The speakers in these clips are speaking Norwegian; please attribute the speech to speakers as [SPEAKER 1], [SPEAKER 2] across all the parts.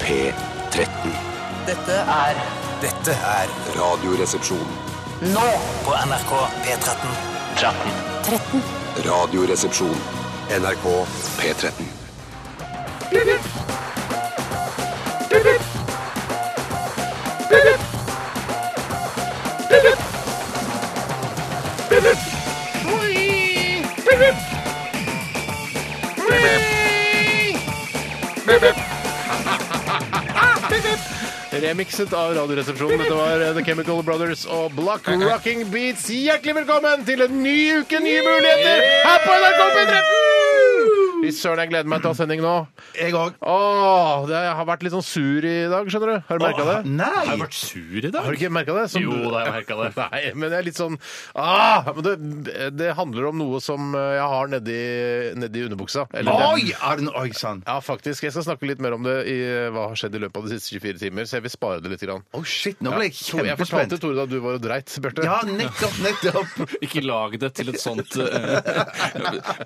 [SPEAKER 1] P13.
[SPEAKER 2] Dette er
[SPEAKER 3] Dette er
[SPEAKER 1] Radioresepsjon.
[SPEAKER 2] nå
[SPEAKER 3] på NRK P13.
[SPEAKER 2] 13.
[SPEAKER 1] Radioresepsjon. NRK P13.
[SPEAKER 4] Remixet av Radioresepsjonen. Dette var eh, The Chemical Brothers og Block Rocking Beats. Hjertelig velkommen til en ny uke, nye muligheter her på NRK P13! Fy søren, jeg gleder meg til å ha sending nå.
[SPEAKER 5] Jeg òg.
[SPEAKER 4] Åh, det, jeg har vært litt sånn sur i dag, skjønner du. Har du merka det?
[SPEAKER 5] Nei!
[SPEAKER 3] Har jeg vært sur i dag?
[SPEAKER 4] Har du ikke merka det? Som
[SPEAKER 3] Jo,
[SPEAKER 4] du-
[SPEAKER 3] da har jeg merket det.
[SPEAKER 4] Nei, men jeg er litt sånn ah, men det, det handler om noe som eh, jeg har nedi, nedi underbuksa. Eller det-
[SPEAKER 5] Oi! Er det noe- Oi sånn. sann.
[SPEAKER 4] Ja, faktisk. Jeg skal snakke litt mer om det i eh, hva har skjedd i løpet av de siste 24 timer, så jeg vil spare det litt. Grann.
[SPEAKER 5] Å, shit, nå ble jeg
[SPEAKER 4] Tor, jeg fortalte
[SPEAKER 5] kjempespent.
[SPEAKER 4] Tore da du var og dreit, Bjarte.
[SPEAKER 5] Ja, nettopp, nettopp.
[SPEAKER 3] Ikke lag det til et sånt eh,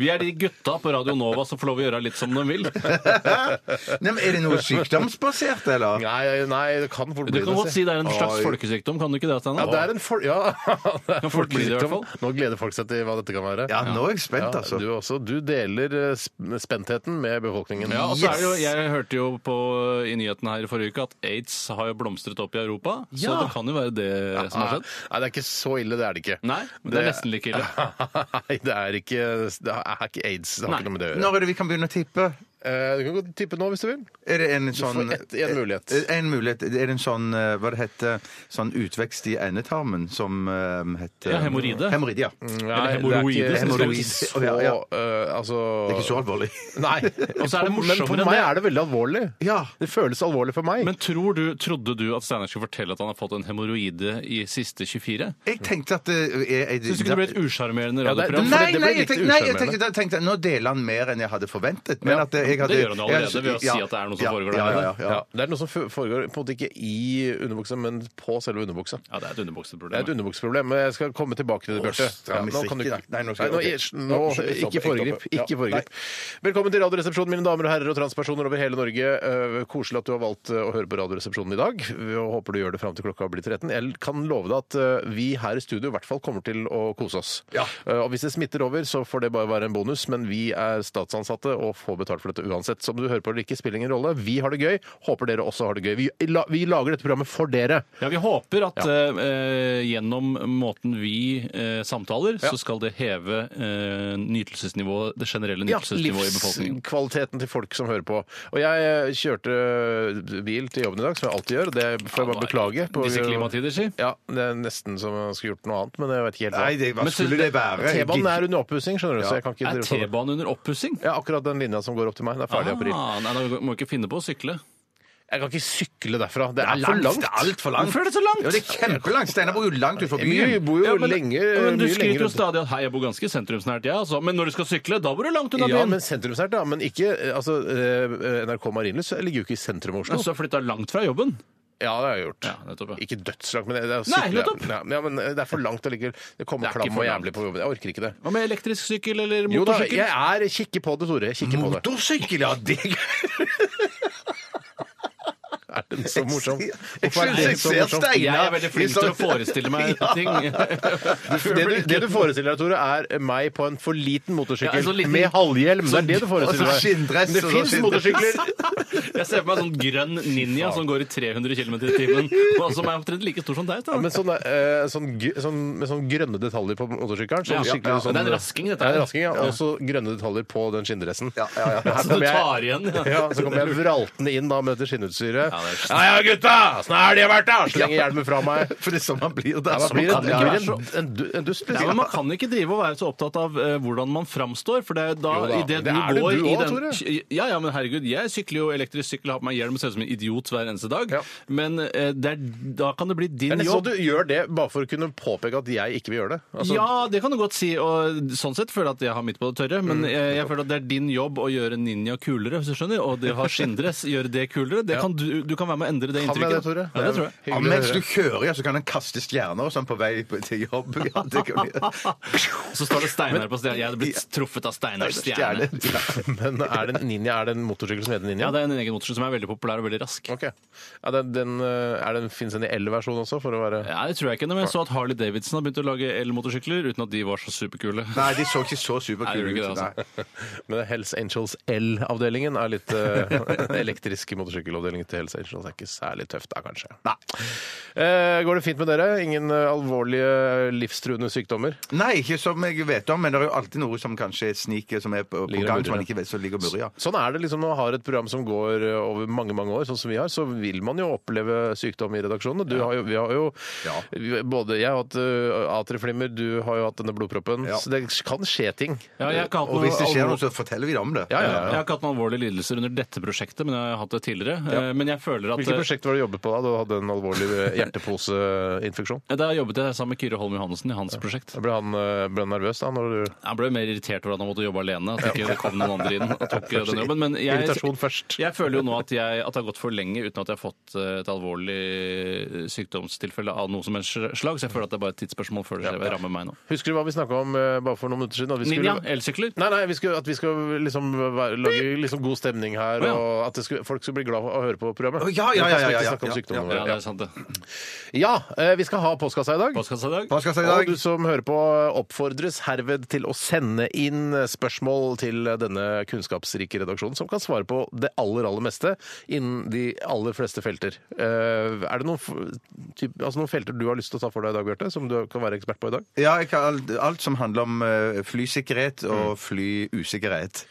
[SPEAKER 3] Vi er de gutta på Radio Nova som får lov å gjøre litt som de vil. Du
[SPEAKER 5] Nei, men er det noe sykdomsbasert, eller?
[SPEAKER 4] Nei, nei, det kan fort bli
[SPEAKER 3] kan godt si det er en slags
[SPEAKER 5] Oi.
[SPEAKER 3] folkesykdom, kan du ikke det,
[SPEAKER 4] Ja,
[SPEAKER 3] Steinar?
[SPEAKER 4] det er en for... Ja, det er
[SPEAKER 3] Kan fort bli det, i hvert fall.
[SPEAKER 4] folkesykdom. Nå gleder folk seg til hva dette kan være.
[SPEAKER 5] Ja, nå er jeg spent,
[SPEAKER 4] Ja,
[SPEAKER 5] altså.
[SPEAKER 4] du også. Du deler eh, sp- spentheten med befolkningen.
[SPEAKER 3] Ja, og så er det jo,
[SPEAKER 5] Yes!
[SPEAKER 3] jeg hørte jo på, i nyhetene her i forrige uke at aids har jo blomstret opp i Europa. Så
[SPEAKER 4] Ja.
[SPEAKER 3] det kan jo være det som har
[SPEAKER 4] Nei,
[SPEAKER 3] skjedd.
[SPEAKER 4] nei, det er ikke så ille, det er det ikke.
[SPEAKER 3] Nei, men det er nesten like ille.
[SPEAKER 4] Nei, det er ikke, det er ikke aids. Det har
[SPEAKER 3] Nei.
[SPEAKER 4] ikke noe med det å gjøre.
[SPEAKER 5] Når er det vi kan begynne å tippe?
[SPEAKER 4] Eh, Du kan godt tippe nå hvis du vil.
[SPEAKER 5] Er det en
[SPEAKER 4] får
[SPEAKER 5] sånn
[SPEAKER 4] ett- en mulighet.
[SPEAKER 5] En mulighet. Er det en sånn eh, hva det heter, sånn utvekst i endetarmen som eh, heter
[SPEAKER 3] Ja, hemorrhoide.
[SPEAKER 5] Hemorrhoide, ja.
[SPEAKER 4] Nei, det er
[SPEAKER 3] hemoroider,
[SPEAKER 4] ikke-
[SPEAKER 3] som
[SPEAKER 4] det er
[SPEAKER 5] det
[SPEAKER 4] ikke
[SPEAKER 5] heter.
[SPEAKER 4] så,
[SPEAKER 5] Ja, ja.
[SPEAKER 4] eh, altså,
[SPEAKER 5] Det er ikke så alvorlig.
[SPEAKER 4] Nei.
[SPEAKER 3] Og så er det
[SPEAKER 4] For-
[SPEAKER 3] morsommere
[SPEAKER 4] Men for
[SPEAKER 3] enn
[SPEAKER 4] meg
[SPEAKER 3] det.
[SPEAKER 4] er det veldig alvorlig.
[SPEAKER 5] Ja.
[SPEAKER 4] Det føles alvorlig for meg.
[SPEAKER 3] Men tror du, trodde du at Steinar skulle fortelle at han har fått en hemoroide i siste 24?
[SPEAKER 5] Jeg tenkte at det er- er-
[SPEAKER 3] Syns du ikke det ble et usjarmerende
[SPEAKER 4] Ja, det er-
[SPEAKER 3] radioprogram?
[SPEAKER 4] for
[SPEAKER 5] Nei,
[SPEAKER 4] det- det
[SPEAKER 5] nei,
[SPEAKER 4] ble
[SPEAKER 5] jeg
[SPEAKER 4] litt
[SPEAKER 5] tenkte, nei, jeg
[SPEAKER 4] usjarmerende.
[SPEAKER 5] tenkte, jeg tenkte nå deler han mer enn jeg hadde forventet. Men
[SPEAKER 3] Ja,
[SPEAKER 5] at jeg
[SPEAKER 3] det
[SPEAKER 5] hadde,
[SPEAKER 3] gjør han jo allerede ved å si at det er noe som foregår der
[SPEAKER 5] Ja, ja,
[SPEAKER 3] allerede.
[SPEAKER 5] ja, ja.
[SPEAKER 4] Ja, det er noe som f- foregår på en måte ikke i underbuksa, men på selve underbuksa.
[SPEAKER 3] Ja, det er
[SPEAKER 4] Det er
[SPEAKER 3] et
[SPEAKER 4] et
[SPEAKER 3] underbukseproblem.
[SPEAKER 4] underbukseproblem, men jeg skal komme tilbake til det, Bjarte.
[SPEAKER 5] stram i
[SPEAKER 4] nå kan du
[SPEAKER 5] strikken,
[SPEAKER 4] ikke
[SPEAKER 5] da. Nei, nå skal jeg-
[SPEAKER 4] Nei,
[SPEAKER 5] ok.
[SPEAKER 4] ikke-
[SPEAKER 5] Nå-
[SPEAKER 4] nå,
[SPEAKER 5] stopper,
[SPEAKER 4] ikke
[SPEAKER 5] stopper,
[SPEAKER 4] foregrip.
[SPEAKER 5] stopper. Ja,
[SPEAKER 4] Ikke foregrip. Velkommen til Radioresepsjonen, mine damer og herrer og transpersoner over hele Norge. Eh, Koselig at du har valgt eh, å høre på Radioresepsjonen i dag. Jeg håper du gjør det fram til klokka blir 13. Jeg kan love deg at eh, vi her i studio i hvert fall kommer til å kose oss.
[SPEAKER 5] Ja.
[SPEAKER 4] Eh, Og hvis det smitter over, så får det bare være en bonus, men vi er statsansatte og får betalt for dette uansett. Så om du hører på eller ikke, spiller ingen rolle. Vi har det gøy. Håper dere også har det gøy. Vi, la- vi lager dette programmet for dere.
[SPEAKER 3] Ja, Vi håper at eh, eh, gjennom måten vi eh, samtaler, så skal det heve eh, nytelsesnivået, det generelle nytelsesnivået i befolkningen.
[SPEAKER 4] livskvaliteten til folk som hører på. Og jeg eh, kjørte eh, bil til jobben i dag, som jeg alltid gjør. Det får jeg bare beklage. på-
[SPEAKER 3] Disse klimatider, si.
[SPEAKER 4] Ja, det er nesten som jeg skulle gjort noe annet, men jeg vet ikke helt
[SPEAKER 5] Nei, det, hva
[SPEAKER 3] Men så-
[SPEAKER 5] skulle det være?
[SPEAKER 4] T-banen er under oppussing, skjønner du, så jeg kan ikke
[SPEAKER 3] Er
[SPEAKER 4] drive sånn.
[SPEAKER 3] T-banen under oppussing?
[SPEAKER 4] Ja, akkurat den linja som går opp til meg. Det er ferdig i april.
[SPEAKER 3] Ah, nei, da må vi ikke finne på å sykle.
[SPEAKER 4] Jeg kan ikke sykle derfra. Det er,
[SPEAKER 5] er
[SPEAKER 4] for langt.
[SPEAKER 5] Det er altfor langt.
[SPEAKER 3] Hvorfor er det så langt?
[SPEAKER 5] Ja, det er kjempelangt. Steinar bor jo langt utenfor
[SPEAKER 4] Vi
[SPEAKER 5] byen.
[SPEAKER 4] bor jo
[SPEAKER 3] Ja, men-
[SPEAKER 4] lenge
[SPEAKER 3] ja, men
[SPEAKER 4] mye
[SPEAKER 3] Du
[SPEAKER 4] lenger
[SPEAKER 3] skryter jo
[SPEAKER 4] rundt.
[SPEAKER 3] stadig at 'hei, jeg bor ganske sentrumsnært', jeg, altså. Men når du skal sykle, da bor du langt unna
[SPEAKER 4] Ja,
[SPEAKER 3] byen.
[SPEAKER 4] men sentrumsnært, da. Men ikke eh, altså, eh, NRK Marienlyst ligger jo ikke i sentrum av
[SPEAKER 3] Ja,
[SPEAKER 4] Oslo.
[SPEAKER 3] så har flytta langt fra jobben.
[SPEAKER 4] Ja, det har jeg gjort.
[SPEAKER 3] Ja, nettopp, ja.
[SPEAKER 4] Ikke dødslangt, men det er,
[SPEAKER 3] Nei, nettopp.
[SPEAKER 4] Ja, men- ja, men eh, det er for langt allikevel. Det kommer
[SPEAKER 3] Det er ikke
[SPEAKER 4] klam
[SPEAKER 3] for
[SPEAKER 4] og
[SPEAKER 3] langt.
[SPEAKER 4] jævlig på jobben. Jeg orker ikke det.
[SPEAKER 3] Hva med elektrisk sykkel eller
[SPEAKER 4] Jo da,
[SPEAKER 3] motorsykkel?
[SPEAKER 4] jeg er kikker på det, Tore. Jeg Kikker på det.
[SPEAKER 5] Motorsykkel, ja! Det
[SPEAKER 4] Er den så morsom?
[SPEAKER 5] Jeg
[SPEAKER 4] Hvorfor er
[SPEAKER 5] synes
[SPEAKER 4] den
[SPEAKER 5] jeg
[SPEAKER 4] så
[SPEAKER 5] ser
[SPEAKER 4] morsom?
[SPEAKER 5] Steinar.
[SPEAKER 3] Jeg er veldig flink
[SPEAKER 5] Litt
[SPEAKER 3] til
[SPEAKER 5] sånn-
[SPEAKER 3] å forestille meg ting.
[SPEAKER 4] Det du, det du forestiller deg, Tore, er meg på en for liten motorsykkel
[SPEAKER 3] Ja, en sånn liten- Sånn-
[SPEAKER 4] med halvhjelm. Det er det du
[SPEAKER 5] Og
[SPEAKER 4] forestiller
[SPEAKER 5] så
[SPEAKER 4] deg.
[SPEAKER 5] skinndress,
[SPEAKER 4] Men Det
[SPEAKER 5] og så
[SPEAKER 4] fins
[SPEAKER 5] skinn-
[SPEAKER 4] motorsykler!
[SPEAKER 3] Jeg ser for meg en sånn grønn ninja som går i 300 km i timen, og som er omtrent like stor som deg.
[SPEAKER 4] Ja,
[SPEAKER 3] Steinar.
[SPEAKER 4] men sånn, eh, sånn, gr- sånn, med sånn grønne detaljer på motorsykkelen. Sånn
[SPEAKER 3] Ja,
[SPEAKER 4] skikkelig
[SPEAKER 3] ja.
[SPEAKER 4] sånn-
[SPEAKER 3] Det er en rasking, dette
[SPEAKER 4] Ja, en
[SPEAKER 3] her.
[SPEAKER 4] rasking, ja. Og så grønne detaljer på den skinndressen.
[SPEAKER 5] Ja, ja, ja.
[SPEAKER 4] Her
[SPEAKER 3] Så du
[SPEAKER 4] kommer jeg-
[SPEAKER 3] tar igjen, ja.
[SPEAKER 4] Ja, så kommer jeg vraltende inn da med dette skinnutstyret.
[SPEAKER 3] Ja, det er-
[SPEAKER 4] Ja, ja, gutta! Sånn er det vært, da! Slenger hjelmen fra meg.
[SPEAKER 5] For det er sånn man blir
[SPEAKER 4] Ja,
[SPEAKER 5] der.
[SPEAKER 4] man blir en,
[SPEAKER 3] det ikke være
[SPEAKER 4] blir en, en, du- en dust,
[SPEAKER 3] Ja,
[SPEAKER 4] liksom.
[SPEAKER 3] men Man kan ikke drive og være så opptatt av eh, hvordan man framstår. For det er jo da,
[SPEAKER 4] Jo da,
[SPEAKER 3] i
[SPEAKER 4] det
[SPEAKER 3] det du
[SPEAKER 4] er det
[SPEAKER 3] går
[SPEAKER 4] du
[SPEAKER 3] i
[SPEAKER 4] også,
[SPEAKER 3] den
[SPEAKER 4] Tore.
[SPEAKER 3] Ja, ja, men herregud, jeg sykler jo elektrisk sykkel, har på meg hjelm og ser ut som en idiot hver eneste dag.
[SPEAKER 4] Ja.
[SPEAKER 3] Men eh, det er, da kan det bli
[SPEAKER 4] Det er
[SPEAKER 3] din
[SPEAKER 4] nesten så du
[SPEAKER 3] jobb.
[SPEAKER 4] gjør det bare for å kunne påpeke at jeg ikke vil gjøre det. Altså,
[SPEAKER 3] ja, det kan du godt si, og sånn sett føler jeg at jeg har midt på det tørre. Men jeg, jeg føler at det er din jobb å gjøre ninja kulere, hvis du skjønner. Og det å ha skinndress, gjøre det kulere. Det kan du, du kan være være med å endre det
[SPEAKER 4] Kan jeg det,
[SPEAKER 3] inntrykket. da.
[SPEAKER 4] Tore?
[SPEAKER 3] Ja, det tror jeg.
[SPEAKER 5] Ja, mens du kjører, ja, så kan han kaste stjerner og sånn på vei på- til jobb. Ja, det kan vi
[SPEAKER 3] Og så står det Steinar på stjernen. Jeg hadde blitt truffet av Steinars stjerne.
[SPEAKER 4] Men er det en ninja? Er det en motorsykkel som heter ninja?
[SPEAKER 3] Ja, det er en egen motorsykkel som er veldig populær og veldig rask.
[SPEAKER 4] Ok. Ja, den, den, eh, er den, finnes den i L-versjon også, for å være
[SPEAKER 3] Ja, det tror jeg ikke, men jeg så at Harley Davidson har begynt å lage elmotorsykler uten at de var så superkule.
[SPEAKER 5] Nei, de så ikke så
[SPEAKER 3] Nei, det
[SPEAKER 5] superkule
[SPEAKER 3] gjorde ikke
[SPEAKER 5] ut.
[SPEAKER 3] det,
[SPEAKER 5] nei.
[SPEAKER 4] Men Hells Angels L-avdelingen er litt eh, Den elektriske motorsykkelavdelingen til Hells Angels er ikke særlig tøft da, kanskje. Eh, går det fint med dere? Ingen eh, alvorlige livstruende sykdommer?
[SPEAKER 5] Nei, ikke som jeg vet om, men det er jo alltid noe som kanskje sniker, som er på, på
[SPEAKER 4] Ligger og
[SPEAKER 5] gang,
[SPEAKER 4] murrer,
[SPEAKER 5] som man
[SPEAKER 4] ja.
[SPEAKER 5] ikke vet, så ligger og murrer, ja.
[SPEAKER 4] Sånn er det liksom når man har et program som går eh, over mange mange år, sånn som vi har, så vil man jo oppleve sykdom i redaksjonene. Du har jo, vi har jo
[SPEAKER 5] Ja.
[SPEAKER 4] vi- både Jeg har hatt eh, atrieflimmer, du har jo hatt denne blodproppen.
[SPEAKER 5] Ja.
[SPEAKER 4] Så det kan skje ting.
[SPEAKER 3] Ja, jeg har ikke hatt
[SPEAKER 5] Og hvis det skjer noe,
[SPEAKER 3] noe
[SPEAKER 5] så forteller vi deg om det.
[SPEAKER 4] Ja, ja,
[SPEAKER 3] jeg har ikke hatt noen alvorlige lidelser under dette prosjektet, men jeg har hatt det tidligere. Eh, Men jeg føler at
[SPEAKER 4] Hvilket prosjekt var det du jobbet på da du hadde en alvorlig eh, hjerteposeinfeksjon?
[SPEAKER 3] Eh, Da jobbet jeg sammen med Kyrre Holm Johannessen i hans prosjekt.
[SPEAKER 4] Da Ble han, eh, ble han nervøs da? Når du...
[SPEAKER 3] Jeg ble mer irritert over at han måtte jobbe alene, at ikke det kom noen andre inn og tok eh, den jobben. Men jeg,
[SPEAKER 4] Irritasjon først.
[SPEAKER 3] jeg føler jo nå at, jeg, at det har gått for lenge uten at jeg har fått eh, et alvorlig eh, sykdomstilfelle av noe som helst slag, så jeg føler at det er bare et tidsspørsmål før det rammer meg nå.
[SPEAKER 4] Husker du hva vi snakka om eh, bare for noen minutter siden? At vi
[SPEAKER 3] Ninja,
[SPEAKER 4] skulle,
[SPEAKER 3] elsykler.
[SPEAKER 4] Nei, nei, vi skulle, at vi skal liksom være, lage liksom god stemning her,
[SPEAKER 3] Å, ja.
[SPEAKER 4] og at det skulle, folk skulle bli glad for å høre på programmet.
[SPEAKER 5] Å, ja, ja, ja, ja, ja,
[SPEAKER 4] Vi
[SPEAKER 5] ja,
[SPEAKER 4] skal ikke snakke
[SPEAKER 5] ja,
[SPEAKER 4] om sykdommene våre.
[SPEAKER 3] Ja, det
[SPEAKER 4] Ja,
[SPEAKER 3] er sant, det.
[SPEAKER 4] eh, vi skal ha postkassa i dag.
[SPEAKER 3] Postkassa i dag.
[SPEAKER 5] Hva skal jeg si i
[SPEAKER 4] Og
[SPEAKER 5] dag?
[SPEAKER 4] du som hører på, oppfordres herved til å sende inn eh, spørsmål til denne kunnskapsrike redaksjonen, som kan svare på det aller, aller meste innen de aller fleste felter. Eh, Er det noen, f- typ, altså noen felter du har lyst til å ta for deg i dag, Bjarte, som du kan være ekspert på i dag?
[SPEAKER 5] Ja, jeg kan alt, alt som handler om eh, flysikkerhet
[SPEAKER 4] Mm.
[SPEAKER 5] og flyusikkerhet.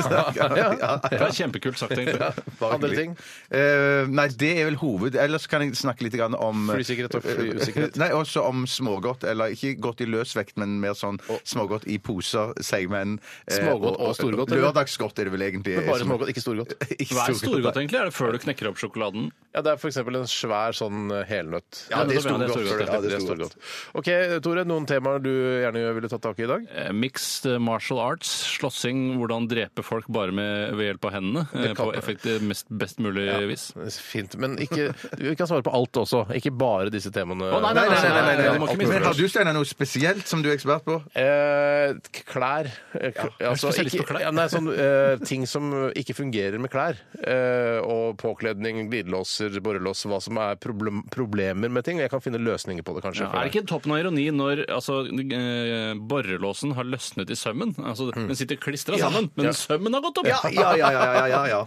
[SPEAKER 4] Ja.
[SPEAKER 3] Det er kjempekult sagt, egentlig.
[SPEAKER 5] Bare
[SPEAKER 4] Andre
[SPEAKER 5] hyggelig.
[SPEAKER 4] ting?
[SPEAKER 5] Eh, nei, det er vel hoved. Ellers kan jeg snakke litt grann om eh,
[SPEAKER 4] Flysikkerhet og flyusikkerhet.
[SPEAKER 5] Nei, også om smågodt. Eller ikke godt i løsvekt, men mer sånn smågodt i poser, seigmenn. eh,
[SPEAKER 4] Smågodt og storgodt, eller?
[SPEAKER 5] Lørdagsgodt er det vel egentlig.
[SPEAKER 4] Men bare smågodt, Eh, ikke storgodt.
[SPEAKER 5] Ikke
[SPEAKER 3] Hva er storgodt,
[SPEAKER 5] nei.
[SPEAKER 3] egentlig? Er det før du knekker opp sjokoladen?
[SPEAKER 4] Ja, Det er f.eks. en svær sånn eh, helnøtt.
[SPEAKER 5] Ja, det er
[SPEAKER 3] Ja, det er
[SPEAKER 5] storgodt.
[SPEAKER 3] storgodt.
[SPEAKER 5] Ja, det er storgodt.
[SPEAKER 4] OK, Tore. Noen temaer du gjerne ville tatt tak i i dag?
[SPEAKER 3] Eh, Mixed martial arts, slåssing, hvordan drepe folk bare med, ved hjelp av hendene. eh,
[SPEAKER 4] kan-
[SPEAKER 3] På effektiv, mest, best mulig vis.
[SPEAKER 4] Fint. Men ikke, vi kan svare på alt også, ikke bare disse temaene.
[SPEAKER 3] Å,
[SPEAKER 5] Nei, nei, nei. nei, nei,
[SPEAKER 3] Det må ikke
[SPEAKER 5] nei. Men har du, Steinar, noe spesielt som du er ekspert på?
[SPEAKER 4] Eh, k- klær Eh, k- altså,
[SPEAKER 3] spesialist på
[SPEAKER 4] ikke,
[SPEAKER 3] klær.
[SPEAKER 4] ja, nei, sånn, eh, Ting som ikke fungerer med klær. Eh, og påkledning, glidelåser, borrelås, hva som er problem, problemer med ting. Jeg kan finne løsninger på det, kanskje.
[SPEAKER 3] Ja,
[SPEAKER 4] for
[SPEAKER 3] er det
[SPEAKER 4] deg.
[SPEAKER 3] ikke toppen av ironi når altså, eh, borrelåsen har løsnet i sømmen? Altså,
[SPEAKER 4] Mm.
[SPEAKER 3] Den sitter klistra sammen, men sømmen har gått opp!
[SPEAKER 5] Ja, ja, ja, ja, ja, ja, ja.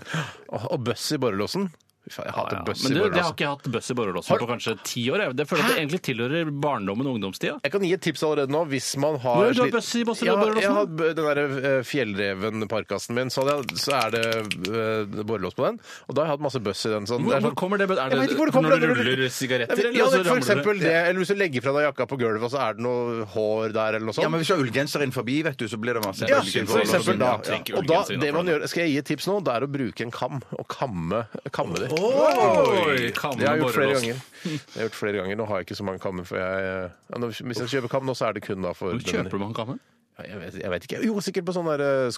[SPEAKER 4] Å, Og bøss i borrelåsen. Fy faen, jeg
[SPEAKER 3] Ja,
[SPEAKER 4] hater
[SPEAKER 3] ja.
[SPEAKER 4] bøss i
[SPEAKER 3] Men det, det har
[SPEAKER 4] borrelåsen.
[SPEAKER 3] ikke jeg hatt bøss i borrelåsen på kanskje ti år. Jeg. Det føler jeg at det egentlig tilhører barndommen og ungdomstida.
[SPEAKER 4] Jeg kan gi et tips allerede nå hvis man har
[SPEAKER 3] Hvor er det du har
[SPEAKER 4] slitt-
[SPEAKER 3] bøsse i Bosse
[SPEAKER 4] Ja,
[SPEAKER 3] Rødborg-låsen?
[SPEAKER 4] Jeg har b- den derre eh, fjellreven-parkassen min, så, hadde jeg, så er det eh, borrelås på den. Og da har jeg hatt masse bøss i den. Sånn, det
[SPEAKER 3] Hvor,
[SPEAKER 4] er
[SPEAKER 3] hvor
[SPEAKER 4] sånn-
[SPEAKER 3] kommer det? Er
[SPEAKER 4] Jeg vet
[SPEAKER 3] det
[SPEAKER 4] ikke hvor det kommer
[SPEAKER 3] når du
[SPEAKER 4] fra.
[SPEAKER 3] ruller
[SPEAKER 4] Nei, men-
[SPEAKER 3] sigaretter? eller
[SPEAKER 4] ja, men
[SPEAKER 3] så
[SPEAKER 4] for
[SPEAKER 3] ramler det?
[SPEAKER 4] eksempel det, eller hvis du legger fra deg jakka på gulvet, og så er det noe hår der, eller noe
[SPEAKER 5] Ja, men
[SPEAKER 4] sånt.
[SPEAKER 5] hvis du har ullgenser inn forbi, vet du, så blir det masse sånn.
[SPEAKER 4] Ja,
[SPEAKER 5] bølger
[SPEAKER 4] for
[SPEAKER 5] på-
[SPEAKER 4] eksempel da.
[SPEAKER 3] Ja, trenger
[SPEAKER 4] Og da,
[SPEAKER 3] ullgenser
[SPEAKER 4] det man
[SPEAKER 3] innenfor.
[SPEAKER 4] gjør, skal jeg gi et tips nå, det er å bruke en kam, og kamme, kamme det.
[SPEAKER 3] Oi! Kamme
[SPEAKER 4] Det har jeg gjort flere
[SPEAKER 3] borrelåsen.
[SPEAKER 4] ganger. Det har jeg gjort flere ganger. Nå har jeg ikke så mange kammer, for jeg eh, ja, nå, Hvis jeg kjøper kam nå, så er det kun da for
[SPEAKER 3] Hvor kjøper man kammen?
[SPEAKER 4] Ja, Jeg vet, jeg vet ikke. Jo, sikkert på sånn der eh,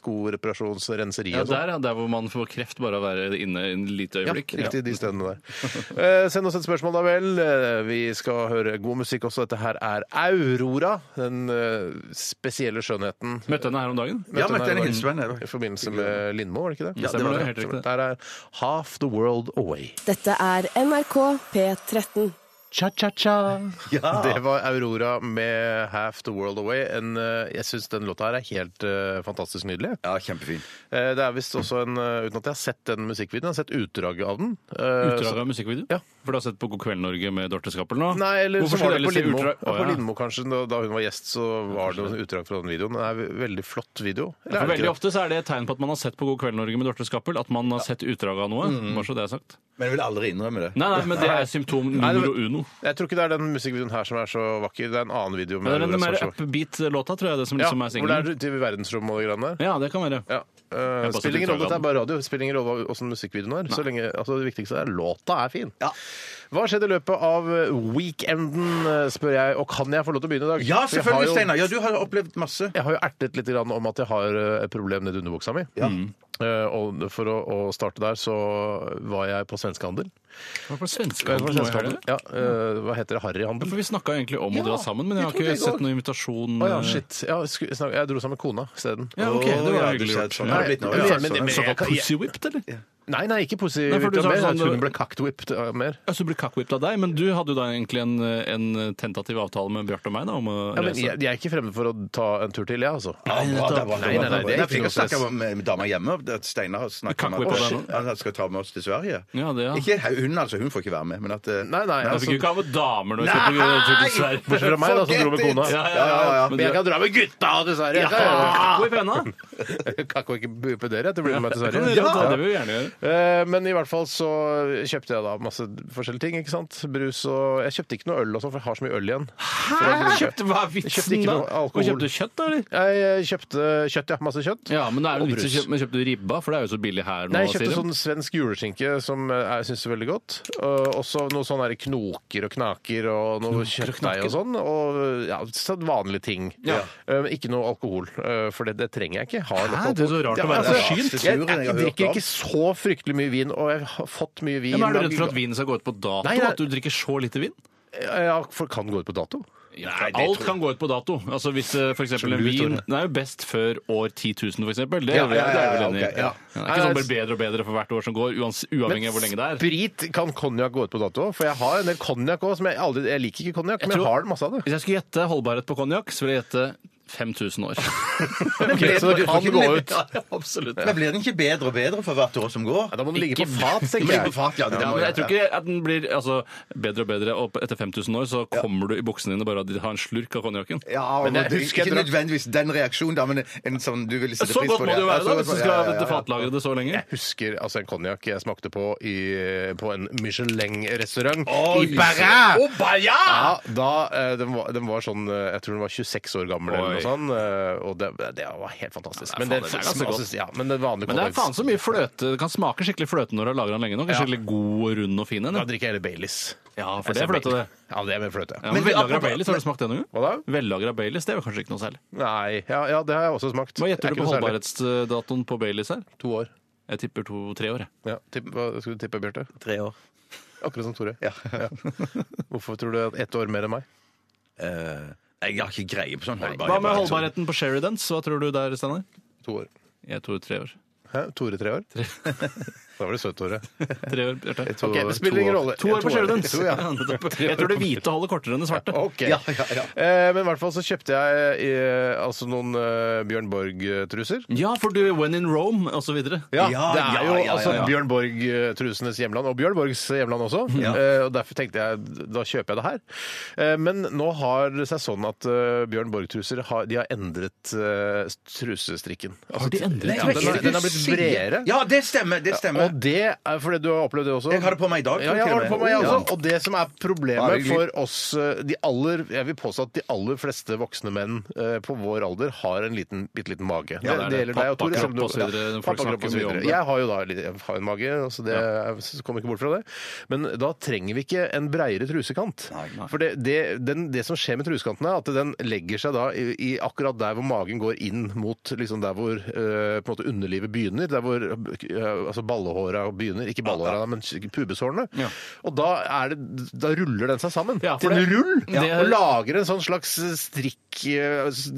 [SPEAKER 4] skoreparasjonsrenseri
[SPEAKER 3] Ja,
[SPEAKER 4] og sånn.
[SPEAKER 3] der, ja, der hvor man får kreft bare av å være inne en lite
[SPEAKER 4] Ja,
[SPEAKER 3] øyeblikk.
[SPEAKER 4] riktig de stedene der. Eh, send oss et spørsmål, da vel. Eh, vi skal høre god musikk også. Dette her er Aurora. Den eh, spesielle skjønnheten.
[SPEAKER 3] Møtte henne her om dagen.
[SPEAKER 5] Ja, men det er en
[SPEAKER 4] Møtte henne
[SPEAKER 5] hilsevenn.
[SPEAKER 4] i forbindelse med Lindmo, var det ikke det?
[SPEAKER 3] Ja, det var det, helt riktig.
[SPEAKER 4] Der er Half the World Away.
[SPEAKER 6] Dette er NRK P13.
[SPEAKER 4] Cha-cha-cha.
[SPEAKER 5] Ja.
[SPEAKER 4] Det var Aurora med Half the World Away. En, eh, jeg syns den låta her er helt eh, fantastisk nydelig.
[SPEAKER 5] Ja, kjempefin.
[SPEAKER 4] Eh, Det er visst også en eh, Uten at jeg har sett den musikkvideoen, jeg har sett utdraget av den. Eh,
[SPEAKER 3] Utdrag av musikkvideo?
[SPEAKER 4] Ja.
[SPEAKER 3] For du har sett på God kveld Norge med Dorte Skappel nå?
[SPEAKER 4] så- Nei, eller så
[SPEAKER 3] Hvorfor
[SPEAKER 4] var
[SPEAKER 3] skulle
[SPEAKER 4] det på
[SPEAKER 3] du ellers
[SPEAKER 4] Lindmo.
[SPEAKER 3] se utdrag?
[SPEAKER 4] Ja,
[SPEAKER 3] Å,
[SPEAKER 4] på
[SPEAKER 3] ja.
[SPEAKER 4] Lindmo kanskje, da- Da hun var gjest, så var det noen utdrag fra den videoen. Det er en veldig flott video. Eller
[SPEAKER 3] For
[SPEAKER 4] er det ikke
[SPEAKER 3] veldig
[SPEAKER 4] det?
[SPEAKER 3] ofte så er det et tegn på at man har sett på God kveld Norge med Dorte Skappel, at man har sett utdrag av noe.
[SPEAKER 4] Mm.
[SPEAKER 3] Bare så det er sagt.
[SPEAKER 5] Men jeg vil aldri innrømme det.
[SPEAKER 3] Nei, nei, men det er symptom numero uno.
[SPEAKER 4] Jeg tror ikke det er den musikkvideoen her som er så vakker. Det er en annen video.
[SPEAKER 3] Det er den
[SPEAKER 4] Aurora som
[SPEAKER 3] mer
[SPEAKER 4] er så vakker.
[SPEAKER 3] upbeat-låta, tror jeg, det som
[SPEAKER 4] ja,
[SPEAKER 3] liksom er
[SPEAKER 4] hvor det er
[SPEAKER 3] singelen.
[SPEAKER 4] ute i verdensrommet og de greiene der.
[SPEAKER 3] Ja, det kan være.
[SPEAKER 4] Ja. eh,
[SPEAKER 3] har bare
[SPEAKER 4] spiller ingen rolle,
[SPEAKER 3] sett utdrag av
[SPEAKER 4] dette er bare radio. Spiller ingen rolle åssen musikkvideoen er. Så lenge, altså, det viktigste er låta er fin.
[SPEAKER 5] Ja.
[SPEAKER 4] Hva skjedde i løpet av eh, weekenden, eh, spør jeg. Og kan jeg få lov til å begynne i
[SPEAKER 5] Ja,
[SPEAKER 4] dag? For jeg har
[SPEAKER 5] selvfølgelig,
[SPEAKER 4] jo-
[SPEAKER 5] Steinar. Ja, du har opplevd masse.
[SPEAKER 4] Jeg har jo ertet litt grann om at jeg har eh, et problem nedi underbuksa mi. Mm. Eh, Og for å, å starte der, så var jeg på svenskehandel.
[SPEAKER 3] Hva for
[SPEAKER 4] Hva
[SPEAKER 3] svenskehandel nå i helga?
[SPEAKER 4] heter det? Ja, eh, hva heter det? Harryhandel?
[SPEAKER 3] For vi snakka egentlig om å
[SPEAKER 4] Ja,
[SPEAKER 3] dra sammen, men jeg har
[SPEAKER 4] vi trodde i
[SPEAKER 3] ikke
[SPEAKER 4] går.
[SPEAKER 3] sett noen invitasjon. eh,
[SPEAKER 4] Å ja, shit. Ja, sku- snak- jeg dro sammen med kona isteden.
[SPEAKER 3] Ja, ok, det var
[SPEAKER 5] Å, ja,
[SPEAKER 3] hyggelig
[SPEAKER 5] du
[SPEAKER 3] gjort.
[SPEAKER 5] sa-
[SPEAKER 3] Ja.
[SPEAKER 5] Nei,
[SPEAKER 4] men-
[SPEAKER 5] nå,
[SPEAKER 4] men-
[SPEAKER 5] ja,
[SPEAKER 4] men-
[SPEAKER 5] sånn.
[SPEAKER 4] men-
[SPEAKER 3] Såkalt
[SPEAKER 4] jeg-
[SPEAKER 3] pussy whipped, eller?
[SPEAKER 4] Nei, nei, ikke pussy.
[SPEAKER 3] Nei, for
[SPEAKER 4] whipped
[SPEAKER 3] du sa
[SPEAKER 4] mer,
[SPEAKER 3] sånn-
[SPEAKER 4] at Hun ble cocked-whipped av mer.
[SPEAKER 3] Altså, du ble kakkwhippet av deg, men du hadde jo da egentlig en, en tentativ avtale med Bjarte og meg da, om å
[SPEAKER 4] Ja, men
[SPEAKER 3] reise.
[SPEAKER 4] jeg, jeg er ikke fremmed for å ta en tur til, jeg, altså.
[SPEAKER 5] Nei,
[SPEAKER 4] nettopp. Nei, nei, nei, det er ikke
[SPEAKER 5] jeg
[SPEAKER 4] noe stress.
[SPEAKER 5] snakker om med dama hjemme. og At Steinar har snakket
[SPEAKER 3] Kakko
[SPEAKER 5] med
[SPEAKER 3] på
[SPEAKER 5] oss.
[SPEAKER 3] den, da.
[SPEAKER 5] Han skal ta med oss til Sverige.
[SPEAKER 3] Ja, det, ja.
[SPEAKER 5] Ikke hun, altså. Hun får ikke være med. Men at eh,
[SPEAKER 4] Nei, nei,
[SPEAKER 3] jeg
[SPEAKER 4] altså,
[SPEAKER 3] fikk jo ikke av damer når jeg
[SPEAKER 5] Nei!
[SPEAKER 3] skulle på tur til Sverige.
[SPEAKER 4] Bortsett fra meg, da, som dro med
[SPEAKER 5] Forget
[SPEAKER 4] kona.
[SPEAKER 5] it!
[SPEAKER 3] Ja, ja,
[SPEAKER 5] Ja, ja, ja.
[SPEAKER 3] Men
[SPEAKER 4] Men jeg
[SPEAKER 3] du-
[SPEAKER 4] kan dra med gutta til Sverige!
[SPEAKER 3] Ja! Kakko i pena.
[SPEAKER 4] Jeg kan ikke bupe dere etter å bli med meg til
[SPEAKER 3] Jeg kan
[SPEAKER 4] Sverige.
[SPEAKER 3] gjøre det, det vil vi gjerne gjøre.
[SPEAKER 4] Eh, Men i hvert fall så kjøpte jeg da masse forskjellige ting. ikke sant? Brus og Jeg kjøpte ikke noe øl og sånn, for jeg har så mye øl igjen.
[SPEAKER 3] Hæ? Kjøpte, hva er vitsen
[SPEAKER 4] Kjøpte ikke
[SPEAKER 3] da?
[SPEAKER 4] noe alkohol.
[SPEAKER 3] Og Kjøpte du kjøtt, da, eller?
[SPEAKER 4] Jeg eh, kjøpte kjøtt, ja. Masse kjøtt.
[SPEAKER 3] Ja, men det er jo
[SPEAKER 4] Og
[SPEAKER 3] litt,
[SPEAKER 4] brus.
[SPEAKER 3] kjøpt, men kjøpte du ribba, for det er jo så billig her nå.
[SPEAKER 4] Nei, jeg kjøpte
[SPEAKER 3] sier de.
[SPEAKER 4] sånn svensk juleskinke som eh, jeg syns er veldig godt. Og også noe sånn der knoker og knaker og noe kjøttdeig og sånn. Og ja, så vanlige ting.
[SPEAKER 3] Ja.
[SPEAKER 4] Eh, men ikke noe alkohol, eh, for det, det trenger jeg ikke. Jeg Har nok
[SPEAKER 3] Hæ, det er så rart å være
[SPEAKER 4] altså,
[SPEAKER 3] forsynt.
[SPEAKER 4] jeg, jeg,
[SPEAKER 5] Jeg har hørt
[SPEAKER 4] drikker
[SPEAKER 5] om.
[SPEAKER 4] ikke så fryktelig mye vin, og jeg har fått mye vin.
[SPEAKER 3] Ja, men er du redd for at vinen skal gå ut på dato?
[SPEAKER 4] Nei, nei.
[SPEAKER 3] At du drikker så lite vin?
[SPEAKER 4] Ja, for kan gå ut på dato.
[SPEAKER 3] Nei, alt kan gå ut på dato. Altså Hvis eh, for eksempel en
[SPEAKER 4] Sjalu,
[SPEAKER 3] vin
[SPEAKER 4] Tore.
[SPEAKER 3] Det er jo best før år 10 000, for eksempel. Det
[SPEAKER 4] Ja,
[SPEAKER 3] er vi- det
[SPEAKER 4] ja,
[SPEAKER 3] er vi vel
[SPEAKER 5] ja, ok,
[SPEAKER 3] enig i.
[SPEAKER 5] ja.
[SPEAKER 4] Nei,
[SPEAKER 3] Det er
[SPEAKER 4] altså-
[SPEAKER 3] ikke sånn
[SPEAKER 4] det
[SPEAKER 3] blir bedre og bedre for hvert år som går, uans- uavhengig av hvor lenge det er.
[SPEAKER 4] Sprit kan konjakk gå ut på dato, for jeg har en del konjakk òg. Jeg, aldri- jeg liker ikke konjakk, men
[SPEAKER 3] tror-
[SPEAKER 4] jeg har masse av det.
[SPEAKER 3] Hvis jeg skulle gjette holdbarhet på konjakk, så ville jeg gjette 5000 år.
[SPEAKER 4] Ok, så det kan gå ut.
[SPEAKER 3] Ja, absolutt.
[SPEAKER 5] Men blir den ikke bedre og bedre for hvert år som går?
[SPEAKER 4] Ja, Da må den ligge
[SPEAKER 3] Ikke
[SPEAKER 4] på fat,
[SPEAKER 5] Den
[SPEAKER 4] tenker
[SPEAKER 5] blir på
[SPEAKER 4] jeg.
[SPEAKER 5] fat, ja, det
[SPEAKER 3] Ja,
[SPEAKER 5] må
[SPEAKER 3] men jeg
[SPEAKER 5] jeg-
[SPEAKER 3] tror ikke at den blir altså, bedre og bedre. Og etter 5000 år så kommer du i buksene dine bare av å ha en slurk av konjakken.
[SPEAKER 5] Ja,
[SPEAKER 4] Men
[SPEAKER 5] men
[SPEAKER 4] jeg
[SPEAKER 5] det,
[SPEAKER 4] husker jeg
[SPEAKER 5] ikke
[SPEAKER 4] drakk-
[SPEAKER 5] nødvendigvis den reaksjonen, da, men en sånn du ville sette
[SPEAKER 3] Så
[SPEAKER 5] pris
[SPEAKER 3] godt
[SPEAKER 5] på
[SPEAKER 3] må
[SPEAKER 5] det.
[SPEAKER 3] det jo
[SPEAKER 5] Ja,
[SPEAKER 3] være
[SPEAKER 5] så
[SPEAKER 3] da,
[SPEAKER 5] godt
[SPEAKER 3] hvis du
[SPEAKER 5] må-
[SPEAKER 3] skal
[SPEAKER 5] ja, ja, ja.
[SPEAKER 3] fatlagre det så lenge.
[SPEAKER 4] Jeg husker altså en konjakk jeg smakte på i, på en Michelin-restaurant
[SPEAKER 3] Oi.
[SPEAKER 4] i Paris.
[SPEAKER 3] Å, bare ja!
[SPEAKER 4] Ja, da, eh, den, var, den var sånn eh, Jeg tror den var 26 år gammel eller
[SPEAKER 3] Oi.
[SPEAKER 4] noe sånt. eh, Og det, det var helt fantastisk.
[SPEAKER 3] Ja,
[SPEAKER 4] men,
[SPEAKER 3] faen,
[SPEAKER 4] det,
[SPEAKER 3] det er ganske godt.
[SPEAKER 4] ja, men det vanlige
[SPEAKER 3] Men det er faen
[SPEAKER 4] konjakk-
[SPEAKER 3] så mye fløte. Det kan smake skikkelig fløte når du har lagra den lenge nok. Skikkelig god og rund og fin en.
[SPEAKER 4] Da drikker jeg heller Baileys.
[SPEAKER 3] Ja,
[SPEAKER 5] altså,
[SPEAKER 3] for det er fløte, det.
[SPEAKER 4] Ja, Altså, det er mer fløte.
[SPEAKER 3] Ja, men Vellagra Baileys, har du smakt det noen gang?
[SPEAKER 4] Hva da?
[SPEAKER 3] Vellagra Baileys, det er jo kanskje ikke noe særlig.
[SPEAKER 4] Nei, ja, ja, det har jeg også smakt.
[SPEAKER 3] Hva
[SPEAKER 4] Det er
[SPEAKER 3] gjetter du
[SPEAKER 4] ikke
[SPEAKER 3] på
[SPEAKER 4] noe særlig.
[SPEAKER 3] holdbarhetsdatoen på Baileys her?
[SPEAKER 4] To år.
[SPEAKER 3] Jeg tipper to-tre år. jeg.
[SPEAKER 4] Ja, tipp, hva skulle du tippe, Bjarte?
[SPEAKER 5] Tre år.
[SPEAKER 4] Akkurat som Tore. Hvorfor tror du at ett år mer enn meg?
[SPEAKER 5] Eh, jeg har ikke greie på sånn holdbarhet.
[SPEAKER 3] Hva med holdbarheten på Sheridans? Hva tror du der, Steinar?
[SPEAKER 4] To år.
[SPEAKER 3] Jeg tror tre år.
[SPEAKER 4] Hæ? Tore tre år? da var det søtt, Tore.
[SPEAKER 3] Tre år, Bjarte.
[SPEAKER 5] To-
[SPEAKER 4] Ok, det spiller
[SPEAKER 5] to
[SPEAKER 4] ingen
[SPEAKER 5] år.
[SPEAKER 4] rolle.
[SPEAKER 3] To år på Sheridans!
[SPEAKER 4] To,
[SPEAKER 3] Ja,
[SPEAKER 4] ja.
[SPEAKER 3] nettopp. Jeg tror det hvite holder kortere enn det svarte.
[SPEAKER 4] Ok.
[SPEAKER 5] Ja, ja, ja.
[SPEAKER 4] Eh, men i hvert fall så kjøpte jeg eh, altså noen eh, Bjørn Borg-truser.
[SPEAKER 3] Ja, for du When in Rome og så videre.
[SPEAKER 4] Ja,
[SPEAKER 5] Ja,
[SPEAKER 4] det er
[SPEAKER 5] ja,
[SPEAKER 4] jo
[SPEAKER 5] ja, ja,
[SPEAKER 4] altså
[SPEAKER 5] ja.
[SPEAKER 4] Bjørn Borg-trusenes hjemland, og Bjørn Borgs hjemland også. Eh, og Derfor tenkte jeg da kjøper jeg det her. Eh, men nå har det seg sånn at eh, Bjørn Borg-truser har, de har endret eh, trusestrikken. Altså,
[SPEAKER 3] Har de endret
[SPEAKER 4] ja, den, har,
[SPEAKER 5] Hva
[SPEAKER 4] den har blitt
[SPEAKER 5] sier du?
[SPEAKER 4] bredere.
[SPEAKER 5] Ja, det stemmer. det stemmer.
[SPEAKER 4] Og det er fordi du har opplevd det også?
[SPEAKER 5] Jeg har det på meg i dag,
[SPEAKER 4] Ja, jeg har det på meg
[SPEAKER 5] Ja.
[SPEAKER 4] også. Og det som er
[SPEAKER 5] Bare
[SPEAKER 4] problemet
[SPEAKER 5] hyggelig.
[SPEAKER 4] for oss eh, de aller, Jeg vil påstå at de aller fleste voksne menn eh, på vår alder har en liten, bitte liten mage.
[SPEAKER 3] Ja, det er det.
[SPEAKER 4] gjelder deg og Tore.
[SPEAKER 3] Pappakropp
[SPEAKER 4] selv om du-
[SPEAKER 3] og så videre,
[SPEAKER 4] Ja,
[SPEAKER 3] folk snakker
[SPEAKER 4] Pappakropp og så
[SPEAKER 3] mye om
[SPEAKER 4] videre.
[SPEAKER 3] det.
[SPEAKER 4] Jeg har jo da litt- jeg har en mage, så det jeg kommer ikke bort fra det. Men da trenger vi ikke en breiere trusekant. For det, det, den, det som skjer med trusekanten, er at den legger seg da i, i akkurat der hvor magen går inn mot liksom der hvor eh, på en måte underlivet begynner. Der hvor eh, altså ballehåra begynner. Ikke ballehåra, men pubeshårene.
[SPEAKER 3] Ja.
[SPEAKER 4] Og da, er det, da ruller den seg sammen
[SPEAKER 3] Ja, for
[SPEAKER 4] til en
[SPEAKER 3] det-
[SPEAKER 4] rull!
[SPEAKER 3] Ja.
[SPEAKER 4] Og lager en sånn slags strikk eh, s-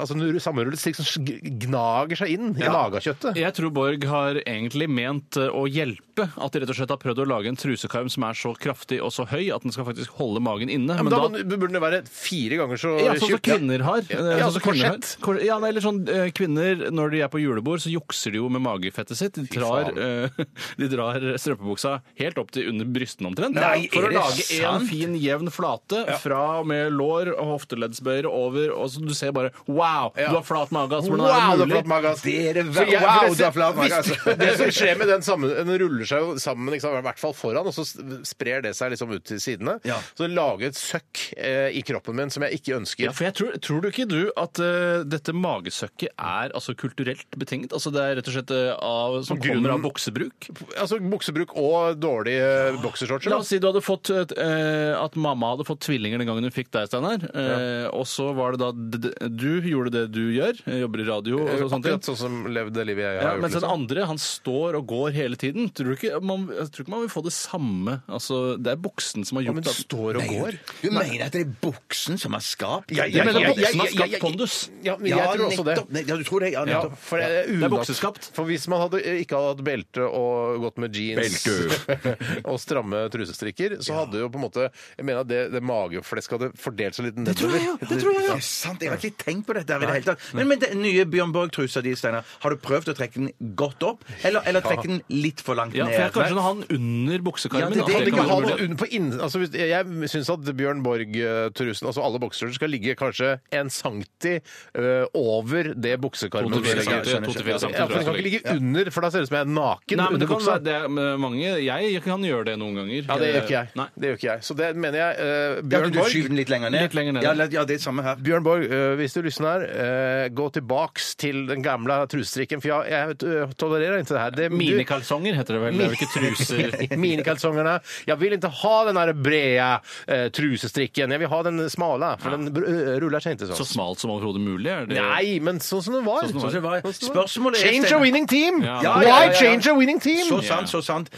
[SPEAKER 4] Altså en sammenrullet strikk som sg- gnager seg inn i magekjøttet.
[SPEAKER 3] Jeg tror Borg har egentlig ment eh, å hjelpe. At de rett og slett har prøvd å lage en trusekarm som er så kraftig og så høy at den skal faktisk holde magen inne.
[SPEAKER 4] Ja, men da, må- burde den være fire ganger så
[SPEAKER 3] ja, sånn som
[SPEAKER 4] tjukk.
[SPEAKER 3] kvinner har. Eh,
[SPEAKER 4] Ja,
[SPEAKER 3] sånn som
[SPEAKER 4] altså
[SPEAKER 3] kvinner har.
[SPEAKER 4] korsett.
[SPEAKER 3] Kor- Ja, nei, eller sånn, eh, kvinner, når de er på julebord, så jukser de jo med magefettet sitt. De drar, eh, de drar strømpebuksa helt opp til under brystene omtrent.
[SPEAKER 5] Nei,
[SPEAKER 3] for
[SPEAKER 5] er
[SPEAKER 3] å
[SPEAKER 5] det
[SPEAKER 3] lage en
[SPEAKER 5] sant?
[SPEAKER 3] fin, jevn flate fra og med lår og hofteleddsbøyer over, og så du ser bare Wow, du har flat mage, ass! Hvordan
[SPEAKER 4] Wow,
[SPEAKER 3] er
[SPEAKER 4] det
[SPEAKER 3] det
[SPEAKER 4] er
[SPEAKER 3] mulig?
[SPEAKER 4] flott mage, ass.
[SPEAKER 5] Det er det
[SPEAKER 4] Så
[SPEAKER 5] ver-
[SPEAKER 4] jeg- for
[SPEAKER 5] Wow,
[SPEAKER 4] det-
[SPEAKER 5] det er flaut mage,
[SPEAKER 4] hvis-
[SPEAKER 5] altså.
[SPEAKER 4] Det som skjer med den sammen, den ruller seg jo sammen, ikke sant, i hvert fall foran, og så s- sprer det seg liksom ut til sidene.
[SPEAKER 5] Ja.
[SPEAKER 4] Så det lager et søkk eh, i kroppen min som jeg ikke ønsker.
[SPEAKER 3] Ja, for jeg tror, tror du ikke du at eh, dette magesøkket er altså, kulturelt betinget? Altså det er rett og slett eh, av, som
[SPEAKER 4] Grunnen-
[SPEAKER 3] kommer av boksebruk? buksebruk.
[SPEAKER 4] Altså buksebruk og dårlige eh, boksershortser.
[SPEAKER 3] La
[SPEAKER 4] da.
[SPEAKER 3] oss si du hadde fått eh, at mamma hadde fått tvillinger den gangen hun fikk deg, Steinar. Eh, Og så var det da d- d- du gjorde det du gjør, eh, jobber i radio og så- sånne ting.
[SPEAKER 4] Akkurat sånn som levde det livet jeg har
[SPEAKER 3] Ja,
[SPEAKER 4] gjort.
[SPEAKER 3] mens den
[SPEAKER 4] liksom.
[SPEAKER 3] andre han står og går hele tiden. Tror du ikke man, jeg tror ikke man vil få det samme? Altså, det er buksen som har
[SPEAKER 4] Ja, men
[SPEAKER 3] gjort
[SPEAKER 4] den står og går.
[SPEAKER 5] Du mener at det er buksen som har skapt
[SPEAKER 4] Ja,
[SPEAKER 3] Jeg mener
[SPEAKER 4] jeg-
[SPEAKER 3] buksen har
[SPEAKER 4] jeg-
[SPEAKER 3] skapt
[SPEAKER 4] jeg-
[SPEAKER 3] pondus.
[SPEAKER 4] Ja, men jeg tror også det.
[SPEAKER 5] nettopp. Nei, Ja, du tror det? Ja,
[SPEAKER 4] Ja,
[SPEAKER 5] nettopp.
[SPEAKER 4] for det er, unaturlig.
[SPEAKER 3] bokseskapt.
[SPEAKER 4] For hvis man hadde, eh, ikke hadde hatt belte og gått med jeans og stramme trusestrikker, så hadde jo på en måte Jeg mener at det, det mageflesket hadde fordelt seg litt nedover.
[SPEAKER 5] Det er sant, Jeg har ikke tenkt på dette her i det hele tatt. Men, men den nye Bjørn Borg-trusa di, Steinar, har du prøvd å trekke den godt opp, eller, eller trekke den litt for langt
[SPEAKER 3] Ja,
[SPEAKER 5] ned?
[SPEAKER 3] for jeg kanskje sånn han under buksekarmen.
[SPEAKER 5] Ja, det-
[SPEAKER 3] at
[SPEAKER 5] det-
[SPEAKER 4] Kan
[SPEAKER 3] det
[SPEAKER 4] det
[SPEAKER 3] kan
[SPEAKER 4] ikke
[SPEAKER 3] være
[SPEAKER 4] ha
[SPEAKER 3] mulig.
[SPEAKER 4] noe under på inn... Altså, hvis- jeg syns at Bjørn Borg-trusen, altså alle bokseskjorter, skal ligge kanskje en centi ø, over det buksekarmen.
[SPEAKER 3] To til fire
[SPEAKER 4] Ja,
[SPEAKER 3] centi, to til fire centi,
[SPEAKER 4] Ja, for Den
[SPEAKER 3] tror
[SPEAKER 4] kan
[SPEAKER 3] jeg
[SPEAKER 4] ikke ligge under, for da ser det ut som jeg er naken
[SPEAKER 3] Nei, men det
[SPEAKER 4] under
[SPEAKER 3] kan
[SPEAKER 4] buksa.
[SPEAKER 3] være det er mange Jeg kan gjøre det noen ganger.
[SPEAKER 4] Ja, det gjør ikke jeg.
[SPEAKER 3] Nei.
[SPEAKER 4] Det gjør ikke jeg. Så det mener jeg. ø,
[SPEAKER 5] Ja,
[SPEAKER 4] Bjørn
[SPEAKER 5] du
[SPEAKER 4] Borg
[SPEAKER 5] skyver den litt lenger ned?
[SPEAKER 3] Litt lenger ned,
[SPEAKER 5] Ja,
[SPEAKER 3] ja.
[SPEAKER 5] ja, det er samme her.
[SPEAKER 4] Bjørn Borg, øh, hvis du lysner, øh, gå tilbaks til den gamle trusestrikken, for jeg, jeg øh, tolererer ikke det her. Det,
[SPEAKER 3] Minikalsonger heter det vel. Det er vel ikke truser.
[SPEAKER 4] du- Minikalsongene. Jeg vil ikke ha den der brede øh, trusestrikken. Jeg vil ha den smale, for den br- øh, ruller seg ikke sånn.
[SPEAKER 3] Så smalt som overhodet mulig? Er det
[SPEAKER 4] Nei, men sånn som den var.
[SPEAKER 3] Sånn som den
[SPEAKER 5] var. Spørsmålet er,
[SPEAKER 4] Change a
[SPEAKER 5] Steinar-
[SPEAKER 4] winning team!
[SPEAKER 3] Ja.
[SPEAKER 5] Ja,
[SPEAKER 4] Why
[SPEAKER 5] ja, ja, ja.
[SPEAKER 4] change a winning team?
[SPEAKER 5] Så sant, så sant.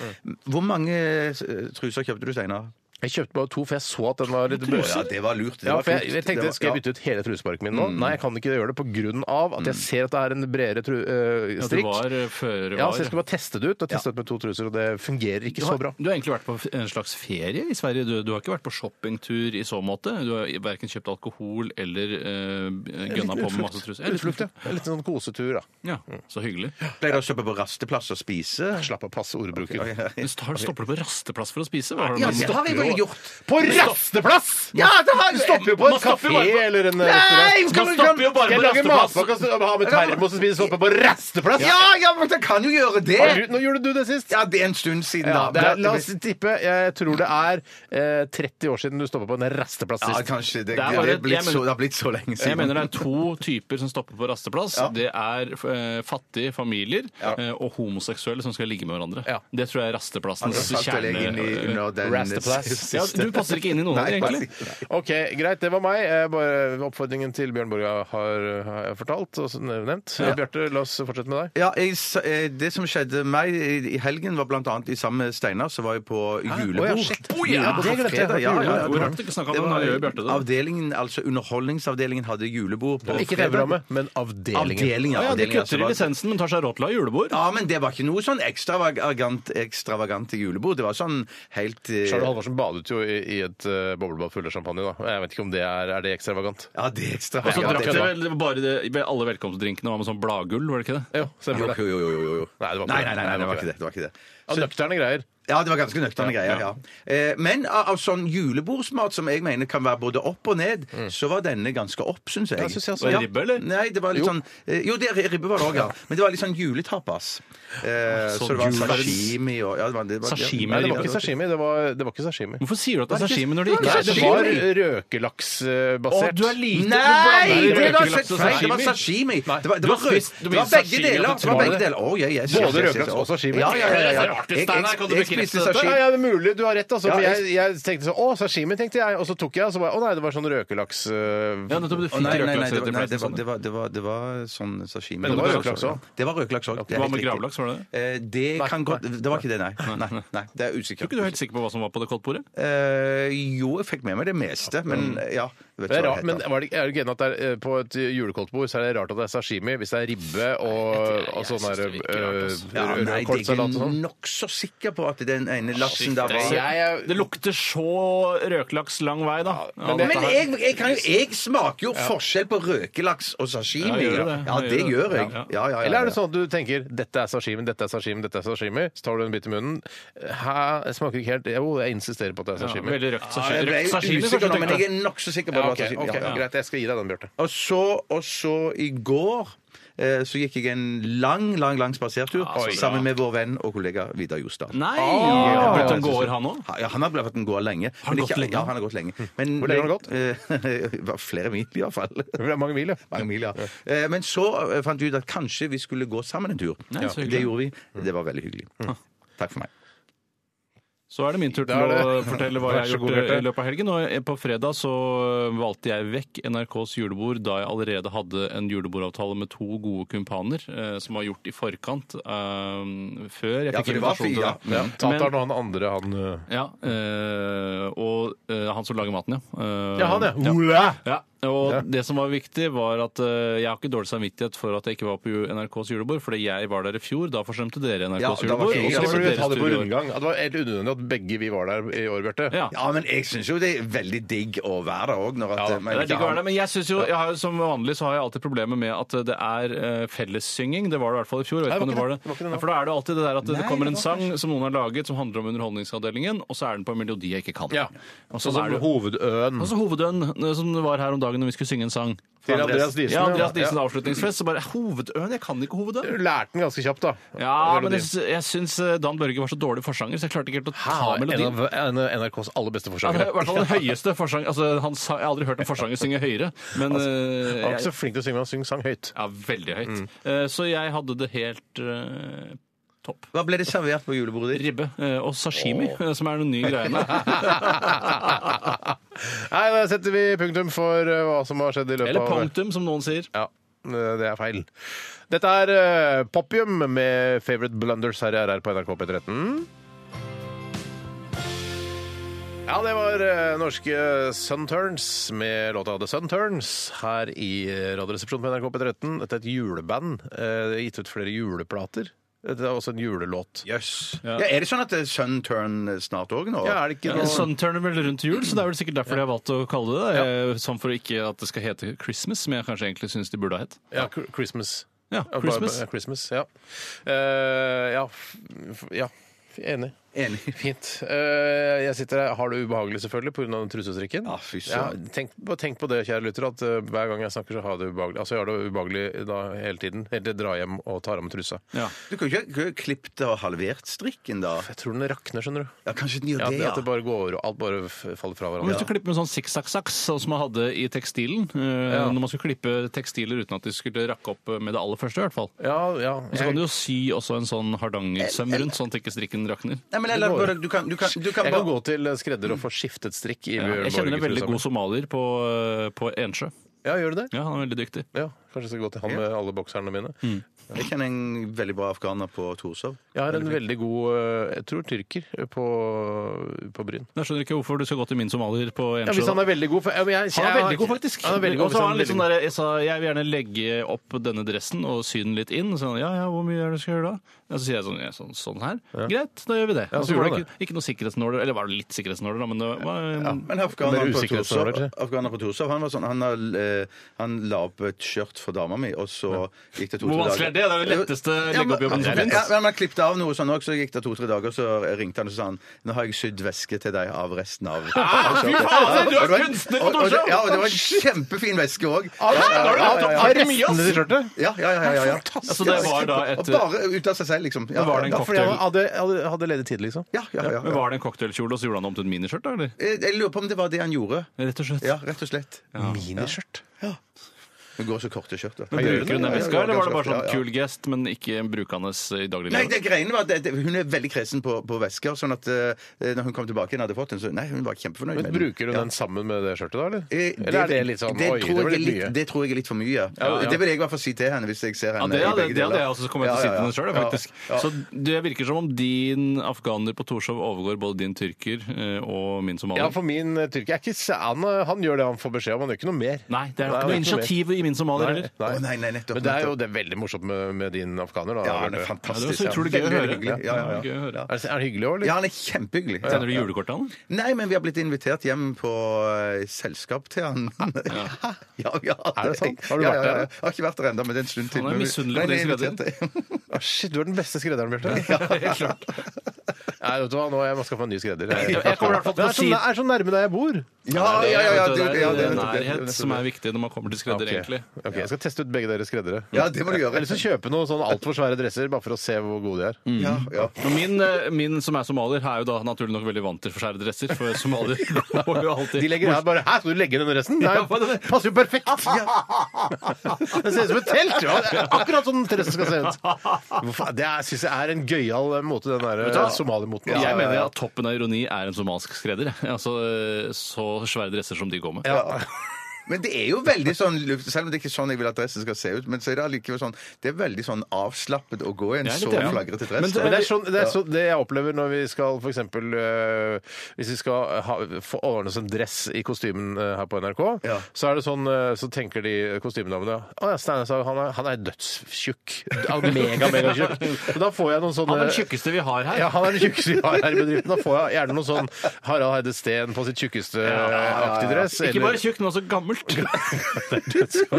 [SPEAKER 5] Hvor mange eh, truser kjøpte du, Steinar?
[SPEAKER 4] Jeg kjøpte bare to, for jeg så at den var litt
[SPEAKER 5] Å, Ja, det var lurt. Det
[SPEAKER 4] Ja,
[SPEAKER 5] var
[SPEAKER 4] for jeg,
[SPEAKER 5] klokt.
[SPEAKER 4] jeg
[SPEAKER 5] Det
[SPEAKER 4] tenkte,
[SPEAKER 5] var-
[SPEAKER 4] Skal jeg
[SPEAKER 5] ja.
[SPEAKER 4] bytte ut hele truseparken min nå? Nei, jeg kan ikke gjøre det på grunn av at jeg ser at det er en bredere tru, øh,
[SPEAKER 3] Ja, det
[SPEAKER 4] strikk.
[SPEAKER 3] var eh,
[SPEAKER 4] Ja, så
[SPEAKER 3] føre
[SPEAKER 4] jeg
[SPEAKER 3] var.
[SPEAKER 4] skal bare teste det ut. Jeg har testet med to truser, og det fungerer ikke så bra.
[SPEAKER 3] Du har egentlig vært på en slags ferie i Sverige. Du, du har ikke vært på shoppingtur i så måte. Du har verken kjøpt alkohol eller uh, gønna på med masse truser. Ja, litt
[SPEAKER 4] Utflukt, ja. En liten sånn kosetur, da.
[SPEAKER 3] Ja, så hyggelig.
[SPEAKER 5] Pleier du å stoppe på rasteplass og spise?
[SPEAKER 4] Slapp av, passe ordbruken.
[SPEAKER 3] Men star- stopper du på rasteplass for å spise? Hva har du
[SPEAKER 5] Ja, det
[SPEAKER 3] med-
[SPEAKER 5] har jeg vel gjort.
[SPEAKER 4] På rasteplass!
[SPEAKER 5] Ja, det har
[SPEAKER 4] Du stopper jo på en kafé eller en eh,
[SPEAKER 5] Nei,
[SPEAKER 4] restaurant.
[SPEAKER 5] skal
[SPEAKER 3] Man
[SPEAKER 5] man
[SPEAKER 3] stopper jo
[SPEAKER 4] Skal jeg
[SPEAKER 3] bare på
[SPEAKER 4] lage
[SPEAKER 3] rasteplass.
[SPEAKER 4] matpakke og så ha med termos og spise soppe på rasteplass?
[SPEAKER 5] Ja, ja, men jeg kan jo gjøre
[SPEAKER 4] Har du-
[SPEAKER 5] det!
[SPEAKER 4] Nå gjorde du det sist.
[SPEAKER 5] Ja, det er en stund siden,
[SPEAKER 4] Ja,
[SPEAKER 5] da.
[SPEAKER 4] det er, la oss tippe. Jeg tror det er eh, 30 år siden du stoppa på en rasteplass
[SPEAKER 5] Ja,
[SPEAKER 4] sist.
[SPEAKER 5] kanskje. Det,
[SPEAKER 3] Det
[SPEAKER 5] det,
[SPEAKER 3] er
[SPEAKER 5] er
[SPEAKER 3] bare-
[SPEAKER 5] blitt
[SPEAKER 3] jeg mener-
[SPEAKER 5] så, det har blitt så lenge siden.
[SPEAKER 3] Jeg mener det er to typer som stopper på rasteplass.
[SPEAKER 5] Ja.
[SPEAKER 3] Det er eh, fattige familier eh, og homoseksuelle som skal ligge med hverandre.
[SPEAKER 4] Ja.
[SPEAKER 3] Det tror jeg er rasteplassens
[SPEAKER 5] Altså, falt vel jeg inn i
[SPEAKER 3] kjerne...
[SPEAKER 5] under den
[SPEAKER 4] Rasteplass.
[SPEAKER 5] siste-
[SPEAKER 3] Ja, du passer ikke inn i noen av
[SPEAKER 5] Nei,
[SPEAKER 3] de, egentlig.
[SPEAKER 5] faktisk.
[SPEAKER 4] OK, greit. Det var meg. Eh, Bare oppfordringen til Bjørn Borga har, har jeg fortalt og nevnt. Bjarte, la oss fortsette med deg.
[SPEAKER 5] Ja, jeg, sa- eh, Det som skjedde meg i i helgen, var blant annet i sammen med Steinar, så var jeg på julebord.
[SPEAKER 4] Å, ja, shit.
[SPEAKER 5] Julebord
[SPEAKER 3] Å, ja,
[SPEAKER 5] på
[SPEAKER 4] det glemte jeg.
[SPEAKER 5] fredag, ja, ja, ja.
[SPEAKER 3] Hvor rart at du ikke snakket om det,
[SPEAKER 5] Det
[SPEAKER 3] men
[SPEAKER 5] var-
[SPEAKER 3] nå gjør Bjarte det.
[SPEAKER 5] Avdelingen, altså Underholdningsavdelingen hadde julebord på
[SPEAKER 4] Ikke
[SPEAKER 5] fredag.
[SPEAKER 4] TV-programmet, men avdelingen.
[SPEAKER 5] Avdelingen,
[SPEAKER 3] Ja, de
[SPEAKER 5] avdelingen, altså,
[SPEAKER 3] kutter i
[SPEAKER 5] var-
[SPEAKER 3] lisensen, men tar seg råd til å ha julebord.
[SPEAKER 5] Ja, men det var ikke noe sånn ekstravagant, ekstravagant til julebord. Det var sånn helt eh,
[SPEAKER 4] Charlotte Halvorsen badet jo i, i et eh, boblebad fullt av champagne. da. Jeg vet ikke om det er, er det ekstravagant.
[SPEAKER 5] Ja, det er
[SPEAKER 3] Og så
[SPEAKER 5] ekstravagant.
[SPEAKER 3] drakk
[SPEAKER 5] det
[SPEAKER 3] dere
[SPEAKER 5] var-
[SPEAKER 3] vel bare det, ved alle velkomstdrinkene var med sånn bladgull, var det ikke det?
[SPEAKER 4] Jo, stemmer det.
[SPEAKER 5] Jo, jo, jo, jo, jo, jo.
[SPEAKER 4] Nei, det var ikke
[SPEAKER 5] nei,
[SPEAKER 4] det.
[SPEAKER 5] nei, nei, nei, det var ikke det. det, var ikke det.
[SPEAKER 4] Ja, Nøkterne greier.
[SPEAKER 5] Ja, det var ganske nøkterne greier. ja. Eh, Men av av sånn julebordsmat som jeg mener kan være både opp og ned,
[SPEAKER 3] Mm.
[SPEAKER 5] så var denne ganske opp, syns jeg.
[SPEAKER 4] Ja, synes jeg
[SPEAKER 5] Ja.
[SPEAKER 4] også.
[SPEAKER 3] Var det ribbe, eller?
[SPEAKER 5] Nei, det var litt
[SPEAKER 4] Jo.
[SPEAKER 5] sånn eh, Jo, det, ribbe var det òg, ja. Men det var litt sånn juletapas. Eh,
[SPEAKER 3] Så
[SPEAKER 5] Så det var
[SPEAKER 3] jule-
[SPEAKER 5] sashimi og ja, det var, det var,
[SPEAKER 3] Ah, sånn Sashimi
[SPEAKER 5] ja,
[SPEAKER 4] Nei, det var
[SPEAKER 3] ribbe.
[SPEAKER 4] ikke sashimi. Det var, det var ikke sashimi.
[SPEAKER 3] Hvorfor sier du at det er sashimi når det
[SPEAKER 5] Nei,
[SPEAKER 3] ikke
[SPEAKER 4] Nei,
[SPEAKER 3] er
[SPEAKER 4] det
[SPEAKER 3] sashimi?
[SPEAKER 4] var
[SPEAKER 3] Å,
[SPEAKER 4] røkelaks-basert.
[SPEAKER 3] du er lite du
[SPEAKER 5] Nei!
[SPEAKER 3] blander
[SPEAKER 5] Det var
[SPEAKER 3] røkelaks
[SPEAKER 5] sett
[SPEAKER 3] og
[SPEAKER 5] feil! Det var
[SPEAKER 3] sashimi.
[SPEAKER 5] sashimi.
[SPEAKER 4] Nei,
[SPEAKER 5] Det var,
[SPEAKER 3] du
[SPEAKER 5] det
[SPEAKER 3] har
[SPEAKER 5] var, rød-
[SPEAKER 3] spist- du
[SPEAKER 5] det var
[SPEAKER 3] mener
[SPEAKER 5] begge
[SPEAKER 3] sashimi,
[SPEAKER 5] deler!
[SPEAKER 3] at
[SPEAKER 5] Det var
[SPEAKER 4] var
[SPEAKER 5] begge
[SPEAKER 4] det?
[SPEAKER 5] deler. Å, yes, yes, yes,
[SPEAKER 4] Både
[SPEAKER 5] yes, yes,
[SPEAKER 4] rødløk og
[SPEAKER 5] yes.
[SPEAKER 4] sashimi.
[SPEAKER 5] Ja, ja, ja, ja,
[SPEAKER 3] Det er
[SPEAKER 5] ja.
[SPEAKER 3] rart,
[SPEAKER 5] Jeg,
[SPEAKER 3] Steinar, kan du
[SPEAKER 5] jeg, jeg
[SPEAKER 3] bekrefte
[SPEAKER 5] spiste
[SPEAKER 3] dette?
[SPEAKER 5] sashimi.
[SPEAKER 4] Nei, ja, det er mulig. Du har rett. altså.
[SPEAKER 5] Ja,
[SPEAKER 4] Men jeg,
[SPEAKER 5] jeg-
[SPEAKER 4] jeg tenkte sånn Å, sashimi, tenkte jeg. Og så tok jeg, og så bare Å nei, det var sånn røkelaks... øh,
[SPEAKER 3] Ja, nettopp, du
[SPEAKER 5] Å, nei,
[SPEAKER 3] fikk
[SPEAKER 5] nei, nei,
[SPEAKER 3] røkelaks
[SPEAKER 5] det,
[SPEAKER 3] rett
[SPEAKER 5] var,
[SPEAKER 3] i
[SPEAKER 5] nei det, var,
[SPEAKER 3] fleisen.
[SPEAKER 5] det, var, det, var, det var sånn sashimi.
[SPEAKER 4] Men det var røkelaks også.
[SPEAKER 5] Det var røkelaks òg.
[SPEAKER 3] Hva med gravlaks, var det det?
[SPEAKER 5] Eh, det kan godt Det var ikke det, nei. Nei, nei, Det er
[SPEAKER 3] Tror
[SPEAKER 5] usikkert.
[SPEAKER 3] ikke du er helt sikker på hva som var på det koldtbordet?
[SPEAKER 5] Eh, jo, jeg fikk med meg det meste, men eh, ja jeg vet ikke
[SPEAKER 4] Det er
[SPEAKER 5] hva
[SPEAKER 4] rart, men
[SPEAKER 5] heter.
[SPEAKER 4] var det, ikke- er det ikke enig at det er, eh, på et julekoltbord så er det rart at det er sashimi hvis det er ribbe og, og sånn der
[SPEAKER 3] det virker rart, altså.
[SPEAKER 5] ja, nei, jeg er
[SPEAKER 4] rødkålsalat og sånn?
[SPEAKER 5] nokså sikker på at den ene laksen der var
[SPEAKER 4] Jeg er-
[SPEAKER 3] Det lukter så røkelaks lang vei, da.
[SPEAKER 4] men
[SPEAKER 3] Ja,
[SPEAKER 4] det-
[SPEAKER 5] men jeg, jeg, kan jo, jeg smaker jo forskjell på røkelaks og
[SPEAKER 3] Ja,
[SPEAKER 5] sashimi.
[SPEAKER 3] gjør du
[SPEAKER 5] Ja,
[SPEAKER 3] det? Ja,
[SPEAKER 5] det
[SPEAKER 3] gjør du
[SPEAKER 5] gjør jeg.
[SPEAKER 3] det?
[SPEAKER 5] Ja,
[SPEAKER 3] Ja.
[SPEAKER 5] ja, ja, ja.
[SPEAKER 4] Eller er det sånn at du tenker dette er sashimi, dette er sashimi, dette er sashimi, så tar du en bit i munnen Hæ, det smaker ikke helt Jo, jeg insisterer på at det er
[SPEAKER 3] Ja,
[SPEAKER 4] sashimi.
[SPEAKER 3] veldig røkt
[SPEAKER 5] Ja, jeg
[SPEAKER 3] sashimi.
[SPEAKER 5] ble
[SPEAKER 3] Røkt sashimi,
[SPEAKER 5] usikker nå,
[SPEAKER 3] kanskje,
[SPEAKER 5] men
[SPEAKER 3] tenkte
[SPEAKER 5] jeg
[SPEAKER 3] jeg.
[SPEAKER 5] er nokså sikker på
[SPEAKER 4] Ja,
[SPEAKER 5] at
[SPEAKER 4] ok,
[SPEAKER 5] det var
[SPEAKER 4] ok,
[SPEAKER 5] sashimi. Ja, ja.
[SPEAKER 4] Greit, jeg skal gi deg den, Bjarte.
[SPEAKER 5] Og så, og så i går eh, så gikk jeg en lang, lang lang spasertur
[SPEAKER 4] Oi.
[SPEAKER 5] sammen med vår venn og kollega Vidar Jostad.
[SPEAKER 3] Nei!
[SPEAKER 4] Ah,
[SPEAKER 3] Har blitt
[SPEAKER 5] ja,
[SPEAKER 3] en gåer, han òg?
[SPEAKER 5] Ha- Ja, han har blitt en gåer lenge.
[SPEAKER 3] Har han
[SPEAKER 5] men
[SPEAKER 3] gått lenge? Hm.
[SPEAKER 5] Ja, han har gått lenge. Men,
[SPEAKER 4] Hvor lenge har
[SPEAKER 5] han gått? flere mil, i hvert fall.
[SPEAKER 4] Det er mange mil, ja.
[SPEAKER 5] Mange mil, ja. Eh, Men så eh, fant vi ut at kanskje vi skulle gå sammen en tur.
[SPEAKER 3] Nei, så hyggelig. Hm.
[SPEAKER 5] det gjorde vi. Det var veldig hyggelig. Takk for meg.
[SPEAKER 3] Så er det min tur til
[SPEAKER 4] Da er
[SPEAKER 3] å
[SPEAKER 4] det-
[SPEAKER 3] fortelle hva
[SPEAKER 4] Vær
[SPEAKER 3] jeg har
[SPEAKER 4] så god,
[SPEAKER 3] gjort eh,
[SPEAKER 4] Bjarte.
[SPEAKER 3] i løpet av helgen. Og eh, på fredag så eh, valgte jeg vekk NRKs julebord da jeg allerede hadde en julebordavtale med to gode kumpaner eh, som var gjort i forkant, eh, før jeg
[SPEAKER 5] Ja,
[SPEAKER 3] fikk
[SPEAKER 5] for det var
[SPEAKER 3] invitasjon
[SPEAKER 5] fri,
[SPEAKER 3] til
[SPEAKER 5] ja.
[SPEAKER 3] det.
[SPEAKER 4] Ja,
[SPEAKER 3] Men-
[SPEAKER 4] Tataren og han andre, han øh,
[SPEAKER 3] Ja, eh, og eh, han som lager maten, ja. Eh,
[SPEAKER 4] Ja, han, ja. Ole!
[SPEAKER 3] Ja, og
[SPEAKER 4] Ja.
[SPEAKER 3] det som var viktig var at eh, jeg har ikke dårlig samvittighet for at jeg ikke var på ju- NRKs julebord, fordi jeg var der i fjor, da forsømte dere NRKs
[SPEAKER 5] Ja, da var
[SPEAKER 3] julebord.
[SPEAKER 5] ikke jeg-
[SPEAKER 3] og
[SPEAKER 5] det var
[SPEAKER 4] Da må
[SPEAKER 3] så var
[SPEAKER 4] du
[SPEAKER 3] deres
[SPEAKER 4] ta det på
[SPEAKER 3] tur i år.
[SPEAKER 4] rundgang. Ja, Det var helt unødvendig at begge vi var der i år, Bjarte.
[SPEAKER 3] Ja.
[SPEAKER 5] Mm. Ja, men jeg syns jo det er veldig digg å være der òg.
[SPEAKER 4] Ja, det er
[SPEAKER 3] Ja, det er digg å være der, men jeg synes jo, jeg har, som vanlig så har jeg alltid problemer med at det er eh, fellessynging. Det var det i hvert fall i fjor.
[SPEAKER 4] Nei,
[SPEAKER 3] Jeg vet ikke
[SPEAKER 4] det
[SPEAKER 3] om det
[SPEAKER 4] var
[SPEAKER 3] var
[SPEAKER 4] ikke det. Det var
[SPEAKER 3] det.
[SPEAKER 4] ikke det nå.
[SPEAKER 3] Ja, for da er det alltid det der at det,
[SPEAKER 5] Nei,
[SPEAKER 3] kommer
[SPEAKER 5] det
[SPEAKER 3] en
[SPEAKER 5] var
[SPEAKER 3] sang som noen har laget som handler om Underholdningsavdelingen, og så er den på en melodi jeg ikke kan.
[SPEAKER 4] Ja.
[SPEAKER 3] Og så
[SPEAKER 4] Sånn som
[SPEAKER 3] er det
[SPEAKER 4] hovedøen
[SPEAKER 3] og så hovedøen eh, som det var her om dagen når vi skulle synge en sang.
[SPEAKER 4] til Andreas Diesen.
[SPEAKER 3] Ja, Andreas Diesen
[SPEAKER 4] Ja.
[SPEAKER 3] avslutningsfest, så bare Hovedøen? Jeg kan ikke
[SPEAKER 4] Du
[SPEAKER 3] hovedøen.
[SPEAKER 4] lærte den ganske kjapt, da.
[SPEAKER 3] Ja, men
[SPEAKER 4] Melodien.
[SPEAKER 3] jeg, sy- jeg syns eh, Dan Børge var så dårlig forsanger, så jeg klarte ikke helt å ta
[SPEAKER 4] Han er
[SPEAKER 3] melodien.
[SPEAKER 4] En av en av NRKs aller beste
[SPEAKER 3] Ja, det er
[SPEAKER 4] forsangere.
[SPEAKER 3] Altså, i hvert fall den høyeste forsang... Altså, han sa, jeg har aldri hørt en forsanger synge høyere, men
[SPEAKER 4] Han
[SPEAKER 3] eh,
[SPEAKER 4] var
[SPEAKER 3] jeg-
[SPEAKER 4] ikke så flink til å synge, men han synger sang høyt.
[SPEAKER 3] Ja, veldig høyt.
[SPEAKER 4] Mm.
[SPEAKER 3] Eh, Så jeg hadde det helt eh, topp.
[SPEAKER 5] Hva ble det servert på julebordet ditt?
[SPEAKER 3] Ribbe eh, og sashimi, eh, som er den nye greia
[SPEAKER 4] Nei, da setter vi punktum for eh, hva som har skjedd i løpet
[SPEAKER 3] Eller
[SPEAKER 4] av
[SPEAKER 3] punktum, som noen sier.
[SPEAKER 4] Ja, eh, det er feil. Dette er eh, Popium med Favorite Blunders her i RR på NRK P13. Ja, det var eh, norske Sunturns med låta The Sunturns her i Radioresepsjonen på NRK P13. Dette er et juleband. Eh, Det er gitt ut flere juleplater. Dette er også en julelåt.
[SPEAKER 5] Jøss. Ja. er det sånn at det er Sun Turn eh, snart òg nå?
[SPEAKER 4] Ja, er det ikke
[SPEAKER 3] Ja, sånn-
[SPEAKER 4] noe
[SPEAKER 3] Sun turner vel rundt jul, så det er vel sikkert derfor de har valgt å kalle det det. eh, Sånn for ikke at det skal hete Christmas, som jeg kanskje egentlig syns de burde ha hett.
[SPEAKER 4] Ja, Cr- Christmas.
[SPEAKER 3] Ja,
[SPEAKER 4] Ja,
[SPEAKER 3] Christmas.
[SPEAKER 4] bare- Christmas ja. Eh, ja. f- ja. Enig.
[SPEAKER 5] Enig.
[SPEAKER 4] Fint. Eh, jeg sitter her, har det ubehagelig selvfølgelig pga. den trusestrikken.
[SPEAKER 3] Ah,
[SPEAKER 5] Ja, fy
[SPEAKER 4] Ja,
[SPEAKER 5] søren.
[SPEAKER 4] tenk, på- tenk på det, kjære lytter, at eh, hver gang jeg snakker, så har jeg det ubehagelig. Altså, jeg har det ubehagelig da hele tiden. Helt til jeg drar hjem og tar av meg trusa.
[SPEAKER 3] Ja.
[SPEAKER 5] Du kan jo ikke kan jo klippe det og halvert strikken, da?
[SPEAKER 4] Jeg tror den rakner, skjønner du.
[SPEAKER 5] Ja, Kanskje den gjør
[SPEAKER 4] Ja,
[SPEAKER 5] det,
[SPEAKER 4] det,
[SPEAKER 5] ja.
[SPEAKER 4] at det bare går og alt bare f- faller fra
[SPEAKER 3] Men
[SPEAKER 4] hverandre.
[SPEAKER 3] hvis du klipper med sånn sikksakksaks, sånn som man hadde i tekstilen eh,
[SPEAKER 4] Ja.
[SPEAKER 3] Når man skulle klippe tekstiler uten at de skulle rakke opp eh, med det aller første, i hvert fall.
[SPEAKER 4] Ja, ja. Eh,
[SPEAKER 3] Og så kan du jo sy også en sånn hardangersøm rundt, sånn at ikke strikken rakner.
[SPEAKER 5] Nei, men eller,
[SPEAKER 4] går.
[SPEAKER 5] bare- du kan, du kan, du kan
[SPEAKER 4] Jeg
[SPEAKER 5] bare
[SPEAKER 4] kan gå til eh, skredder og få skiftet strikk i Bjørn
[SPEAKER 3] Jeg kjenner en veldig
[SPEAKER 4] Borge-trusa mi.
[SPEAKER 3] god somalier på, eh, på Ensjø.
[SPEAKER 4] Ja, gjør du det?
[SPEAKER 3] Ja, han er veldig dyktig.
[SPEAKER 4] Ja, Kanskje jeg skal gå til han med alle bokserne mine.
[SPEAKER 3] Mm.
[SPEAKER 5] Jeg kjenner en veldig bra afghaner på Torshov.
[SPEAKER 4] Jeg har en veldig god eh, Jeg tror tyrker eh, på, på Bryn.
[SPEAKER 3] Jeg skjønner ikke hvorfor du skal gå til min somalier på
[SPEAKER 4] Ja,
[SPEAKER 3] Ensjø.
[SPEAKER 4] hvis han
[SPEAKER 3] da.
[SPEAKER 4] er veldig god for, ja, men jeg,
[SPEAKER 3] han er
[SPEAKER 4] jeg-
[SPEAKER 3] veldig god, faktisk.
[SPEAKER 4] Han er veldig
[SPEAKER 3] Og
[SPEAKER 4] god,
[SPEAKER 3] så
[SPEAKER 4] hvis
[SPEAKER 3] har
[SPEAKER 4] han
[SPEAKER 3] han
[SPEAKER 4] er veldig
[SPEAKER 3] litt sånn der, jeg sa jeg vil gjerne legge opp denne dressen og sy den litt inn. Så han, ja, ja, hvor mye er det du skal gjøre da? Ja, så sier jeg sånn, ja, sånn, sånn her. Greit, da gjør vi det.
[SPEAKER 4] Ja,
[SPEAKER 3] Og
[SPEAKER 4] så
[SPEAKER 3] så gjorde
[SPEAKER 4] gjorde
[SPEAKER 3] jeg ikke, ikke noe sikkerhetsnåler, eller var det litt sikkerhetsnåler da, men det var...
[SPEAKER 5] Men
[SPEAKER 4] Mer
[SPEAKER 5] afghaneren på, Torshov,
[SPEAKER 4] usikkerhetsnåler, ikke?
[SPEAKER 5] afghaner på Torshov, han var sånn Han, har, eh, han la opp et skjørt for dama mi, og så gikk det to-tre dager
[SPEAKER 3] Hvor vanskelig er det? Det er jo den letteste legge-opp-jobben som
[SPEAKER 5] ja, men-
[SPEAKER 3] finnes.
[SPEAKER 5] Ja, men man klippte av noe sånn òg, så gikk det to-tre dager, så ringte han og sa han Nå har jeg sydd væske til deg av resten av
[SPEAKER 3] Ah, fy faen, du er
[SPEAKER 5] Og det var-
[SPEAKER 3] kunstner på Ah,
[SPEAKER 5] og- og det-
[SPEAKER 3] Torshov!
[SPEAKER 5] Ja, og det var en kjempefin væske òg.
[SPEAKER 4] Er det mye, ass? skjørtet?
[SPEAKER 5] Ja, ja, ja. ja, ja.
[SPEAKER 3] Altså, det var da et-
[SPEAKER 5] Og Bare ut av seg selv, liksom. Ja,
[SPEAKER 3] Men var det en
[SPEAKER 5] ja,
[SPEAKER 3] kopp?
[SPEAKER 4] Fordi han hadde, hadde, hadde ledig tid, liksom.
[SPEAKER 5] Ja, ja, ja,
[SPEAKER 3] Men
[SPEAKER 5] ja.
[SPEAKER 3] var det en cocktailkjole, og så gjorde han om til et miniskjørt, da, eller?
[SPEAKER 5] Jeg jeg lurer på om det var det han gjorde.
[SPEAKER 3] Rett og slett.
[SPEAKER 5] Ja, rett og slett.
[SPEAKER 4] Miniskjørt?
[SPEAKER 5] Hun går så korte skjørt. vet du.
[SPEAKER 3] Men
[SPEAKER 5] Ja,
[SPEAKER 3] bruker hun
[SPEAKER 5] ja,
[SPEAKER 3] den
[SPEAKER 5] ja,
[SPEAKER 3] veska,
[SPEAKER 5] ja,
[SPEAKER 3] eller var det
[SPEAKER 5] ganske
[SPEAKER 3] bare sånn
[SPEAKER 5] ofte, ja, ja.
[SPEAKER 3] kul gest, men ikke brukende i
[SPEAKER 5] Nei,
[SPEAKER 3] dagliglivet?
[SPEAKER 5] det greiene var at det, det, hun er veldig kresen på, på vesker, sånn at eh, når hun kom tilbake igjen og hadde fått den, så Nei, hun var kjempefornøyd
[SPEAKER 4] Men Bruker hun den sammen med det skjørtet, da? Eller,
[SPEAKER 5] Eh,
[SPEAKER 4] eller er det litt sånn
[SPEAKER 5] det,
[SPEAKER 4] Oi, det
[SPEAKER 5] tror jeg
[SPEAKER 4] ble
[SPEAKER 5] er
[SPEAKER 4] litt
[SPEAKER 5] litt,
[SPEAKER 4] mye.
[SPEAKER 5] det tror jeg er litt for mye.
[SPEAKER 4] ja.
[SPEAKER 5] Det vil jeg i hvert fall si til henne hvis jeg ser
[SPEAKER 3] Ja,
[SPEAKER 5] henne.
[SPEAKER 3] det
[SPEAKER 5] i
[SPEAKER 3] hadde,
[SPEAKER 5] begge
[SPEAKER 3] det hadde
[SPEAKER 5] deler.
[SPEAKER 3] jeg også kommet til å
[SPEAKER 5] Ja,
[SPEAKER 3] si
[SPEAKER 5] ja, ja.
[SPEAKER 3] til henne sjøl,
[SPEAKER 5] Ja,
[SPEAKER 3] faktisk.
[SPEAKER 5] ja.
[SPEAKER 3] Så det virker som om din afghaner på Torshov overgår både din tyrker eh, og min somalier.
[SPEAKER 4] Ja, for min eh, tyrker er ikke s- han, eh, han gjør det han får beskjed om, han gjør ikke noe mer.
[SPEAKER 3] Nei,
[SPEAKER 4] Nei, det
[SPEAKER 3] det er ikke
[SPEAKER 4] er
[SPEAKER 3] noe
[SPEAKER 4] ikke noe
[SPEAKER 3] initiativ i min somalier heller.
[SPEAKER 4] Nei.
[SPEAKER 5] Å, nei, nei, nettopp,
[SPEAKER 4] Men det er jo
[SPEAKER 5] nettopp.
[SPEAKER 4] det er veldig morsomt med, med din afghaner, da.
[SPEAKER 5] Ja, han er
[SPEAKER 4] Bjarte.
[SPEAKER 3] Ja, det
[SPEAKER 5] fantastisk.
[SPEAKER 3] var så utrolig gøy å
[SPEAKER 5] Veldig, veldig
[SPEAKER 3] høre.
[SPEAKER 5] hyggelig. Ja, ja,
[SPEAKER 3] Gøy
[SPEAKER 5] ja.
[SPEAKER 3] å høre.
[SPEAKER 4] Er det- er han hyggelig òg, eller?
[SPEAKER 5] ja, han er kjempehyggelig.
[SPEAKER 3] Sender du julekort til han?
[SPEAKER 5] Nei, men vi har blitt invitert hjem på eh, selskap til han. Ja, ja,
[SPEAKER 4] Er det sant? Har du
[SPEAKER 5] ja, ja,
[SPEAKER 4] vært
[SPEAKER 5] ja.
[SPEAKER 4] der, eller?
[SPEAKER 5] Jeg har ikke vært der ennå, men det er en stund til.
[SPEAKER 3] Han er
[SPEAKER 5] men vi- Nei,
[SPEAKER 3] misunnelig på det
[SPEAKER 5] vi er
[SPEAKER 3] som heter.
[SPEAKER 5] invitert-
[SPEAKER 4] Ah, shit, du er den beste skredderen, Bjarte. Nei, vet du hva, nå jeg må skaffe en ny skredder. Jeg,
[SPEAKER 3] Jeg kommer i hvert fall til
[SPEAKER 4] Men
[SPEAKER 3] å
[SPEAKER 4] det er så
[SPEAKER 3] si-
[SPEAKER 4] nær- er så nærme der jeg bor.
[SPEAKER 3] Det er-
[SPEAKER 4] ja, ja,
[SPEAKER 3] vet du,
[SPEAKER 4] du- ja, det er nettopp det,
[SPEAKER 3] det er en
[SPEAKER 4] det er
[SPEAKER 3] nærhet
[SPEAKER 4] nettopp
[SPEAKER 3] som er
[SPEAKER 4] det.
[SPEAKER 3] viktig når man kommer til skredder,
[SPEAKER 4] Ok.
[SPEAKER 3] egentlig.
[SPEAKER 4] Ok, Jeg skal teste ut begge deres skreddere.
[SPEAKER 5] Ja, det må du gjøre.
[SPEAKER 4] Eller så kjøpe noen sånne altfor svære dresser, bare for å se hvor gode de er.
[SPEAKER 3] Mm.
[SPEAKER 5] Ja, ja.
[SPEAKER 3] Og Min, eh, min som er somalier, er jo da naturlig nok veldig vant til forskjærede dresser, for somalier går jo alltid
[SPEAKER 4] De legger her bare Hæ, skal du legge den resten? Nei,
[SPEAKER 3] Ja, hva er det?
[SPEAKER 4] passer jo perfekt! Det ser ut som et telt! Ja. Det er Akkurat sånn dressen skal se ut. Hvorfor- Det syns jeg er en gøyal måte, den der eh, somalimoten. altså.
[SPEAKER 3] Jeg mener at toppen av ironi er en somalisk skredder. jeg. Altså, eh, så svære dresser som de går med.
[SPEAKER 5] Men det er jo veldig sånn luft, selv om det ikke er sånn jeg vil at dressen skal se ut, men så er det allikevel sånn Det er veldig sånn avslappet å gå i en
[SPEAKER 3] Jeg er
[SPEAKER 5] så
[SPEAKER 3] litt enig.
[SPEAKER 5] flagrete dress.
[SPEAKER 3] Men
[SPEAKER 4] Men det er, sånn, det er sånn det jeg opplever når vi skal for eksempel, øh, Hvis vi skal ha, få ordne oss en dress i kostymen øh, her på NRK,
[SPEAKER 5] Ja.
[SPEAKER 4] så er det sånn, øh, så tenker de kostymedamene Å ja, Steinar Sagen, han er, han er dødstjukk. Han er Mega, mega tjukk. Og Da får jeg noen sånne
[SPEAKER 3] tjukkeste vi har
[SPEAKER 4] ja, han er den tjukkeste vi har her i bedriften. Da får jeg gjerne noe sånn Harald Heide Steen på sitt tjukkeste-aktig dress.
[SPEAKER 3] Ikke
[SPEAKER 4] eller-
[SPEAKER 3] bare tjukk, men også gammelt.
[SPEAKER 4] det skal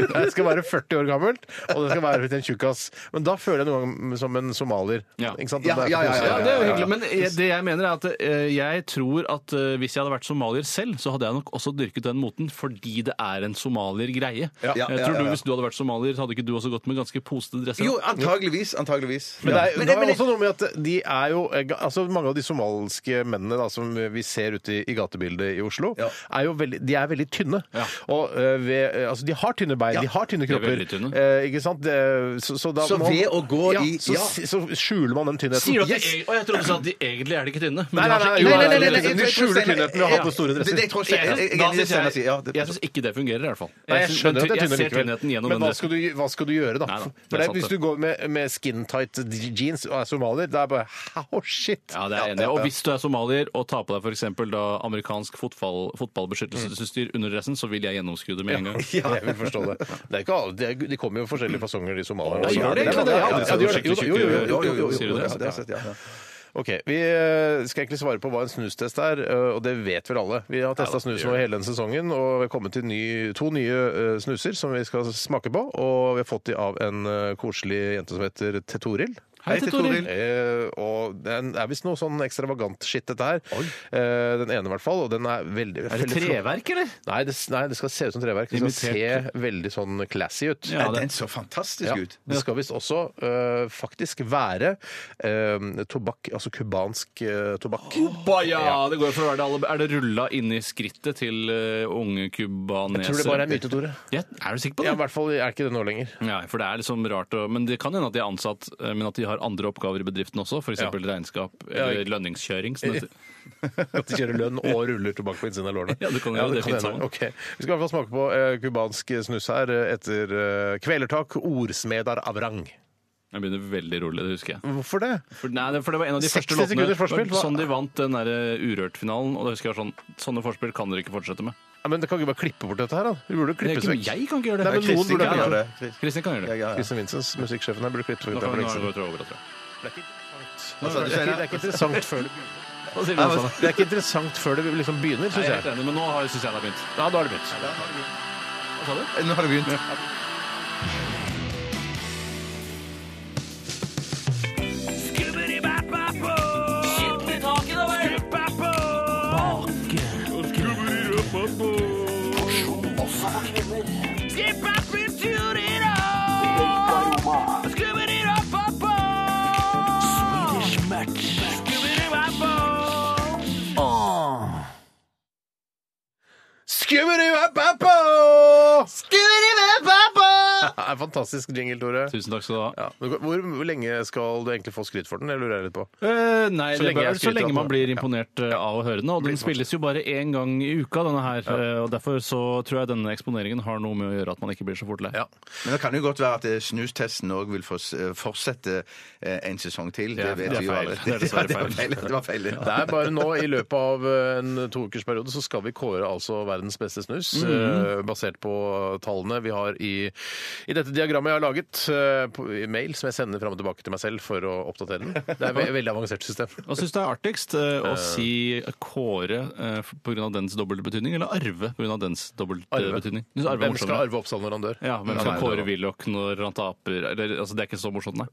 [SPEAKER 4] være 40 år gammelt, og det skal være til en tjukkas. Men da føler jeg noen gang som en somalier.
[SPEAKER 3] Ja.
[SPEAKER 4] Ikke sant?
[SPEAKER 5] Ja,
[SPEAKER 4] Det er
[SPEAKER 5] ja, ja,
[SPEAKER 4] koselig.
[SPEAKER 3] Ja, det er jo hyggelig, men jeg- det jeg mener er at eh, jeg tror at eh, hvis jeg hadde vært somalier selv, så hadde jeg nok også dyrket den moten, fordi det er en somalier-greie.
[SPEAKER 5] Ja.
[SPEAKER 3] Jeg
[SPEAKER 5] Ja,
[SPEAKER 3] tror
[SPEAKER 5] ja,
[SPEAKER 3] du,
[SPEAKER 5] ja.
[SPEAKER 3] Hvis du hadde vært somalier, så hadde ikke du også gått med ganske posete dresser?
[SPEAKER 5] Jo, antageligvis. Antageligvis.
[SPEAKER 4] Men det er,
[SPEAKER 5] Ja. Men
[SPEAKER 4] det
[SPEAKER 5] det-
[SPEAKER 4] er
[SPEAKER 5] men det-
[SPEAKER 4] også noe med at de er jo altså Mange av de somalske mennene da, som vi ser ute i, i gatebildet i Oslo,
[SPEAKER 5] Ja.
[SPEAKER 4] er jo veldig, de er veldig tynne.
[SPEAKER 3] Ja.
[SPEAKER 4] Og eh, ved, altså, de har tynne bein, de har tynne
[SPEAKER 3] De er
[SPEAKER 4] kropper.
[SPEAKER 3] veldig tynne.
[SPEAKER 4] eh, ikke sant? Det- så, så, da
[SPEAKER 5] Så
[SPEAKER 4] må-
[SPEAKER 5] ved å gå
[SPEAKER 4] ja,
[SPEAKER 5] i-
[SPEAKER 4] så,
[SPEAKER 5] ja.
[SPEAKER 4] så skjuler man den tynnheten.
[SPEAKER 3] Sier du at de,
[SPEAKER 4] Yes!
[SPEAKER 3] eg- Å, jeg trodde du sa at de egentlig er det ikke tynne. men
[SPEAKER 4] Nei,
[SPEAKER 3] de
[SPEAKER 4] nei, nei,
[SPEAKER 3] har så-
[SPEAKER 4] jo,
[SPEAKER 5] Nei, nei, nei, nei,
[SPEAKER 4] det er
[SPEAKER 5] nei, jeg
[SPEAKER 4] liksom, De
[SPEAKER 5] tror-
[SPEAKER 4] skjuler tynnheten ved å ha på store
[SPEAKER 5] Det,
[SPEAKER 4] dresser.
[SPEAKER 5] det tror jeg jeg- jeg- jeg-
[SPEAKER 3] Da
[SPEAKER 5] jeg-
[SPEAKER 3] synes
[SPEAKER 5] jeg- jeg- ja,
[SPEAKER 3] jeg
[SPEAKER 5] det-
[SPEAKER 3] jeg syns ikke det fungerer, i hvert fall.
[SPEAKER 4] Nei, jeg skjønner
[SPEAKER 3] synes- men
[SPEAKER 4] at det er tynne
[SPEAKER 3] Jeg ser
[SPEAKER 4] likevel.
[SPEAKER 3] tynnheten gjennom
[SPEAKER 4] Men hva
[SPEAKER 3] den
[SPEAKER 4] skal, du, hva skal du gjøre, da?
[SPEAKER 3] Nei da,
[SPEAKER 4] For
[SPEAKER 3] det er
[SPEAKER 4] det,
[SPEAKER 3] sant,
[SPEAKER 4] hvis du
[SPEAKER 3] det.
[SPEAKER 4] går med, med skin tight jeans og er somalier, det er bare oh shit!
[SPEAKER 3] Ja, det er jeg enig. i. Og hvis du er somalier og tar på deg f.eks. amerikansk fotball, fotballbeskyttelsesutstyr under dressen, så vil jeg gjennomskue det med en gang.
[SPEAKER 4] Jeg vil forstå det. det er ikke alle, det er, de kommer jo i forskjellige fasonger, de somalierne.
[SPEAKER 3] Ja, gjør de
[SPEAKER 4] Ja,
[SPEAKER 3] egentlig det? Jeg har aldri
[SPEAKER 4] ja,
[SPEAKER 3] sett
[SPEAKER 4] de gjør det. Jo,
[SPEAKER 3] noen skikkelig
[SPEAKER 4] jo, jo,
[SPEAKER 3] tjukke-
[SPEAKER 4] jo, jo, jo,
[SPEAKER 3] Sier du
[SPEAKER 4] jo,
[SPEAKER 3] det?
[SPEAKER 5] det
[SPEAKER 4] jo, jo.
[SPEAKER 5] har jeg sett, ja.
[SPEAKER 4] Ok, Vi eh, skal egentlig svare på hva en snustest er, eh, og det vet vel alle. Vi har testa snus nå hele denne sesongen, og vi har kommet til ny, to nye eh, snuser som vi skal smake på. Og vi har fått de av en eh, koselig jente som heter Tetoril.
[SPEAKER 3] Hei til Toril.
[SPEAKER 4] Eh, og den er visst noe sånn ekstravagant skitt, dette her. Eh, den ene, i hvert fall. Og den er veldig
[SPEAKER 3] Er det
[SPEAKER 4] veldig flott.
[SPEAKER 3] treverk, eller?
[SPEAKER 4] Nei det, nei, det skal se ut som treverk. Det skal
[SPEAKER 3] Imitert.
[SPEAKER 4] se veldig sånn classy ut.
[SPEAKER 3] Ja,
[SPEAKER 5] Den
[SPEAKER 3] det.
[SPEAKER 5] så fantastisk
[SPEAKER 4] Ja,
[SPEAKER 5] ut.
[SPEAKER 4] Det skal visst også øh, faktisk være øh, tobakk, altså cubansk øh, tobakk.
[SPEAKER 3] Baja! Det går for å være det alle. Er det rulla inni skrittet til eh, unge cubanesere?
[SPEAKER 4] Tror det bare er myte, Tore.
[SPEAKER 3] Ja, er du sikker på
[SPEAKER 4] Ja,
[SPEAKER 3] det?
[SPEAKER 4] I hvert fall er ikke det nå lenger.
[SPEAKER 3] Nei, for det er liksom rart å, Men det kan hende at de er ansatt, eh, men at de har andre oppgaver i bedriften også. F.eks. eksempel regnskap eller lønningskjøring. Sånn at,
[SPEAKER 4] At de kjører lønn og ruller tobakk på innsiden av lårene.
[SPEAKER 3] Ja, det kan jo- det
[SPEAKER 4] kan
[SPEAKER 3] finnes sånn.
[SPEAKER 4] hende.
[SPEAKER 3] sammen.
[SPEAKER 4] Ok. Vi skal i hvert fall smake på øh, cubansk snus her øh, etter øh, Kvelertak Ordsmedar Avrang.
[SPEAKER 3] jeg begynner veldig rolig, det husker jeg.
[SPEAKER 4] Hvorfor det?
[SPEAKER 3] Mm. For, nei, det, for det var en av de
[SPEAKER 4] 60
[SPEAKER 3] første låtene
[SPEAKER 4] sekunders forspill, hva?
[SPEAKER 3] sånn de vant den derre Urørt-finalen. Og da husker jeg sånn Sånne forspill kan dere ikke fortsette med.
[SPEAKER 4] Ja, men det kan ikke bare klippe bort dette her, da. Vi burde
[SPEAKER 3] Det er
[SPEAKER 4] klippes
[SPEAKER 3] ikke,
[SPEAKER 4] vekk.
[SPEAKER 3] jeg kan ikke gjøre det.
[SPEAKER 4] Nei, men noen
[SPEAKER 5] Kristin
[SPEAKER 4] burde
[SPEAKER 5] kan
[SPEAKER 4] klippe
[SPEAKER 5] gjøre
[SPEAKER 4] det.
[SPEAKER 5] det. Kristin-
[SPEAKER 3] Kristin kan gjøre
[SPEAKER 5] Ja,
[SPEAKER 3] det.
[SPEAKER 5] ja, ja.
[SPEAKER 4] Kristin Vincents, musikksjefen her, burde klippe
[SPEAKER 3] Nå
[SPEAKER 4] ut.
[SPEAKER 3] kan
[SPEAKER 4] for
[SPEAKER 3] vi nå
[SPEAKER 4] lengst siden.
[SPEAKER 3] går det over, tror jeg.
[SPEAKER 4] Altså, Det er ikke- det er ikke interessant før det
[SPEAKER 3] Hva sier du, Susanne?
[SPEAKER 4] Det er ikke interessant før det liksom begynner,
[SPEAKER 3] Nei,
[SPEAKER 4] syns
[SPEAKER 3] jeg er
[SPEAKER 4] jeg.
[SPEAKER 3] helt enig, men nå syns jeg det har begynt.
[SPEAKER 4] Ja, da er det begynt.
[SPEAKER 3] Hva sa du?
[SPEAKER 5] Nå har det begynt.
[SPEAKER 4] Skubbidi-wabba-bo! Det er en fantastisk jingle, Tore.
[SPEAKER 3] Tusen takk skal du ha.
[SPEAKER 4] Ja. men Hvor, hvor lenge skal du egentlig få skryt for den? Det lurer jeg litt på.
[SPEAKER 3] Eh, nei,
[SPEAKER 4] Så
[SPEAKER 3] det
[SPEAKER 4] lenge
[SPEAKER 3] bør,
[SPEAKER 4] jeg
[SPEAKER 3] så
[SPEAKER 4] skryter av
[SPEAKER 3] lenge man
[SPEAKER 4] den.
[SPEAKER 3] blir imponert eh, av å høre den. Og den spilles jo bare én gang i uka, denne her. eh, Og derfor så tror jeg denne eksponeringen har noe med å gjøre at man ikke blir så fort lei.
[SPEAKER 5] Men det kan jo godt være at eh, snustesten òg vil fors- eh, fortsette eh, en sesong til. Det
[SPEAKER 3] er-
[SPEAKER 5] vet
[SPEAKER 3] det er
[SPEAKER 5] vi jo
[SPEAKER 3] feil.
[SPEAKER 5] alle.
[SPEAKER 3] Det er dessverre
[SPEAKER 5] Ja, det var
[SPEAKER 3] feil.
[SPEAKER 5] feil. Det var feil. ja.
[SPEAKER 4] Det er bare nå, i løpet av eh, en toukersperiode, så skal vi Mhm. kåre altså verdens beste snus, eh, basert på tallene vi har i, i dette diagrammet jeg har laget eh, på i mail, som jeg sender fram og tilbake til meg selv for å oppdatere den. Det er et ve veldig avansert system.
[SPEAKER 3] Hva syns du er artigst? eh, Å si Kåre eh, pga. dens dobbeltbetydning, eller Arve pga. dens
[SPEAKER 4] Arve.
[SPEAKER 3] dobbeltbetydning? Synes Arve er
[SPEAKER 4] Hvem skal
[SPEAKER 3] morsommere.
[SPEAKER 4] arve Oppsal når han dør?
[SPEAKER 3] Ja, Hvem
[SPEAKER 4] Nei,
[SPEAKER 3] skal
[SPEAKER 4] det
[SPEAKER 3] Kåre
[SPEAKER 4] var-
[SPEAKER 3] Willoch når han taper? Eller, altså, det er ikke så morsomt, nei.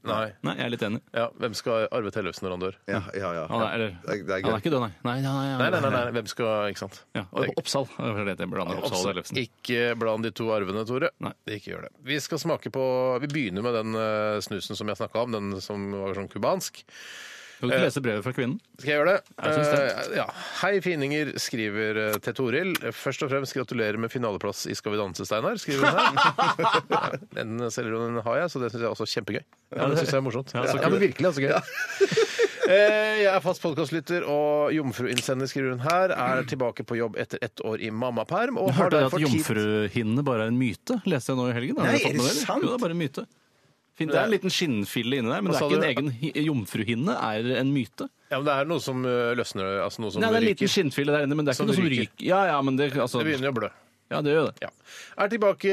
[SPEAKER 4] Nei.
[SPEAKER 3] Jeg er litt enig.
[SPEAKER 4] Ja, hvem skal arve Tellefsen når han dør?
[SPEAKER 7] Ja, ja, ja.
[SPEAKER 3] Han er, eller,
[SPEAKER 7] Det er- det er
[SPEAKER 3] han
[SPEAKER 7] gøy.
[SPEAKER 3] er ikke død, nei. Nei, nei, nei,
[SPEAKER 4] Nei, nei, nei, nei, hvem skal Ikke sant?
[SPEAKER 3] Ja, og Oppsal. Det var det jeg blander Oppsal liksom. og Ellefsen.
[SPEAKER 4] Ikke bland de to arvene, Tore.
[SPEAKER 3] Nei.
[SPEAKER 4] Ikke gjør det. Vi skal smake på Vi begynner med den eh, snusen som jeg snakka om, den som var sånn cubansk.
[SPEAKER 3] Kan du ikke lese brevet fra kvinnen?
[SPEAKER 4] Skal jeg gjøre det?
[SPEAKER 3] Jeg syns det.
[SPEAKER 4] Eh, ja. Hei, fininger, skriver eh, til Toril. Først og fremst gratulerer med finaleplass i Skal vi danse, Steinar. skriver hun her. Ja, Den selvironien har jeg, så det syns jeg også er kjempegøy. Ja, det syns jeg er morsomt.
[SPEAKER 3] Ja,
[SPEAKER 4] Ja,
[SPEAKER 3] så kul.
[SPEAKER 4] men virkelig, altså gøy. Eh, Jeg er fast podkastlytter og jomfruinnsender, skriver hun her. Er tilbake på jobb etter ett år i mammaperm. Og har
[SPEAKER 3] Hørte dere at
[SPEAKER 4] derfor tid-
[SPEAKER 3] jomfruhinnene bare er en myte? Leste jeg nå i helgen. Har
[SPEAKER 5] Nei,
[SPEAKER 3] dere
[SPEAKER 5] er
[SPEAKER 3] fått
[SPEAKER 5] det
[SPEAKER 3] med dere?
[SPEAKER 5] sant?
[SPEAKER 3] Jo, det er bare en myte. Fin- Det er en liten skinnfille inni der, men
[SPEAKER 4] Hva
[SPEAKER 3] det er
[SPEAKER 4] sa
[SPEAKER 3] ikke
[SPEAKER 4] du?
[SPEAKER 3] en egen hi- jomfruhinne, er en myte.
[SPEAKER 4] Ja, men Det er noe som ø, løsner altså noe som
[SPEAKER 3] Nei, det er en
[SPEAKER 4] ryker.
[SPEAKER 3] liten skinnfille der inne, men det er
[SPEAKER 4] Som
[SPEAKER 3] ikke noe som
[SPEAKER 4] ryker.
[SPEAKER 3] ryker. Ja, ja, men det, altså,
[SPEAKER 4] Det
[SPEAKER 3] ja,
[SPEAKER 4] begynner å blø.
[SPEAKER 3] det gjør det.
[SPEAKER 4] Ja. Er tilbake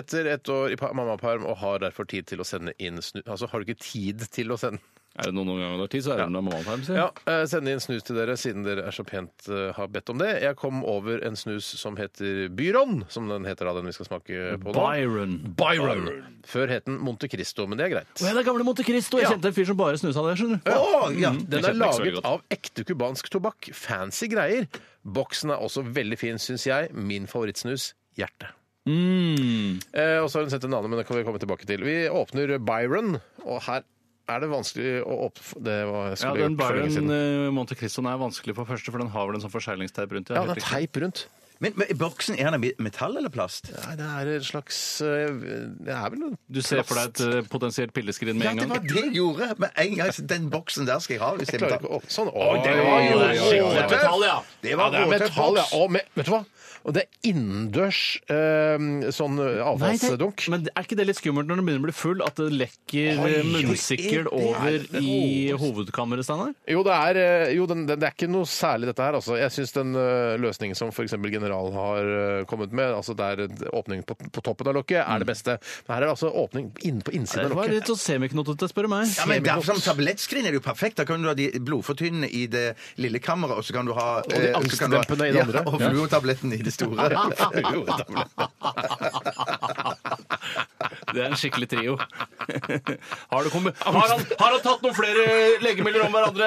[SPEAKER 4] etter ett år i pa- mammaperm og har derfor tid til å sende inn snu... Altså, har du ikke tid til å sende
[SPEAKER 3] Er det noen noen ganger du har tid, så er det når man har
[SPEAKER 4] Ja,
[SPEAKER 3] tid.
[SPEAKER 4] eh, sende inn snus til dere, siden dere er så pent eh, har bedt om det. Jeg kom over en snus som heter Byron, som den heter da den vi skal smake på nå.
[SPEAKER 3] Byron.
[SPEAKER 4] Byron. Før het den Monte Cristo, men det er greit.
[SPEAKER 3] Å, ja, det er gamle Monte Cristo. Jeg
[SPEAKER 4] Ja.
[SPEAKER 3] kjente en fyr som bare snusa det, skjønner du.
[SPEAKER 5] Å, ja.
[SPEAKER 4] Den
[SPEAKER 3] Jeg
[SPEAKER 4] Mm-hmm. er
[SPEAKER 3] kjente oh, den ikke så veldig
[SPEAKER 4] laget
[SPEAKER 3] godt.
[SPEAKER 4] av ekte cubansk tobakk. Fancy greier. Boksen er også veldig fin, syns jeg. Min favorittsnus hjerte.
[SPEAKER 3] Mm.
[SPEAKER 4] Eh, og så har hun sett en annen, men det kan vi komme tilbake til. Vi åpner Byron, og her er det vanskelig å åpne Det var, jeg
[SPEAKER 3] Ja,
[SPEAKER 4] skulle
[SPEAKER 3] den
[SPEAKER 4] gjort for lenge
[SPEAKER 3] Byron
[SPEAKER 4] siden.
[SPEAKER 3] eh, Monte Cristoen er vanskelig på første, for den har vel en sånn forseglingsteip rundt.
[SPEAKER 4] Ja,
[SPEAKER 3] helt
[SPEAKER 4] det er
[SPEAKER 3] riktig.
[SPEAKER 4] teip rundt.
[SPEAKER 5] Men, men boksen, er den av metall eller plast?
[SPEAKER 4] Nei, det er en slags eh, Det er vel noe
[SPEAKER 3] Du ser for deg et eh, potensielt pilleskrin med
[SPEAKER 5] Ja,
[SPEAKER 3] en
[SPEAKER 5] det var
[SPEAKER 3] gang.
[SPEAKER 5] det jeg gjorde. Med en gang, så den boksen der skal jeg ha. Hvis jeg
[SPEAKER 4] Jeg klarer ikke å åpne Sånn. Å,
[SPEAKER 5] det var jo
[SPEAKER 4] det er
[SPEAKER 5] skikkelig
[SPEAKER 4] skikkelig
[SPEAKER 5] tøft.
[SPEAKER 4] tøft.
[SPEAKER 5] ja. Det var
[SPEAKER 4] Ja, det er
[SPEAKER 5] råtøft
[SPEAKER 4] metall, ja.
[SPEAKER 5] boks.
[SPEAKER 4] Og med, vet du hva? Og det er innendørs eh, sånn
[SPEAKER 3] Nei, det-
[SPEAKER 4] avfallsdunk.
[SPEAKER 3] Men er ikke det litt skummelt når den begynner å bli full, at det lekker
[SPEAKER 5] Oi,
[SPEAKER 3] eh, munnsikkel
[SPEAKER 5] er det-
[SPEAKER 3] over
[SPEAKER 5] er det-
[SPEAKER 3] i hovedkammeret, Steinar?
[SPEAKER 4] Jo, det er, eh, jo den, den, det er ikke noe særlig dette her. Altså. Jeg syns den eh, løsningen som f.eks. General har eh, kommet med, altså der eh, åpningen på, på toppen av lokket er det beste. Men her er det altså åpning inn på
[SPEAKER 3] Mm. Det
[SPEAKER 4] innsiden av
[SPEAKER 3] var litt
[SPEAKER 4] lokket.
[SPEAKER 3] så semiknotete, spør du meg.
[SPEAKER 5] Ja, men der, som tablettskrin er det jo perfekt. Da kan du ha de blodfortynnende i det lille kammeret, og så kan du ha eh, Og
[SPEAKER 4] de angstdempende i det andre.
[SPEAKER 5] Ja, og fluortabletten i det store.
[SPEAKER 3] Det er en skikkelig trio. Har, du kommet, har, han, har han tatt noen flere legemidler om hverandre?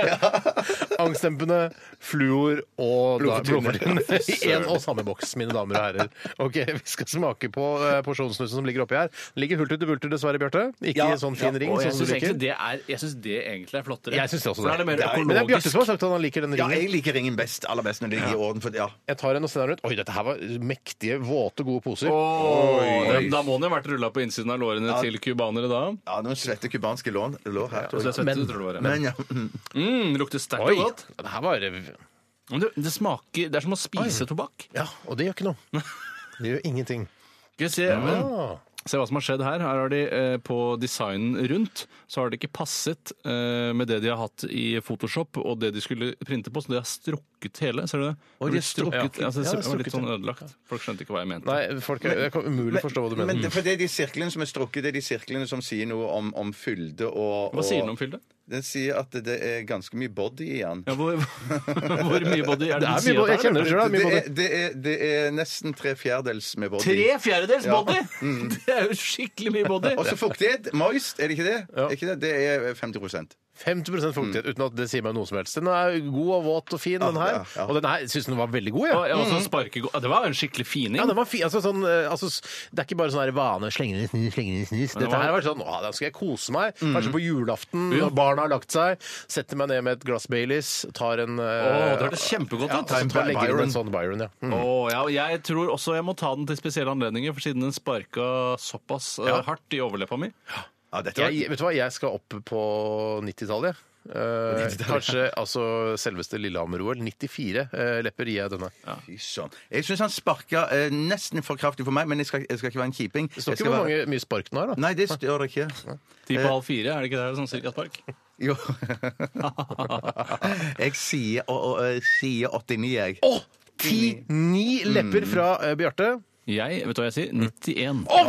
[SPEAKER 4] Angstdempende, fluor og da-
[SPEAKER 5] Blodfortynnende.
[SPEAKER 4] blodfortynnende. I én og samme boks, mine damer og herrer. Ok, Vi skal smake på eh, porsjonssnusen som ligger oppi her. Den ligger hulter til bulter, dessverre, Bjarte. Ikke i sånn fin ring.
[SPEAKER 3] Og jeg
[SPEAKER 4] sånn som
[SPEAKER 3] syns
[SPEAKER 4] du liker.
[SPEAKER 3] egentlig det er- jeg synes det egentlig er flottere.
[SPEAKER 4] Jeg syns også
[SPEAKER 3] For da
[SPEAKER 4] det.
[SPEAKER 3] er det mer
[SPEAKER 4] Det er- Men det er Bjarte
[SPEAKER 3] økologisk.
[SPEAKER 4] som har sagt at han liker den
[SPEAKER 5] Ja,
[SPEAKER 4] ringen.
[SPEAKER 5] jeg liker ringen best. Aller best når det ligger i orden. For, ja.
[SPEAKER 4] Jeg tar en og sender den rundt. Oi, dette her var mektige, våte, gode poser.
[SPEAKER 3] Åh, ja, Da må den jo ha vært rulla på innsiden av lårene til cubanere da.
[SPEAKER 5] ja, noen svette cubanske lår lår her. tror
[SPEAKER 3] Så
[SPEAKER 5] jeg.
[SPEAKER 3] jeg vet, det tror jeg det var.
[SPEAKER 5] Men ja.
[SPEAKER 3] Mm, det lukter sterkt
[SPEAKER 4] Oi,
[SPEAKER 3] og godt.
[SPEAKER 4] det her var
[SPEAKER 3] Men det, det smaker Det er som å spise tobakk.
[SPEAKER 4] Ja, og det gjør ikke noe. Ah. Det gjør ingenting.
[SPEAKER 3] Skal vi se, se hva som har skjedd her. Her har de eh, På designen rundt så har det ikke passet eh, med det de har hatt i Photoshop og det de skulle printe på, så de har strukket hele. Ser du det?
[SPEAKER 4] de har strukket-
[SPEAKER 3] ja. altså,
[SPEAKER 4] ja, det er
[SPEAKER 3] det var litt
[SPEAKER 4] strukket,
[SPEAKER 3] sånn ødelagt. Folk skjønte ikke hva jeg mente.
[SPEAKER 4] Nei, folk er, det er umulig å forstå hva du
[SPEAKER 5] Men
[SPEAKER 4] mener.
[SPEAKER 5] det, for det er de sirklene som er strukket, det er de sirklene som sier noe om, om fylde og
[SPEAKER 3] Hva sier den om fylde?
[SPEAKER 5] Den sier at det er ganske mye body i den.
[SPEAKER 3] Ja, hvor, hvor mye body er
[SPEAKER 4] Det
[SPEAKER 3] det
[SPEAKER 4] er
[SPEAKER 3] den
[SPEAKER 4] mye
[SPEAKER 3] sier
[SPEAKER 4] både,
[SPEAKER 3] at
[SPEAKER 4] jeg
[SPEAKER 3] det er?
[SPEAKER 4] kjenner det sjøl.
[SPEAKER 5] Det er, det, er, det er nesten tre fjerdedels med body.
[SPEAKER 3] Tre fjerdedels body!
[SPEAKER 4] Mm.
[SPEAKER 3] Det er jo skikkelig mye body.
[SPEAKER 5] Og så fuktighet. Moist, er det ikke det? Er ikke det? det er 50
[SPEAKER 4] 50 fuktighet, uten at det sier meg noe som helst. Den er god og våt og fin, den
[SPEAKER 5] ja,
[SPEAKER 4] her.
[SPEAKER 5] ja.
[SPEAKER 4] Og den her syns den var veldig god, jeg.
[SPEAKER 3] Og, ja, og så sparke, ja, det var jo en skikkelig fining.
[SPEAKER 4] Ja, den var fin. Altså, sånn, eh, altså, s- det er ikke bare sånn her vane slenge den i snus, slenge den i snus. Dette
[SPEAKER 3] var-
[SPEAKER 4] her var sånn å, da skal jeg kose meg. Kanskje på julaften når barna har lagt seg. Setter meg ned med et glass Baileys, tar en
[SPEAKER 3] Å,
[SPEAKER 4] eh,
[SPEAKER 3] det hørtes kjempegodt
[SPEAKER 4] ja,
[SPEAKER 3] ut.
[SPEAKER 4] så tar, legger inn
[SPEAKER 5] Byron.
[SPEAKER 4] en sånn Byron, ja. Mm.
[SPEAKER 3] Åh, ja, og jeg tror også jeg må ta den til spesielle anledninger, for siden den sparka såpass eh, hardt i overleppa mi.
[SPEAKER 5] Ja, dette var
[SPEAKER 4] Jeg, vet du hva, jeg skal opp på 90-tallet. jeg. Eh, kanskje altså selveste Lillehammer-OL. 94 eh, lepper gir jeg denne.
[SPEAKER 5] Fy søren. Jeg syns han sparka eh, nesten for kraftig for meg, men jeg skal, jeg skal ikke være en kjiping.
[SPEAKER 4] Det
[SPEAKER 5] Jeg
[SPEAKER 4] står
[SPEAKER 5] skal
[SPEAKER 4] ikke hvor
[SPEAKER 5] være-
[SPEAKER 4] mange, mye spark den har, da.
[SPEAKER 5] Nei, det står det ikke.
[SPEAKER 3] Ti på halv fire, er det ikke det? Sånn cirka spark?
[SPEAKER 5] Jo. jeg sier, og, og, eh, sier 89, jeg.
[SPEAKER 4] Mm. Å! Ti-ni lepper fra eh, Bjarte.
[SPEAKER 3] Jeg vet du hva jeg sier? 91.
[SPEAKER 4] Oi!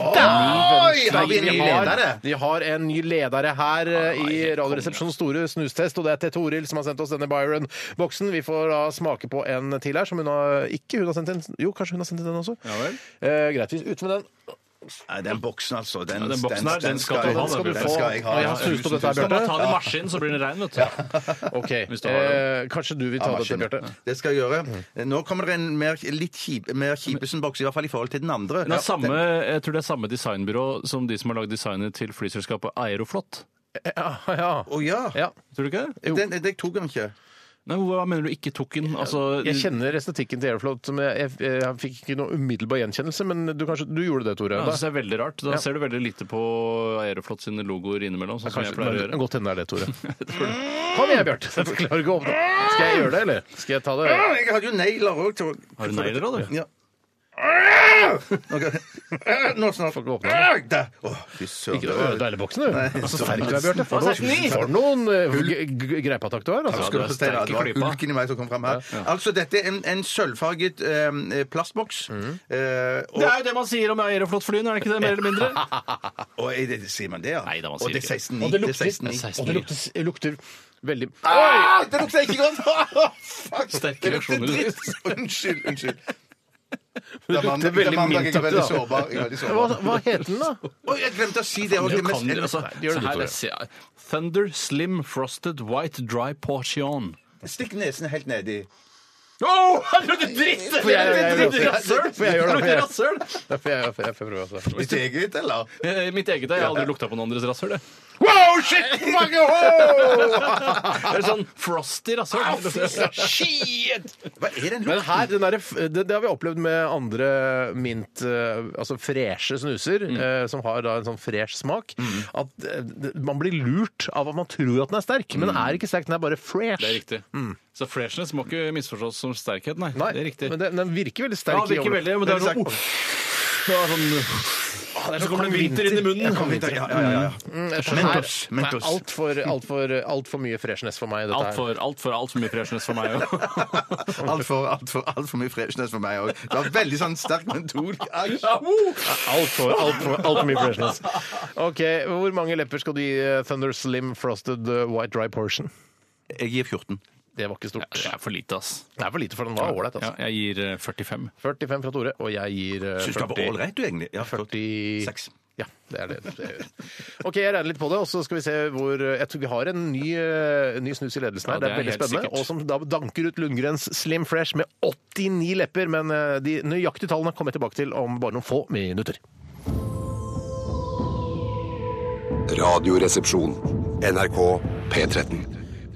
[SPEAKER 5] Har vi en ny
[SPEAKER 4] Vi har-
[SPEAKER 5] ledere?
[SPEAKER 4] Vi har en ny ledere her eh, i Radioresepsjonens store snustest, og det er Tete Toril som har sendt oss denne Byron-boksen. Vi får da smake på en til her, som hun har ikke hun har sendt inn. Jo, kanskje hun har sendt inn den også.
[SPEAKER 3] Ja vel.
[SPEAKER 4] Eh, greit, vi ut med den.
[SPEAKER 5] Nei, den boksen, altså. Den,
[SPEAKER 3] Ja, den boksen her, den skal du
[SPEAKER 5] jeg-
[SPEAKER 3] ha,
[SPEAKER 5] den skal
[SPEAKER 3] den
[SPEAKER 5] du
[SPEAKER 3] burde
[SPEAKER 5] få.
[SPEAKER 3] jeg.
[SPEAKER 5] skal jeg ha.
[SPEAKER 4] Og jeg har
[SPEAKER 5] ja.
[SPEAKER 4] sust opp dette her,
[SPEAKER 3] Så kan man
[SPEAKER 4] Bjarte.
[SPEAKER 3] ta det i maskinen, så blir den rein, vet du.
[SPEAKER 4] Ok,
[SPEAKER 3] Hvis du har den.
[SPEAKER 4] eh, Kanskje du vil ta
[SPEAKER 5] Ja,
[SPEAKER 4] dette,
[SPEAKER 5] maskinen.
[SPEAKER 4] Bjarte?
[SPEAKER 5] Det skal jeg gjøre. Nå kommer det en mer, litt kjip, mer Kipesen-boks, i hvert fall i forhold til den andre.
[SPEAKER 3] Den er samme, jeg tror det er samme designbyrå som de som har lagd designet til flyselskapet Aeroflot.
[SPEAKER 4] Ja, ja.
[SPEAKER 5] Å ja!
[SPEAKER 4] ja.
[SPEAKER 3] Tror du ikke det?
[SPEAKER 4] Jo.
[SPEAKER 5] Den, den tok han ikke.
[SPEAKER 3] Nei, Hva mener du ikke tok den? Altså,
[SPEAKER 4] Jeg kjenner estetikken til Airflot, men jeg, jeg, jeg fikk ikke noe umiddelbar gjenkjennelse. Men du, kanskje, du gjorde det, Tore?
[SPEAKER 3] Ja,
[SPEAKER 4] Da-
[SPEAKER 3] det synes jeg er veldig rart. Da ser du veldig lite på Aeroflot sine logoer innimellom, sånn som jeg
[SPEAKER 4] Kanskje,
[SPEAKER 3] pleier å
[SPEAKER 4] men,
[SPEAKER 3] gjøre.
[SPEAKER 4] godt hende det er det, Tore. Kom igjen, Bjarte. Jeg klarer ikke å åpne. Skal jeg gjøre det, eller? Skal jeg ta det?
[SPEAKER 5] Ja, Jeg hadde jo negler òg.
[SPEAKER 3] Har du negler også, du?
[SPEAKER 5] Ja. Ok. Nå snart.
[SPEAKER 4] Får ikke åpne den.
[SPEAKER 5] Au, der. Å, fy søren.
[SPEAKER 4] Ikke noe ødeleile boksen, du. Så sterk du er, Bjarte. For noen- For noen eh, g- g- greipeattakk du har,
[SPEAKER 5] Skal
[SPEAKER 4] altså.
[SPEAKER 5] du
[SPEAKER 3] er
[SPEAKER 5] få Steiner,
[SPEAKER 3] sterke
[SPEAKER 5] det var
[SPEAKER 3] klypa.
[SPEAKER 5] ulken i meg som kom frem her. Altså, dette er en, en sølvfarget eh, plastboks. Eh, og,
[SPEAKER 3] Det er jo det man sier om Aeroflot-flyene, er det ikke det? Mer eller mindre?
[SPEAKER 5] og, er det, sier man det, ja?
[SPEAKER 3] Nei, da, man
[SPEAKER 5] og
[SPEAKER 3] sier
[SPEAKER 5] det
[SPEAKER 3] ikke
[SPEAKER 5] er 16,9.
[SPEAKER 4] Og det lukter,
[SPEAKER 3] det.
[SPEAKER 5] det er 16,9.
[SPEAKER 4] og det lukter, lukter veldig
[SPEAKER 5] Ah, det lukter ikke godt! Ah, Fuck!
[SPEAKER 3] Sterke
[SPEAKER 5] Det lukter
[SPEAKER 3] reaksjoner.
[SPEAKER 5] dritt! Unnskyld. unnskyld. Det
[SPEAKER 4] lukter veldig mint
[SPEAKER 5] Jeg er
[SPEAKER 4] oppi,
[SPEAKER 5] veldig
[SPEAKER 4] da.
[SPEAKER 5] sårbar. Jeg er veldig
[SPEAKER 4] Hva,
[SPEAKER 5] sårbar.
[SPEAKER 4] hva heter den, da?
[SPEAKER 5] Oi, jeg glemte å si det òg.
[SPEAKER 3] Du kan jo altså,
[SPEAKER 4] Nei, gjør det
[SPEAKER 3] så
[SPEAKER 4] du,
[SPEAKER 3] her
[SPEAKER 4] Tore.
[SPEAKER 3] leser jeg. Thunder Slim Frosted White Dry Portion.
[SPEAKER 5] Stikk nesen helt nedi.
[SPEAKER 3] Oh, det lukter dritt! Det
[SPEAKER 4] jeg- jeg- jeg-
[SPEAKER 3] lukter rasshøl!
[SPEAKER 4] For jeg gjør det, for
[SPEAKER 3] lukter
[SPEAKER 4] jeg-
[SPEAKER 3] rasshøl!
[SPEAKER 4] Da får jeg, jeg, får- jeg får prøve, altså.
[SPEAKER 5] Ditt eget, eller?
[SPEAKER 3] Eh, Mitt eget er jeg har aldri lukta på noen andres rasshøl. jeg.
[SPEAKER 4] Wow, shit! mange wow!
[SPEAKER 3] Det er sånn frosty rasshøl.
[SPEAKER 4] Shit!
[SPEAKER 5] Hva er den
[SPEAKER 4] Men
[SPEAKER 5] lukten?
[SPEAKER 4] her, den der, det, det har vi opplevd med andre mint, eh, altså freshe snuser,
[SPEAKER 3] Mm.
[SPEAKER 4] eh, som har da en sånn fresh smak, at eh, det- man blir lurt av at man tror at den er sterk, men den er ikke sterk, den er bare fresh.
[SPEAKER 3] Mm. Det er riktig. Så freshness må ikke misforstås som sterkhet, Mm. nei.
[SPEAKER 4] Nei,
[SPEAKER 3] Det er riktig.
[SPEAKER 4] men den, den virker veldig sterk.
[SPEAKER 3] Ja, det
[SPEAKER 4] i
[SPEAKER 3] er ikke
[SPEAKER 4] overloppen.
[SPEAKER 3] veldig, men det er sånn uff. Det er sånn,
[SPEAKER 4] Ah, det er
[SPEAKER 3] så kommer det
[SPEAKER 4] kong
[SPEAKER 3] vinter inn i munnen.
[SPEAKER 5] Kom hit, ja, ja, ja, ja.
[SPEAKER 4] Mm, jeg skjønner.
[SPEAKER 5] Mentos,
[SPEAKER 4] Nei,
[SPEAKER 5] Mentos.
[SPEAKER 4] alt for- alt for, alt for mye freshness for meg, dette her.
[SPEAKER 3] Altfor alt for, alt for mye freshness for meg òg.
[SPEAKER 4] Mm.
[SPEAKER 5] Altfor alt for, alt for mye freshness for meg òg. Det var veldig sånn sterk mentol. Ai.
[SPEAKER 4] Altfor alt for, alt for mye freshness. Ok, Hvor mange lepper skal du gi eh, Thunder Slim Frosted eh, White Dry Portion?
[SPEAKER 5] Jeg gir 14.
[SPEAKER 4] Det var ikke stort.
[SPEAKER 3] Det er for lite, ass.
[SPEAKER 4] Det er for lite, for den var ålreit.
[SPEAKER 3] Ja,
[SPEAKER 4] Altså.
[SPEAKER 3] jeg gir eh, 45.
[SPEAKER 4] 45 fra Tore, og jeg gir eh,
[SPEAKER 5] Syns du det var
[SPEAKER 4] 40
[SPEAKER 5] ålreit, du, egentlig? Ja,
[SPEAKER 4] 40
[SPEAKER 5] Seks.
[SPEAKER 4] Ja, det er det. det er. OK, jeg regner litt på det, og så skal vi se hvor Jeg tror vi har en ny, eh, ny snus i ledelsen her.
[SPEAKER 3] Ja,
[SPEAKER 4] det, er
[SPEAKER 3] det er
[SPEAKER 4] veldig
[SPEAKER 3] helt
[SPEAKER 4] spennende.
[SPEAKER 3] sikkert.
[SPEAKER 4] Og som da danker ut Lundgrens Slim Fresh med 89 lepper. Men eh, de nøyaktige tallene kommer jeg tilbake til om bare noen få minutter.
[SPEAKER 1] Radioresepsjon. NRK P13.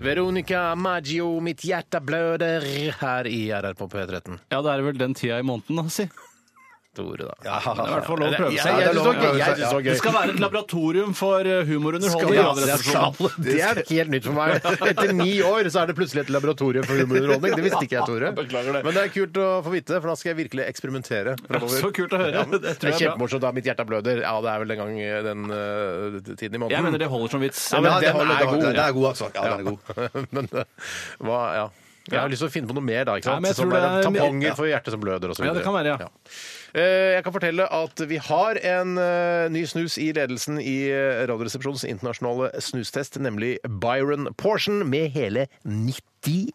[SPEAKER 4] Veronica Maggio, mitt hjerte bløder her i RR på P13.
[SPEAKER 3] Ja, det er vel den tida i måneden, da, si.
[SPEAKER 4] Tore, da.
[SPEAKER 3] Det er i hvert fall lov å prøve
[SPEAKER 4] Jeg
[SPEAKER 3] seg.
[SPEAKER 4] synes det var gøy.
[SPEAKER 5] Ja,
[SPEAKER 4] Jeg synes det var
[SPEAKER 3] Det
[SPEAKER 4] gøy.
[SPEAKER 3] skal være et laboratorium for eh, humorunderholdning.
[SPEAKER 4] Ja,
[SPEAKER 3] Ja,
[SPEAKER 4] det,
[SPEAKER 3] det
[SPEAKER 4] er sant. det er helt nytt for meg. Etter ni år så er det plutselig et laboratorium for humorunderholdning. Det visste ikke jeg, Tore.
[SPEAKER 3] Beklager det.
[SPEAKER 4] Men det er kult å få vite, for da skal jeg virkelig eksperimentere
[SPEAKER 3] er
[SPEAKER 4] fremover.
[SPEAKER 3] Så kult å høre. Det
[SPEAKER 4] Det er
[SPEAKER 3] tror jeg er bra.
[SPEAKER 4] kjempemorsomt. da, Mitt hjerte bløder. Ja, det er vel en gang eh, den eh, tiden i måneden.
[SPEAKER 3] Jeg mener det holder som vits.
[SPEAKER 4] Ja, men
[SPEAKER 5] den,
[SPEAKER 4] den
[SPEAKER 5] holder,
[SPEAKER 4] er
[SPEAKER 5] den holder.
[SPEAKER 4] god.
[SPEAKER 5] Den er god, altså. Ja, den er god.
[SPEAKER 4] Men eh, hva Ja. Jeg har lyst til å finne på noe mer, da. ikke
[SPEAKER 3] Ja,
[SPEAKER 4] sant?
[SPEAKER 3] men jeg
[SPEAKER 4] som
[SPEAKER 3] tror
[SPEAKER 4] er,
[SPEAKER 3] det er-
[SPEAKER 4] tamponger for hjertet som bløder, og så
[SPEAKER 3] Ja, det
[SPEAKER 4] videre.
[SPEAKER 3] kan være, ja.
[SPEAKER 4] Eh, Jeg kan fortelle at vi har en eh, ny snus i ledelsen i eh, Radioresepsjonens internasjonale snustest, nemlig Byron Portion, med hele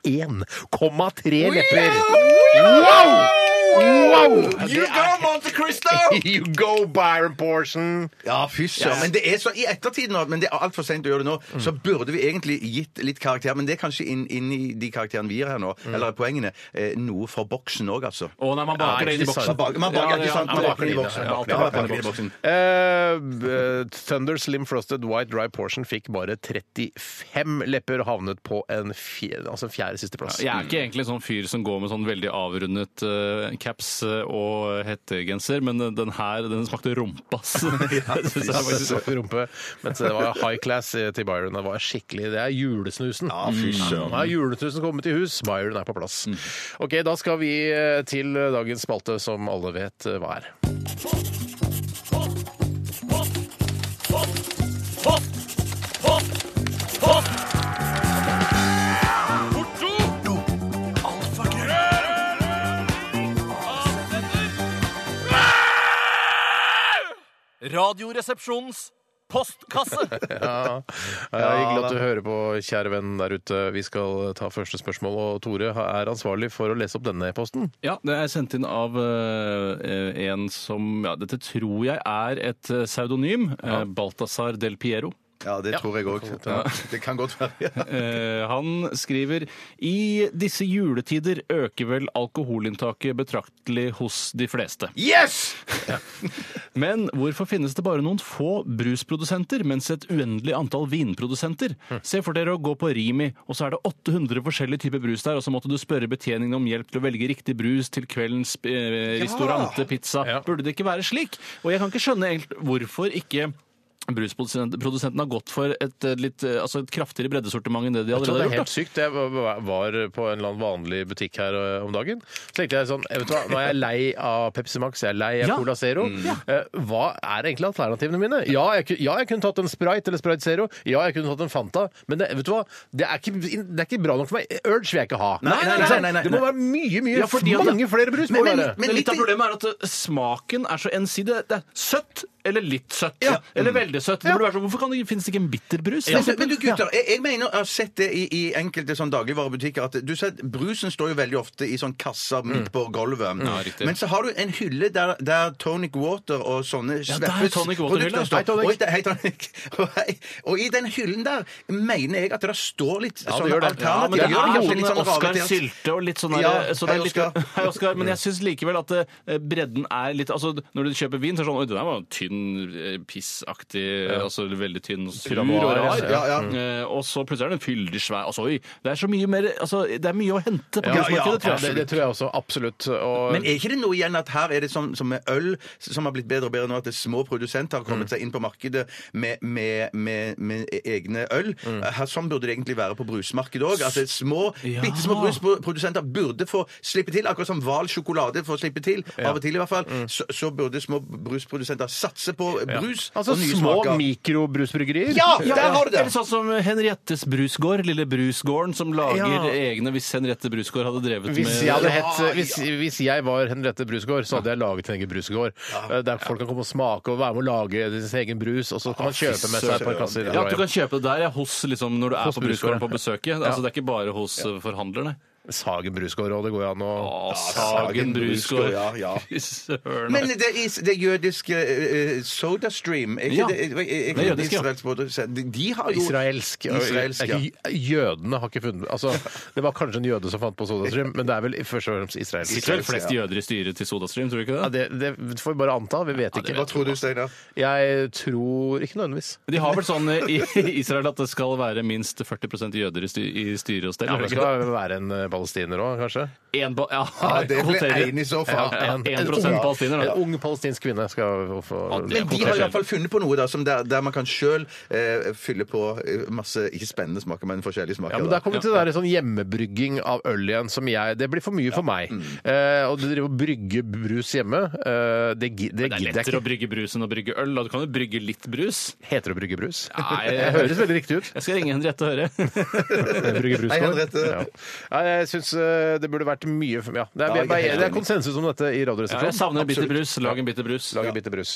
[SPEAKER 4] 91,3 lepper. Wow! Wow!
[SPEAKER 5] You go, Monte Cristo!
[SPEAKER 4] You go, Byron Portion!
[SPEAKER 5] Ja, fy søren. Mm. Men det er så, i ettertid nå, men det er altfor seint å gjøre det nå, så burde vi egentlig gitt litt karakter. Men det er kanskje inn, inn i de karakterene vi gir her nå, eller poengene, eh, noe for boksen òg, altså.
[SPEAKER 3] Å nei, man baker
[SPEAKER 4] Ja,
[SPEAKER 3] det inn i
[SPEAKER 4] ikke
[SPEAKER 3] boksen.
[SPEAKER 5] Man baker, man baker,
[SPEAKER 3] Ja,
[SPEAKER 5] ikke sant?
[SPEAKER 3] ja,
[SPEAKER 5] Man
[SPEAKER 3] ja,
[SPEAKER 5] baker det i boksen.
[SPEAKER 3] ja,
[SPEAKER 5] Ja,
[SPEAKER 3] alt er
[SPEAKER 5] man
[SPEAKER 3] baker
[SPEAKER 5] baker det i boksen.
[SPEAKER 4] Eh, eh, Thunder Slim Frosted White Dry Portion fikk bare 35 lepper og havnet på en fjerde, altså fjerde sisteplass.
[SPEAKER 3] Jeg er ikke egentlig en sånn fyr som går med sånn veldig avrundet eh, caps eh, og hettegenser, men eh, den her, den smakte rumpa, ass. Det synes jeg
[SPEAKER 4] Ja,
[SPEAKER 3] faktisk-
[SPEAKER 4] faktisk opp i rumpe. Mens det var high class eh, til Byron. Det var skikkelig, det er julesnusen.
[SPEAKER 5] Ja, Mm. fy søren.
[SPEAKER 4] Nå er julesnusen kommet i hus, Byron er på plass. Ok, Da skal vi eh, til dagens spalte, som alle vet eh, hva er.
[SPEAKER 7] Radioresepsjonens postkasse.
[SPEAKER 4] Ja, det er Eh, Hyggelig at du hører på, kjære venn der ute. Vi skal eh, ta første spørsmål, og Tore er ansvarlig for å lese opp denne e-posten.
[SPEAKER 3] Ja, det er sendt inn av eh, en som ja, Dette tror jeg er et eh, pseudonym. eh, Balthazar del Piero.
[SPEAKER 5] Ja, det tror jeg òg. Det kan godt være. Ja.
[SPEAKER 3] Eh, han skriver I disse juletider øker vel alkoholinntaket betraktelig hos de fleste.
[SPEAKER 5] Yes!
[SPEAKER 3] Men hvorfor finnes det bare noen få brusprodusenter, mens et uendelig antall vinprodusenter?
[SPEAKER 4] Hm.
[SPEAKER 3] Se for dere å gå på Rimi, og så er det 800 forskjellige typer brus der, og så måtte du spørre betjeningen om hjelp til å velge riktig brus til kveldens eh, restaurante, pizza.
[SPEAKER 4] Ja.
[SPEAKER 3] Burde det ikke være slik? Og jeg kan ikke skjønne helt hvorfor ikke brusprodusenten produsenten har gått for et, eh, litt, eh, altså et kraftigere breddesortiment enn det de
[SPEAKER 4] Jeg tror
[SPEAKER 3] allerede
[SPEAKER 4] det
[SPEAKER 3] har
[SPEAKER 4] er
[SPEAKER 3] gjort. da.
[SPEAKER 4] helt sykt. Jeg var var på en eller annen vanlig butikk her ø, om dagen. Så tenkte jeg sånn, vet du hva, nå er jeg lei av Pepsi Max, jeg er lei av
[SPEAKER 3] Ja.
[SPEAKER 4] Cola Zero. Eh, Hva er egentlig alternativene mine? Ja jeg, ku- ja, jeg kunne tatt en Sprite eller Sprite Zero. Ja, jeg kunne tatt en Fanta. Men det, vet du hva, det er, ikke, det er ikke bra nok for meg. Urge vil jeg ikke ha.
[SPEAKER 5] Nei, nei,
[SPEAKER 4] Ikke sant?
[SPEAKER 5] nei, nei, nei.
[SPEAKER 4] Det må være mye, mye,
[SPEAKER 3] Ja, fordi at-
[SPEAKER 4] mange flere brus. må
[SPEAKER 5] Men-
[SPEAKER 4] det være.
[SPEAKER 5] men-
[SPEAKER 3] Men litt
[SPEAKER 5] litt
[SPEAKER 3] av
[SPEAKER 5] i-
[SPEAKER 3] problemet er at eh, smaken er så ensidig. Det er søtt eller litt søtt. Eller veldig søtt. Det burde være sånn, Hvorfor kan det, finnes det ikke en bitterbrus?
[SPEAKER 5] Mm. Men, men du gutter, jeg, jeg mener jeg har sett det i, i enkelte sånn dagligvarebutikker at du ser, at brusen står jo veldig ofte i sånn kasser midt på gulvet.
[SPEAKER 3] Mm. Ja, riktig.
[SPEAKER 5] men så har du en hylle der, der tonic water og sånne
[SPEAKER 3] Ja, der er tonic water-hylla.
[SPEAKER 5] står.
[SPEAKER 3] Hei, tonic.
[SPEAKER 5] Og, i de- hei, tonic. Og, hei, og i den hyllen der mener jeg at det står litt
[SPEAKER 4] det
[SPEAKER 5] sånne
[SPEAKER 4] gjør det.
[SPEAKER 3] Ja, men det
[SPEAKER 5] alternativer.
[SPEAKER 3] er
[SPEAKER 5] Kanskje litt
[SPEAKER 3] sånn
[SPEAKER 5] sånn
[SPEAKER 3] Oscar
[SPEAKER 5] raritert.
[SPEAKER 3] Sylte og litt sånn der,
[SPEAKER 5] Ja,
[SPEAKER 3] så det er
[SPEAKER 5] hei,
[SPEAKER 3] litt,
[SPEAKER 5] Oscar.
[SPEAKER 3] Hei, Oscar. Men jeg syns likevel at eh, bredden er litt Altså, når du kjøper vin, så er det sånn Oi, den der var tynn, eh, pissaktig Altså veldig tynn og sur og
[SPEAKER 4] Granuar,
[SPEAKER 3] rar.
[SPEAKER 5] ja, ja.
[SPEAKER 3] Eh, Og så plutselig er den fyldig svær. Altså, oi. Det er så mye mer Altså, det er mye å hente på
[SPEAKER 4] Ja,
[SPEAKER 5] ja,
[SPEAKER 3] gassmarkedet,
[SPEAKER 4] Ja,
[SPEAKER 3] tror
[SPEAKER 4] det,
[SPEAKER 3] jeg.
[SPEAKER 4] det tror jeg også. Absolutt. Og,
[SPEAKER 5] Men er ikke det noe igjen at her er det som, som med øl, som har blitt bedre og bedre nå, at det er små produsenter har
[SPEAKER 3] Mm.
[SPEAKER 5] kommet seg inn på markedet med, med, med, med e-, egne øl?
[SPEAKER 3] Mm.
[SPEAKER 5] Her, sånn burde det egentlig være på brusmarkedet òg. At det er små,
[SPEAKER 3] Ja.
[SPEAKER 5] bitte små brusprodusenter burde få slippe til, akkurat som Hval sjokolade får slippe til, av og til i hvert fall,
[SPEAKER 3] Mm.
[SPEAKER 5] så, så burde små brusprodusenter satse på brus
[SPEAKER 4] altså
[SPEAKER 5] og nye
[SPEAKER 4] små
[SPEAKER 5] smaker.
[SPEAKER 4] mikrobrusbryggerier.
[SPEAKER 5] Ja, der har du det!
[SPEAKER 3] Eller sånn som Henriettes Brusgård, lille Brusgården, som lager
[SPEAKER 4] Ja.
[SPEAKER 3] egne Hvis Henriette Brusgård hadde drevet
[SPEAKER 4] Hvis
[SPEAKER 3] med
[SPEAKER 4] jeg, hadde hett, hvis, hvis jeg var Henriette Brusgaard, så hadde jeg laget en egen brusgård. Eh, Der folk kan komme og smake og være med å lage sin egen brus, og så kan man kjøpe med seg et par kasser.
[SPEAKER 3] Ja, at du kan kjøpe det der ja, hos, liksom, når du er
[SPEAKER 4] Hos
[SPEAKER 3] på
[SPEAKER 4] brukerne.
[SPEAKER 3] Brusgården på besøket. Altså, det er ikke bare hos eh, forhandlerne.
[SPEAKER 4] Sagen Brusgaard og det går jo an å
[SPEAKER 3] Å, Sagen Brusgård.
[SPEAKER 5] Ja, ja.
[SPEAKER 3] Fy søren.
[SPEAKER 5] Men det, is, det jødiske eh, Soda Stream er ikke
[SPEAKER 3] Ja.
[SPEAKER 5] det, er- er- er
[SPEAKER 3] Det er
[SPEAKER 5] ikke det
[SPEAKER 3] jødisk, ja.
[SPEAKER 5] israelsk produsent? De, de har jo
[SPEAKER 4] Israelsk.
[SPEAKER 5] Israelsk,
[SPEAKER 4] Det er ikke- Jødene har ikke funnet altså, Det var kanskje en jøde som fant på SodaStream, men det er vel først og fremst israelsk.
[SPEAKER 3] sitter vel flest jøder i styret til SodaStream, tror du ikke
[SPEAKER 4] Ja,
[SPEAKER 3] det?
[SPEAKER 4] det, det får vi bare anta. Vi vet
[SPEAKER 5] Hva
[SPEAKER 4] ikke.
[SPEAKER 5] tror du, Steinar?
[SPEAKER 4] Jeg tror ikke nødvendigvis.
[SPEAKER 3] De har vel sånn eh, i i Israel at det skal være minst 40 jøder i, sty i styre og stell?
[SPEAKER 4] Ja,
[SPEAKER 3] er
[SPEAKER 4] men
[SPEAKER 3] det
[SPEAKER 4] det
[SPEAKER 3] ikke
[SPEAKER 4] skal være en eh, palestiner òg, kanskje?
[SPEAKER 3] det? En ba- ja,
[SPEAKER 5] Ja, det ble
[SPEAKER 3] kvoterer.
[SPEAKER 5] en i så fall.
[SPEAKER 3] Ja,
[SPEAKER 4] En-
[SPEAKER 3] 1
[SPEAKER 4] en-
[SPEAKER 3] palestiner,
[SPEAKER 4] En
[SPEAKER 3] da.
[SPEAKER 4] ung palestinsk kvinne skal få
[SPEAKER 3] det-
[SPEAKER 5] Men de har i hvert fall funnet på noe da, som der, der man kan sjøl eh, fylle på eh, masse ikke spennende smaker, men forskjellige smaker.
[SPEAKER 4] Ja, men
[SPEAKER 5] da.
[SPEAKER 4] Da kommer vi til det der sånn hjemmebrygging av øl igjen. som jeg, Det blir for mye for meg.
[SPEAKER 3] Mm.
[SPEAKER 4] Eh, og du driver og brygger brus hjemme. Eh, det gi- det
[SPEAKER 3] Det er
[SPEAKER 4] gidder jeg
[SPEAKER 3] lettere å
[SPEAKER 4] ikke.
[SPEAKER 3] brygge brus enn å brygge øl. Da. Du kan jo brygge litt brus.
[SPEAKER 4] Heter det å brygge brus?
[SPEAKER 3] Nei.
[SPEAKER 4] det høres veldig riktig ut.
[SPEAKER 3] Jeg skal ringe Henriette og høre.
[SPEAKER 4] Brygge brus
[SPEAKER 5] Nei,
[SPEAKER 4] nå.
[SPEAKER 5] Henriette.
[SPEAKER 4] ja. Nei, jeg syns eh, det burde vært mye for ja. det,
[SPEAKER 5] Ja, jeg
[SPEAKER 4] er,
[SPEAKER 5] er
[SPEAKER 4] vi er bare-
[SPEAKER 5] helt
[SPEAKER 4] det er
[SPEAKER 5] enig.
[SPEAKER 4] konsensus om dette i
[SPEAKER 3] Ja,
[SPEAKER 4] Radioresepsjonen.
[SPEAKER 3] jeg savner en bitter
[SPEAKER 4] Absolutt.
[SPEAKER 3] brus. Lag en bitter brus.
[SPEAKER 4] Lag en bitter brus.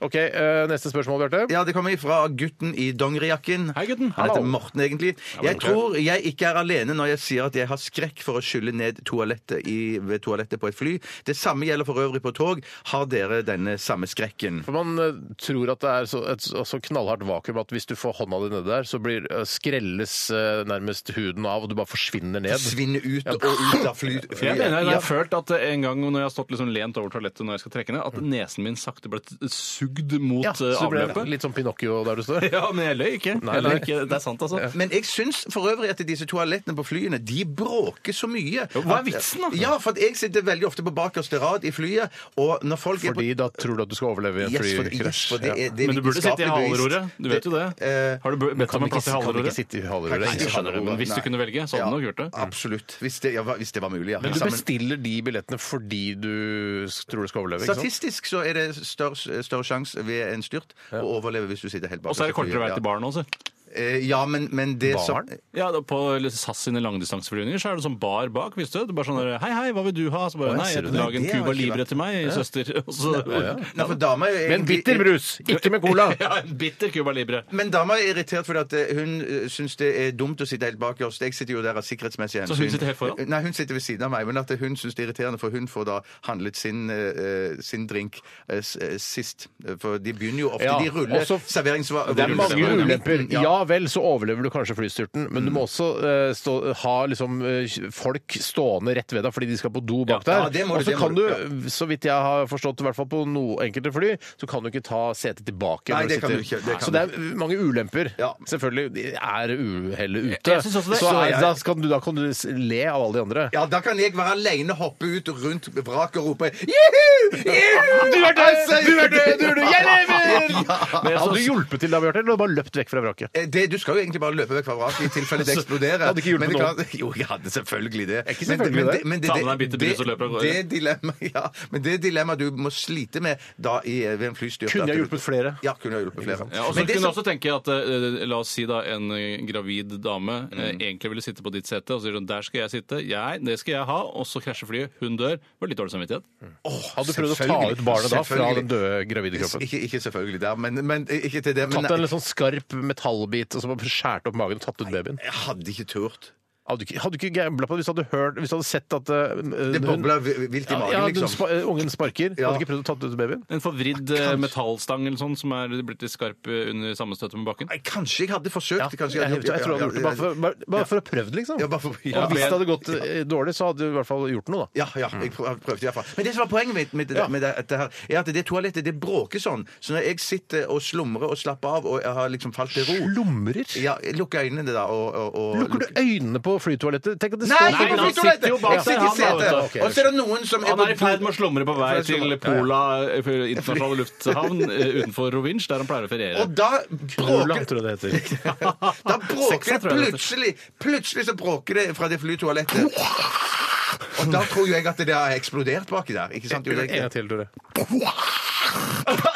[SPEAKER 4] OK, eh, neste spørsmål, Bjarte.
[SPEAKER 5] Ja, Det kommer fra gutten i dongerijakken.
[SPEAKER 3] Hei, gutten.
[SPEAKER 5] Han heter
[SPEAKER 3] Hallo.
[SPEAKER 5] Morten, egentlig. Jeg tror jeg ikke er alene når jeg sier at jeg har skrekk for å skylle ned toalettet i, ved toalettet på et fly. Det samme gjelder for øvrig på tog. Har dere denne samme skrekken?
[SPEAKER 4] For man eh, tror at det er så, et så- så knallhardt vakuum at hvis du får hånda di nedi der, så blir, eh, skrelles eh, nærmest huden av, og du bare forsvinner ned.
[SPEAKER 5] Svinne ut og ut av fly,
[SPEAKER 3] Jeg
[SPEAKER 5] flyet.
[SPEAKER 3] mener jeg har følt at en gang når jeg har stått liksom lent over toalettet når jeg skal trekke ned, at nesen min sakte ble sugd mot
[SPEAKER 4] Ja,
[SPEAKER 3] eh,
[SPEAKER 4] så det ble
[SPEAKER 3] avløpet.
[SPEAKER 4] litt sånn Pinocchio der du står.
[SPEAKER 3] Ja, men jeg løy ikke. Jeg løy
[SPEAKER 4] nei.
[SPEAKER 3] ikke. Det er sant, altså.
[SPEAKER 5] Men jeg syns for øvrig at disse toalettene på flyene de bråker så mye.
[SPEAKER 3] hva er
[SPEAKER 5] at-
[SPEAKER 3] vitsen, da?
[SPEAKER 5] Ja, for at jeg sitter veldig ofte på bakerste rad i flyet, og når folk er på
[SPEAKER 4] Fordi da tror du at du skal overleve i en
[SPEAKER 5] Yes, eh, for, yes,
[SPEAKER 4] flykrasj.
[SPEAKER 5] for det
[SPEAKER 4] Ja.
[SPEAKER 5] er, det er
[SPEAKER 3] Men du burde sitte i
[SPEAKER 5] vitenskapelig bevist.
[SPEAKER 3] haleroret. Du vet jo det.
[SPEAKER 5] eh,
[SPEAKER 3] Har du bedt
[SPEAKER 4] Kan
[SPEAKER 3] om
[SPEAKER 4] du
[SPEAKER 3] en
[SPEAKER 4] ikke,
[SPEAKER 3] plass i
[SPEAKER 4] kan du ikke
[SPEAKER 3] haleroret?
[SPEAKER 4] sitte
[SPEAKER 5] Kan
[SPEAKER 4] i
[SPEAKER 5] ikke
[SPEAKER 4] haleroret?
[SPEAKER 5] sitte i
[SPEAKER 3] Jeg skjønner det, men hvis du
[SPEAKER 5] Nei.
[SPEAKER 3] kunne velge, så hadde du nok gjort det.
[SPEAKER 5] Absolutt. Hvis det, ja, hvis det var mulig, ja.
[SPEAKER 4] Men du
[SPEAKER 5] Sammen-
[SPEAKER 4] bestiller de billettene fordi du s- tror du skal overleve? ikke sant?
[SPEAKER 5] Statistisk så er det større, større sjanse ved en styrt å overleve hvis du sitter helt bak.
[SPEAKER 3] Og så er det kortere vei til baren også.
[SPEAKER 5] Eh, ja, men, men det som
[SPEAKER 4] Barn?
[SPEAKER 3] Ja, da På SAS sine langdistanseflyvninger så er det sånn bar bak. visste du? Det er bare sånn der, Hei, hei, hva vil du ha? Så
[SPEAKER 4] Å,
[SPEAKER 3] bare,
[SPEAKER 4] jeg
[SPEAKER 3] Nei,
[SPEAKER 4] ser
[SPEAKER 3] jeg
[SPEAKER 4] det.
[SPEAKER 3] vil lage en
[SPEAKER 5] Det har
[SPEAKER 3] Cuba
[SPEAKER 5] jeg ikke
[SPEAKER 3] Libre til meg, søster. Og så,
[SPEAKER 5] Nei, for dama er
[SPEAKER 4] Men
[SPEAKER 5] egentlig-
[SPEAKER 4] bitter brus, ikke med cola.
[SPEAKER 3] ja, en bitter Cuba Libre.
[SPEAKER 5] Men dama er irritert fordi at eh, hun eh, syns det er dumt å sitte helt bak oss. Jeg sitter jo der av sikkerhetsmessige
[SPEAKER 3] Så
[SPEAKER 5] hensyn. Eh,
[SPEAKER 3] hun sitter helt foran?
[SPEAKER 5] Nei, hun sitter ved siden av meg. Men at hun syns det er irriterende, for hun får da handlet sin, eh, sin drink eh, s- eh, sist. For de begynner jo ofte
[SPEAKER 4] Ja,
[SPEAKER 5] De ruller
[SPEAKER 4] også-
[SPEAKER 5] serveringsvarer
[SPEAKER 4] Det er mange
[SPEAKER 5] rulleserveringer.
[SPEAKER 4] ulemper.
[SPEAKER 5] Mm,
[SPEAKER 4] Ja vel, så overlever du kanskje flystyrten, men du må også eh, stå, ha liksom, eh, folk stående rett ved deg fordi de skal på do bak
[SPEAKER 5] Ja,
[SPEAKER 4] der.
[SPEAKER 5] det må du-
[SPEAKER 4] og så
[SPEAKER 5] det må
[SPEAKER 4] kan du,
[SPEAKER 5] du-
[SPEAKER 4] så vidt jeg har forstått, i hvert fall på noen enkelte fly, så kan du ikke ta setet tilbake.
[SPEAKER 5] Nei,
[SPEAKER 4] når
[SPEAKER 5] det kan
[SPEAKER 4] sitter.
[SPEAKER 5] du ikke, det kan
[SPEAKER 4] så det er mange ulemper.
[SPEAKER 5] Ja.
[SPEAKER 4] Selvfølgelig de er uhellet ute.
[SPEAKER 3] Jeg synes også det.
[SPEAKER 4] Så
[SPEAKER 3] Så
[SPEAKER 4] er,
[SPEAKER 3] jeg-
[SPEAKER 4] da, kan du, da kan du s- le av alle de andre.
[SPEAKER 5] Ja, da kan jeg være aleine, hoppe ut rundt vraket og rope Juhu! Juhu!
[SPEAKER 4] Du er død! Du er død! Du er død! Jeg lever!
[SPEAKER 3] Men jeg
[SPEAKER 5] Altså,
[SPEAKER 4] Hadde du
[SPEAKER 3] synes-
[SPEAKER 4] hjulpet til da, Bjarte, eller hadde du bare løpt vekk fra vraket?
[SPEAKER 5] Eh, Det, du skal jo egentlig bare løpe vekk fra vraket i tilfelle det eksploderer.
[SPEAKER 4] Hadde ikke hjulpet
[SPEAKER 5] Men det
[SPEAKER 4] noen.
[SPEAKER 5] kan- Jo, jeg hadde selvfølgelig det.
[SPEAKER 4] ikke selvfølgelig det.
[SPEAKER 3] Ta med deg en bitte brus og løp av gårde.
[SPEAKER 5] det dilemmaet ja, men det dilemmaet du må slite med da i, eh, ved en flystyrt
[SPEAKER 4] Kunne
[SPEAKER 5] at
[SPEAKER 4] jeg
[SPEAKER 5] du-
[SPEAKER 4] hjulpet flere?
[SPEAKER 5] Ja, kunne jeg hjulpet flere.
[SPEAKER 3] Ja, og så
[SPEAKER 5] men det
[SPEAKER 3] kunne jeg
[SPEAKER 5] som-
[SPEAKER 3] også tenke at eh, La oss si da en eh, gravid dame eh,
[SPEAKER 5] Mm.
[SPEAKER 3] egentlig ville sitte på ditt sete, og så sier hun der skal jeg sitte, jeg, det skal jeg ha, og så krasjer flyet, hun dør. Det var litt dårlig samvittighet.
[SPEAKER 5] Mm.
[SPEAKER 4] Hadde du prøvd å ta ut barnet da fra den døde gravide kroppen?
[SPEAKER 5] Ikke, ikke selvfølgelig der, men, men ikke til det. Men
[SPEAKER 4] Tatt en litt sånn skarp metallbit og så bare skjært opp magen og tatt ut babyen.
[SPEAKER 5] jeg hadde ikke turt.
[SPEAKER 4] Hadde du ikke, hadde du ikke gambla på det hvis du hadde, hørt, hvis du hadde sett at eh,
[SPEAKER 5] Det
[SPEAKER 4] hun-
[SPEAKER 5] bobla vi- vilt i
[SPEAKER 4] ja,
[SPEAKER 5] magen,
[SPEAKER 4] ja, den
[SPEAKER 5] liksom.
[SPEAKER 4] spa- eh, ungen sparker.
[SPEAKER 5] Ja.
[SPEAKER 4] Hadde du ikke prøvd å tatt ut babyen?
[SPEAKER 3] En forvridd eh, metallstang eller sånn som er blitt litt skarp eh, under sammenstøtet med bakken.
[SPEAKER 5] Nei, Kanskje jeg hadde forsøkt.
[SPEAKER 4] jeg,
[SPEAKER 5] kanskje
[SPEAKER 4] jeg, tror jeg hadde gjort det. Bare for, bare, bare for å prøve det, liksom.
[SPEAKER 5] Ja, bare for- ja.
[SPEAKER 4] Og hvis det hadde gått eh, dårlig, så hadde du i hvert fall gjort noe, da.
[SPEAKER 5] Ja, ja, jeg prøv- prøvde iallfall. Men det som var poenget mitt med, det-
[SPEAKER 4] Ja.
[SPEAKER 5] med det, dette her, er at det toalettet det bråker sånn. Så når jeg sitter og slumrer og slapper av og jeg har liksom falt til ro
[SPEAKER 4] Slumrer?
[SPEAKER 5] ja, jeg Lukker øynene da og, og, og
[SPEAKER 4] Lukker du øynene på flytoalettet? Tenk at det
[SPEAKER 5] Nei,
[SPEAKER 4] står
[SPEAKER 5] ikke på
[SPEAKER 3] Nei, han
[SPEAKER 5] flytoalettet!
[SPEAKER 3] sitter jo bak
[SPEAKER 5] Jeg sitter i
[SPEAKER 3] der, han,
[SPEAKER 5] setet.
[SPEAKER 3] da.
[SPEAKER 4] Ok,
[SPEAKER 5] Og så er det noen som
[SPEAKER 3] Han er i ferd med å slumre på vei
[SPEAKER 5] Ja, ja.
[SPEAKER 3] til Pola eh, for internasjonale lufthavn eh, utenfor Rovinj, der han pleier å feriere.
[SPEAKER 5] Og da
[SPEAKER 4] Roland,
[SPEAKER 5] bråker
[SPEAKER 4] tror jeg det heter.
[SPEAKER 5] Da bråker det
[SPEAKER 3] Seksa, tror jeg det heter.
[SPEAKER 5] plutselig Plutselig så bråker det fra det flytoalettet. Og da tror jo jeg at det har eksplodert baki der. Ikke sant? Jo, det,
[SPEAKER 4] En gang til, Tore.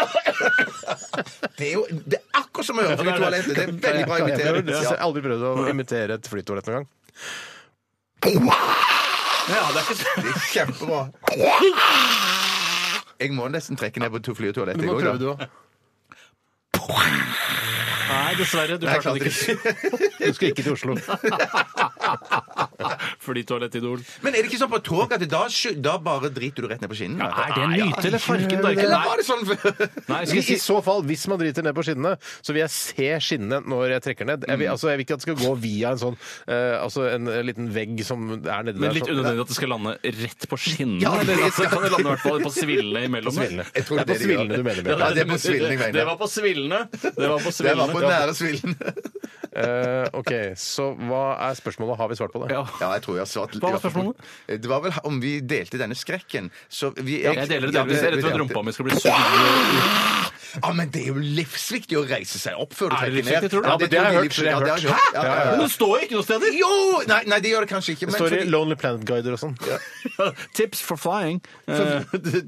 [SPEAKER 5] det, er jo, det er akkurat som å høre flytoalettet. Det er veldig bra
[SPEAKER 4] Kan jeg prøve?
[SPEAKER 5] imitert.
[SPEAKER 4] Jeg
[SPEAKER 5] Ja.
[SPEAKER 4] har aldri prøvd å imitere et flytoalett noen gang.
[SPEAKER 3] Ja, det er ikke så...
[SPEAKER 5] Det er kjempebra. Jeg må nesten trekke ned på to fly og toalett.
[SPEAKER 4] Du
[SPEAKER 5] jeg
[SPEAKER 4] må
[SPEAKER 5] også,
[SPEAKER 4] prøve, du
[SPEAKER 5] da.
[SPEAKER 4] òg.
[SPEAKER 3] Nei, dessverre. Du
[SPEAKER 5] Nei, jeg
[SPEAKER 3] klarte det
[SPEAKER 5] klarte
[SPEAKER 3] ikke.
[SPEAKER 4] Du skal ikke til Oslo.
[SPEAKER 3] Fordi toalettidol.
[SPEAKER 5] Men er det ikke sånn på tog at da, sky- da bare driter du rett ned på skinnen?
[SPEAKER 3] Er det en myte eller farken? da? Ikke-
[SPEAKER 5] Eller
[SPEAKER 3] Nei,
[SPEAKER 5] var det sånn
[SPEAKER 3] Nei, skal
[SPEAKER 4] I,
[SPEAKER 3] jeg si
[SPEAKER 4] I så fall, hvis man driter ned på skinnene, så vil jeg se skinnene når jeg trekker ned. Jeg vil, altså, jeg vil ikke at det skal gå via en sånn eh, altså en, en liten vegg som er nedi
[SPEAKER 3] Men
[SPEAKER 4] der.
[SPEAKER 3] litt
[SPEAKER 4] sånn.
[SPEAKER 3] unødvendig at det skal lande rett på skinnene.
[SPEAKER 5] Ja,
[SPEAKER 3] eller
[SPEAKER 5] det
[SPEAKER 3] at det
[SPEAKER 5] skal-
[SPEAKER 3] kan det lande i hvert fall på svillene imellom.
[SPEAKER 4] Svillene.
[SPEAKER 5] Jeg tror
[SPEAKER 4] det
[SPEAKER 5] det
[SPEAKER 4] er på
[SPEAKER 5] de gjør.
[SPEAKER 4] svillene du mener.
[SPEAKER 5] Ja,
[SPEAKER 4] Bjørn.
[SPEAKER 5] det er på svillene jeg mener.
[SPEAKER 3] Det var på svillene. Det var
[SPEAKER 5] Det
[SPEAKER 3] på
[SPEAKER 5] var
[SPEAKER 3] svillene.
[SPEAKER 5] på nære svillen.
[SPEAKER 4] Eh, OK, så hva er spørsmålet? Har vi svart på det?
[SPEAKER 3] Ja.
[SPEAKER 5] Ja, jeg tror jeg har svart
[SPEAKER 3] Hva var spørsmålet?
[SPEAKER 5] Det var vel om vi delte denne skrekken. Så vi
[SPEAKER 3] Jeg deler det. delvis. Jeg er redd for at rumpa mi skal bli sur.
[SPEAKER 5] Ja, men det er jo livsviktig å reise seg opp før du
[SPEAKER 3] Er
[SPEAKER 5] trekker ned.
[SPEAKER 3] det livsviktig, tror du?
[SPEAKER 5] Ja,
[SPEAKER 3] Ja, men
[SPEAKER 4] det har jeg
[SPEAKER 5] tror
[SPEAKER 4] hørt,
[SPEAKER 5] livsviktig.
[SPEAKER 4] det har jeg
[SPEAKER 5] Ja, det har jeg hørt. Ja, ja,
[SPEAKER 3] Men
[SPEAKER 5] ja.
[SPEAKER 3] det står jo ikke noe steder!
[SPEAKER 5] Jo! Nei, nei, det gjør det kanskje ikke.
[SPEAKER 4] Det
[SPEAKER 5] Men
[SPEAKER 4] står i
[SPEAKER 5] fordi-
[SPEAKER 4] Lonely Planet-guider og sånn.
[SPEAKER 3] Tips for flying. Eh,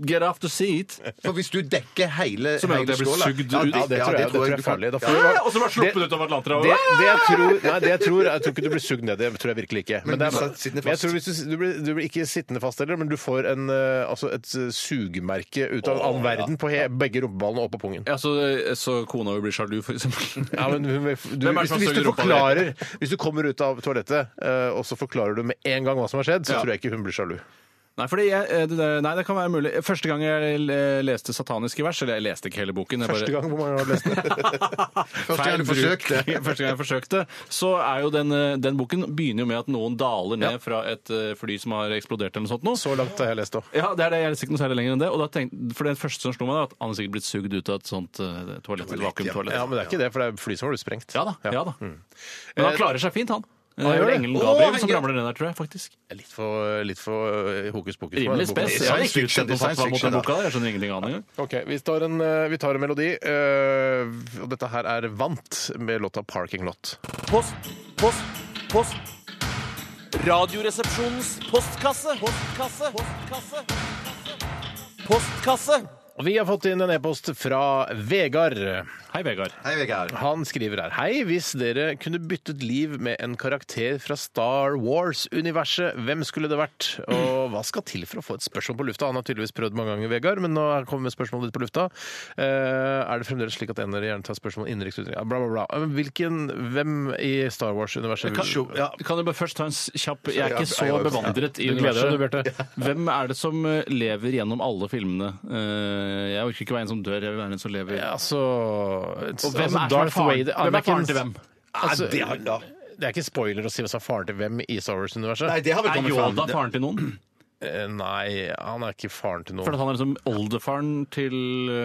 [SPEAKER 3] get off the seat.
[SPEAKER 5] For hvis du dekker hele
[SPEAKER 3] Så mener jeg at jeg blir
[SPEAKER 5] hele skåla-
[SPEAKER 3] sugd
[SPEAKER 5] Ja,
[SPEAKER 3] ut.
[SPEAKER 4] Ja, det tror jeg, det tror jeg
[SPEAKER 5] du
[SPEAKER 4] er
[SPEAKER 5] kan-
[SPEAKER 4] farlig. Da får
[SPEAKER 3] Ja,
[SPEAKER 4] du bare-
[SPEAKER 3] og så bare sluppet ut av Atlanterhavet.
[SPEAKER 4] Det, det jeg tror, nei, det jeg tror Jeg tror ikke du blir sugd ned. Det tror jeg virkelig ikke.
[SPEAKER 5] Men
[SPEAKER 4] Men, det
[SPEAKER 5] du
[SPEAKER 4] er,
[SPEAKER 5] satt sittende
[SPEAKER 4] men jeg
[SPEAKER 5] fast.
[SPEAKER 4] tror hvis du, du, blir, du blir ikke sittende fast heller, men du får en, eh, altså et eh, sugemerke ut av all verden på he, begge rumpeballene og på pungen.
[SPEAKER 3] Ja, så, så kona vil bli sjalu, for eksempel.
[SPEAKER 4] Ja, men hun vil- du,
[SPEAKER 3] Hvem er det
[SPEAKER 4] hvis,
[SPEAKER 3] som
[SPEAKER 4] hvis, du
[SPEAKER 3] suger rumpa di?
[SPEAKER 4] forklarer, hvis du kommer ut av toalettet, eh, og så forklarer du med en gang hva som har skjedd, så
[SPEAKER 3] Ja.
[SPEAKER 4] tror jeg ikke hun blir sjalu.
[SPEAKER 3] Nei, fordi jeg, eh, det, nei, det kan være mulig. Første gang jeg eh, leste sataniske vers, eller jeg leste ikke hele boken jeg
[SPEAKER 4] Første
[SPEAKER 3] bare-
[SPEAKER 4] gang hvor man har lest den.
[SPEAKER 5] Første gang
[SPEAKER 3] Feil
[SPEAKER 5] du
[SPEAKER 3] bruk.
[SPEAKER 5] forsøkte.
[SPEAKER 3] Første gang jeg forsøkte, så er jo den, eh, den boken begynner jo med at noen daler ned fra et eh, fly som har eksplodert eller noe sånt nå.
[SPEAKER 4] Så langt har jeg lest òg.
[SPEAKER 3] Ja, det er det. Jeg er ikke noe særlig lenger enn det. Og da tenkte, for det første som slo meg, er at han er sikkert blitt sugd ut av et sånt eh, toalett, et vakuumtoalett.
[SPEAKER 4] Ja,
[SPEAKER 3] Ja.
[SPEAKER 4] men det er ikke det, for det er fly som har blitt sprengt.
[SPEAKER 3] ja da. ja da. Men han klarer seg fint, han. Det
[SPEAKER 4] gjør
[SPEAKER 3] er vel
[SPEAKER 4] det.
[SPEAKER 3] engelen
[SPEAKER 4] Å,
[SPEAKER 3] Gabriel
[SPEAKER 4] han
[SPEAKER 3] som
[SPEAKER 4] gjør-
[SPEAKER 3] ramler ned der, tror jeg, faktisk.
[SPEAKER 4] Litt for, litt for eh, hokus pokus.
[SPEAKER 3] Rimelig spes. Jeg har ikke utsett noe fatwa mot den boka der. Jeg skjønner ingenting av den engang.
[SPEAKER 4] Ok, vi tar en, eh, vi tar en melodi. eh, og dette her er Vant med låta 'Parking Lot'.
[SPEAKER 7] Post, post, post. Radioresepsjonens postkasse. Postkasse. Postkasse. Postkasse.
[SPEAKER 4] Og vi har fått inn en e-post fra Vegard.
[SPEAKER 3] Hei, Vegard.
[SPEAKER 5] Hei, Vegard.
[SPEAKER 4] Han skriver her Hei, hvis dere kunne byttet liv med en karakter fra Star Wars-universet, hvem skulle det vært? Og hva skal til for å få et spørsmål på lufta? Han har tydeligvis prøvd mange ganger, Vegard, men nå kommer spørsmålet ditt på lufta. Eh, er det fremdeles slik at en av dere gjerne tar spørsmål innenriks utenriks? Bla, bla, bla. Eh, Hvilken, hvem i Star Wars-universet vil
[SPEAKER 3] Kan,
[SPEAKER 5] Ja.
[SPEAKER 3] kan du bare først ta en s- kjapp Jeg er
[SPEAKER 5] Ja,
[SPEAKER 3] ikke så
[SPEAKER 5] jeg var-
[SPEAKER 3] bevandret i
[SPEAKER 4] Du gleder
[SPEAKER 3] universet.
[SPEAKER 4] deg, du, Bjarte.
[SPEAKER 3] Hvem er det som eh, lever gjennom alle filmene? Eh, Jeg orker ikke være en som dør, jeg vil være en som lever.
[SPEAKER 4] Ja, altså,
[SPEAKER 3] Og hvem
[SPEAKER 4] altså,
[SPEAKER 3] er som er
[SPEAKER 4] Darth
[SPEAKER 3] faren?
[SPEAKER 4] Vader-
[SPEAKER 3] Hvem er faren til
[SPEAKER 4] Anakin-
[SPEAKER 3] hvem?
[SPEAKER 4] Altså,
[SPEAKER 5] det har- ja.
[SPEAKER 4] det er ikke spoiler å si hva som er faren til hvem i Star Wars-universet.
[SPEAKER 5] Nei, det har vel
[SPEAKER 3] Er
[SPEAKER 5] kommet fram.
[SPEAKER 3] Yoda faren til noen?
[SPEAKER 4] Eh, Nei, han er ikke faren til noen.
[SPEAKER 3] For at han er liksom oldefaren til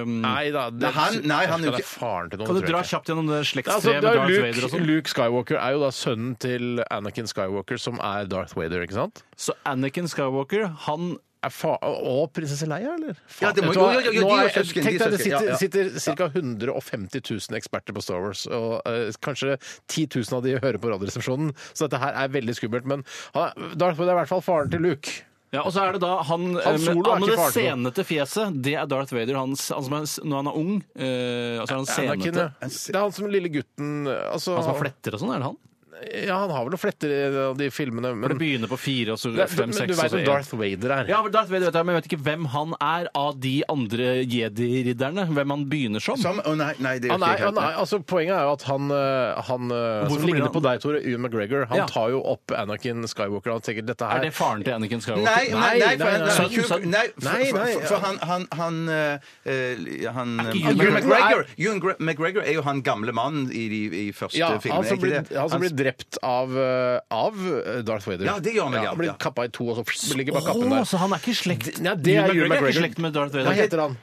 [SPEAKER 3] um,
[SPEAKER 4] Nei da, det,
[SPEAKER 5] Nei, han- nei, han er jo
[SPEAKER 4] det
[SPEAKER 5] ikke-
[SPEAKER 4] faren til noen.
[SPEAKER 3] Kan du
[SPEAKER 4] tror jeg
[SPEAKER 3] dra
[SPEAKER 4] ikke.
[SPEAKER 3] kjapt gjennom det
[SPEAKER 4] Altså,
[SPEAKER 3] slektstreet
[SPEAKER 4] det
[SPEAKER 3] med
[SPEAKER 4] er
[SPEAKER 3] Darth
[SPEAKER 4] jo
[SPEAKER 3] Vader og
[SPEAKER 4] Luke,
[SPEAKER 3] sånn?
[SPEAKER 4] Luke Skywalker er jo da sønnen til Anakin Skywalker, som er Darth Vader, ikke sant?
[SPEAKER 3] Så Anakin Skywalker, han
[SPEAKER 4] Er fa og prinsesse Leia, eller? Faen,
[SPEAKER 5] Ja, det må-
[SPEAKER 4] vet du hva?
[SPEAKER 5] jo, jo, jo,
[SPEAKER 4] Nå
[SPEAKER 5] de er
[SPEAKER 4] er-
[SPEAKER 5] søsken,
[SPEAKER 4] Tenk
[SPEAKER 5] de er
[SPEAKER 4] deg, det
[SPEAKER 5] søsken, ja,
[SPEAKER 4] sitter,
[SPEAKER 5] ja.
[SPEAKER 4] sitter ca. 150 000 eksperter på Star Wars, og eh, kanskje 10 000 av de hører på Radioresepsjonen, så dette her er veldig skummelt. Men han, Darth Vader er i hvert fall faren til Luke.
[SPEAKER 3] Ja, og så er det da han, eh, med-
[SPEAKER 4] Solo er
[SPEAKER 3] han med
[SPEAKER 4] ikke
[SPEAKER 3] det
[SPEAKER 4] faren til
[SPEAKER 3] senete fjeset. Det er Darth Vader. Han, s- han som er, s- når han er ung, eh, altså er han
[SPEAKER 4] Anakin,
[SPEAKER 3] senete.
[SPEAKER 4] ja. Det er han som lille gutten altså,
[SPEAKER 3] Han som har fletter og sånn, er det han?
[SPEAKER 4] Ja, han har vel noen fletter i de filmene,
[SPEAKER 3] For
[SPEAKER 4] men,
[SPEAKER 3] det begynner på fire, og så
[SPEAKER 4] Det er-
[SPEAKER 3] fem,
[SPEAKER 4] men
[SPEAKER 3] seks,
[SPEAKER 4] du
[SPEAKER 3] og
[SPEAKER 4] veit
[SPEAKER 3] så
[SPEAKER 4] hvem
[SPEAKER 3] en.
[SPEAKER 4] Darth Vader er.
[SPEAKER 3] Ja, men Darth Vader vet jeg, men jeg vet ikke hvem han er av de andre jedi-ridderne. Hvem han begynner som.
[SPEAKER 5] Som, å nei, nei, det er jo
[SPEAKER 4] Han
[SPEAKER 5] ikke
[SPEAKER 4] er,
[SPEAKER 5] helt
[SPEAKER 4] han er, altså, poenget er jo at han, øh, han øh,
[SPEAKER 3] Hvorfor
[SPEAKER 4] som
[SPEAKER 3] blir
[SPEAKER 4] ligner
[SPEAKER 3] han-
[SPEAKER 4] på deg, Tore, Ewan McGregor. Han
[SPEAKER 3] Ja.
[SPEAKER 4] tar jo opp Anakin Skywalker. Han tenker dette
[SPEAKER 3] Er
[SPEAKER 4] her
[SPEAKER 3] det faren til Anakin Skywalker?
[SPEAKER 5] Nei, nei, nei, for han-
[SPEAKER 3] Sønnen,
[SPEAKER 5] Hugh-
[SPEAKER 3] sønnen.
[SPEAKER 5] nei, for-
[SPEAKER 4] Nei, nei,
[SPEAKER 5] for- for han han, han, eh, eh, han
[SPEAKER 3] Er
[SPEAKER 5] eh,
[SPEAKER 3] ikke
[SPEAKER 5] Ewan
[SPEAKER 3] Ewan
[SPEAKER 5] McGregor Ewan Gre- McGregor er jo han gamle mannen i de i første
[SPEAKER 4] ja,
[SPEAKER 5] filmen.
[SPEAKER 4] han
[SPEAKER 5] er
[SPEAKER 4] som
[SPEAKER 5] ikke
[SPEAKER 4] blir,
[SPEAKER 5] det?
[SPEAKER 4] han som blir
[SPEAKER 5] Han-
[SPEAKER 4] drept av, øh, av Darth Vader.
[SPEAKER 5] Ja, det gjør han vel, ja.
[SPEAKER 4] Han blir
[SPEAKER 5] Ja.
[SPEAKER 4] kappa i to, og så pss, ligger bare kappen
[SPEAKER 3] Åh,
[SPEAKER 4] der.
[SPEAKER 3] så han er ikke i slekt
[SPEAKER 4] Nei, det er Ewan
[SPEAKER 3] er ikke i
[SPEAKER 4] McGregor.
[SPEAKER 3] slekt med Darth
[SPEAKER 4] Hva
[SPEAKER 3] Vader.
[SPEAKER 4] heter han?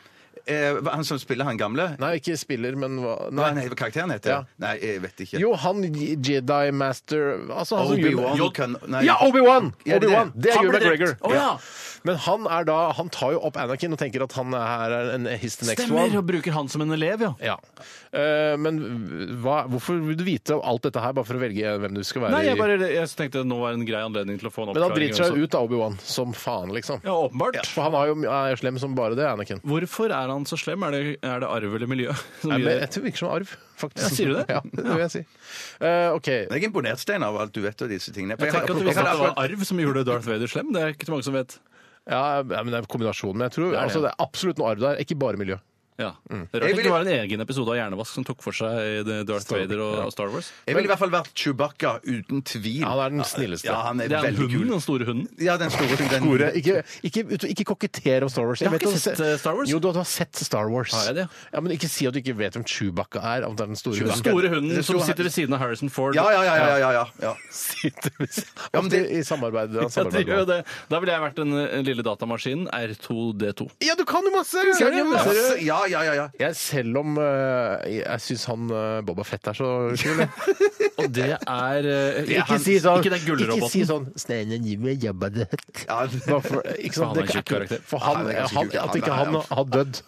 [SPEAKER 5] eh, hva- han som spiller han gamle?
[SPEAKER 4] Nei, ikke spiller, men hva
[SPEAKER 5] Nei, nei, hva karakteren heter?
[SPEAKER 4] Ja.
[SPEAKER 5] Nei, jeg vet ikke.
[SPEAKER 4] Jo, han Jedi Master altså, han som
[SPEAKER 5] Obi-Wan
[SPEAKER 4] gjør-
[SPEAKER 5] kan- nei.
[SPEAKER 4] Ja, Obi-Wan!
[SPEAKER 5] Ja, det er det.
[SPEAKER 4] Obi-Wan. Det er
[SPEAKER 3] Han
[SPEAKER 4] Ewan
[SPEAKER 3] ble drept.
[SPEAKER 4] McGregor.
[SPEAKER 3] Å, ja.
[SPEAKER 4] Men han er da Han tar jo opp Anakin og tenker at han er her er en his the next
[SPEAKER 3] Stemmer,
[SPEAKER 4] one.
[SPEAKER 3] og bruker han som en elev, ja.
[SPEAKER 4] Ja. Eh, men hva, hvorfor vil du vite alt dette her, bare for å velge hvem du skal være
[SPEAKER 3] Nei, jeg,
[SPEAKER 4] i?
[SPEAKER 3] bare, jeg tenkte nå var en grei anledning til å få en
[SPEAKER 4] Men han
[SPEAKER 3] oppklaring.
[SPEAKER 4] driter seg
[SPEAKER 3] også.
[SPEAKER 4] ut av Obi-Wan som faen, liksom.
[SPEAKER 3] Ja, åpenbart.
[SPEAKER 4] For han er jo er jo slem som bare det, Anakin.
[SPEAKER 3] Hvorfor er han så slem? Er det, er det arv eller miljø? som
[SPEAKER 4] Nei, men
[SPEAKER 3] gjør det?
[SPEAKER 4] jeg tror det virker som arv, faktisk.
[SPEAKER 3] Ja, sier du det?
[SPEAKER 4] Ja, det vil jeg si. Eh, OK.
[SPEAKER 5] Jeg er imponert, Stein, av alt du vet av disse tingene. For
[SPEAKER 3] Jeg tenker at du
[SPEAKER 5] jeg
[SPEAKER 3] visste
[SPEAKER 5] har
[SPEAKER 3] at det var
[SPEAKER 5] akkurat-
[SPEAKER 3] arv som gjorde Darth Vader slem. Det er ikke så mange som vet.
[SPEAKER 4] Ja, men det er kombinasjonen. Men jeg tror det
[SPEAKER 3] det,
[SPEAKER 4] er, altså,
[SPEAKER 3] ja.
[SPEAKER 4] det er absolutt noe arv der, ikke bare miljø.
[SPEAKER 3] Ja. Det er rart
[SPEAKER 5] Jeg
[SPEAKER 3] det
[SPEAKER 5] vil-
[SPEAKER 3] ikke var en egen episode av Hjernevask som tok for seg det Darth Vader og og Star Wars.
[SPEAKER 5] jeg ville i hvert fall vært Chewbacca, uten tvil.
[SPEAKER 4] Han er den snilleste.
[SPEAKER 5] Ja, han er
[SPEAKER 3] Det er
[SPEAKER 5] veldig
[SPEAKER 3] hunden,
[SPEAKER 5] kul.
[SPEAKER 3] den store hunden.
[SPEAKER 5] Ja, den store. Den,
[SPEAKER 4] Tore, ikke, ikke, vet du, ikke kokettere om Star Wars.
[SPEAKER 3] Jeg har
[SPEAKER 4] vet
[SPEAKER 3] ikke
[SPEAKER 4] du-
[SPEAKER 3] sett, eh, Star Wars.
[SPEAKER 4] Jo, du, du har sett Star Wars.
[SPEAKER 3] Har jeg det?
[SPEAKER 4] Ja, men ikke si at du ikke vet hvem Chewbacca er. Om det er den store
[SPEAKER 3] Den
[SPEAKER 4] hunden.
[SPEAKER 3] store hunden
[SPEAKER 5] Det
[SPEAKER 3] som
[SPEAKER 5] sto-
[SPEAKER 3] sitter ved siden av Harrison Ford.
[SPEAKER 5] Ja, ja, ja. ja, ja, ja, ja.
[SPEAKER 4] Sitter ved siden-
[SPEAKER 5] Ja, men det-
[SPEAKER 4] Ofte i samarbeid. han
[SPEAKER 3] Ja, det
[SPEAKER 4] samarbeider
[SPEAKER 3] gjør jo
[SPEAKER 4] med han.
[SPEAKER 3] det. Da ville jeg vært den eh, lille datamaskinen R2D2.
[SPEAKER 4] Ja, du kan jo masse!
[SPEAKER 3] kan jo masse.
[SPEAKER 4] Ser du?
[SPEAKER 5] Ja, ja, ja, ja.
[SPEAKER 4] Jeg, selv om eh, jeg syns han uh, Boba Fett er så kul. jeg.
[SPEAKER 3] Og det er eh, han- Ikke den
[SPEAKER 4] sånn- Ikke si
[SPEAKER 3] gullroboten.
[SPEAKER 4] sånn Snene nye jabba det hett.
[SPEAKER 5] ja.
[SPEAKER 4] Bare For, ikke sant?
[SPEAKER 3] Han er
[SPEAKER 4] Det er
[SPEAKER 3] en tjukk
[SPEAKER 4] ikke-
[SPEAKER 3] karakter.
[SPEAKER 4] for han,
[SPEAKER 5] Ja, det er ganske kult.
[SPEAKER 4] han, at
[SPEAKER 5] Ja,
[SPEAKER 4] ikke
[SPEAKER 5] det er-
[SPEAKER 4] han har dødd.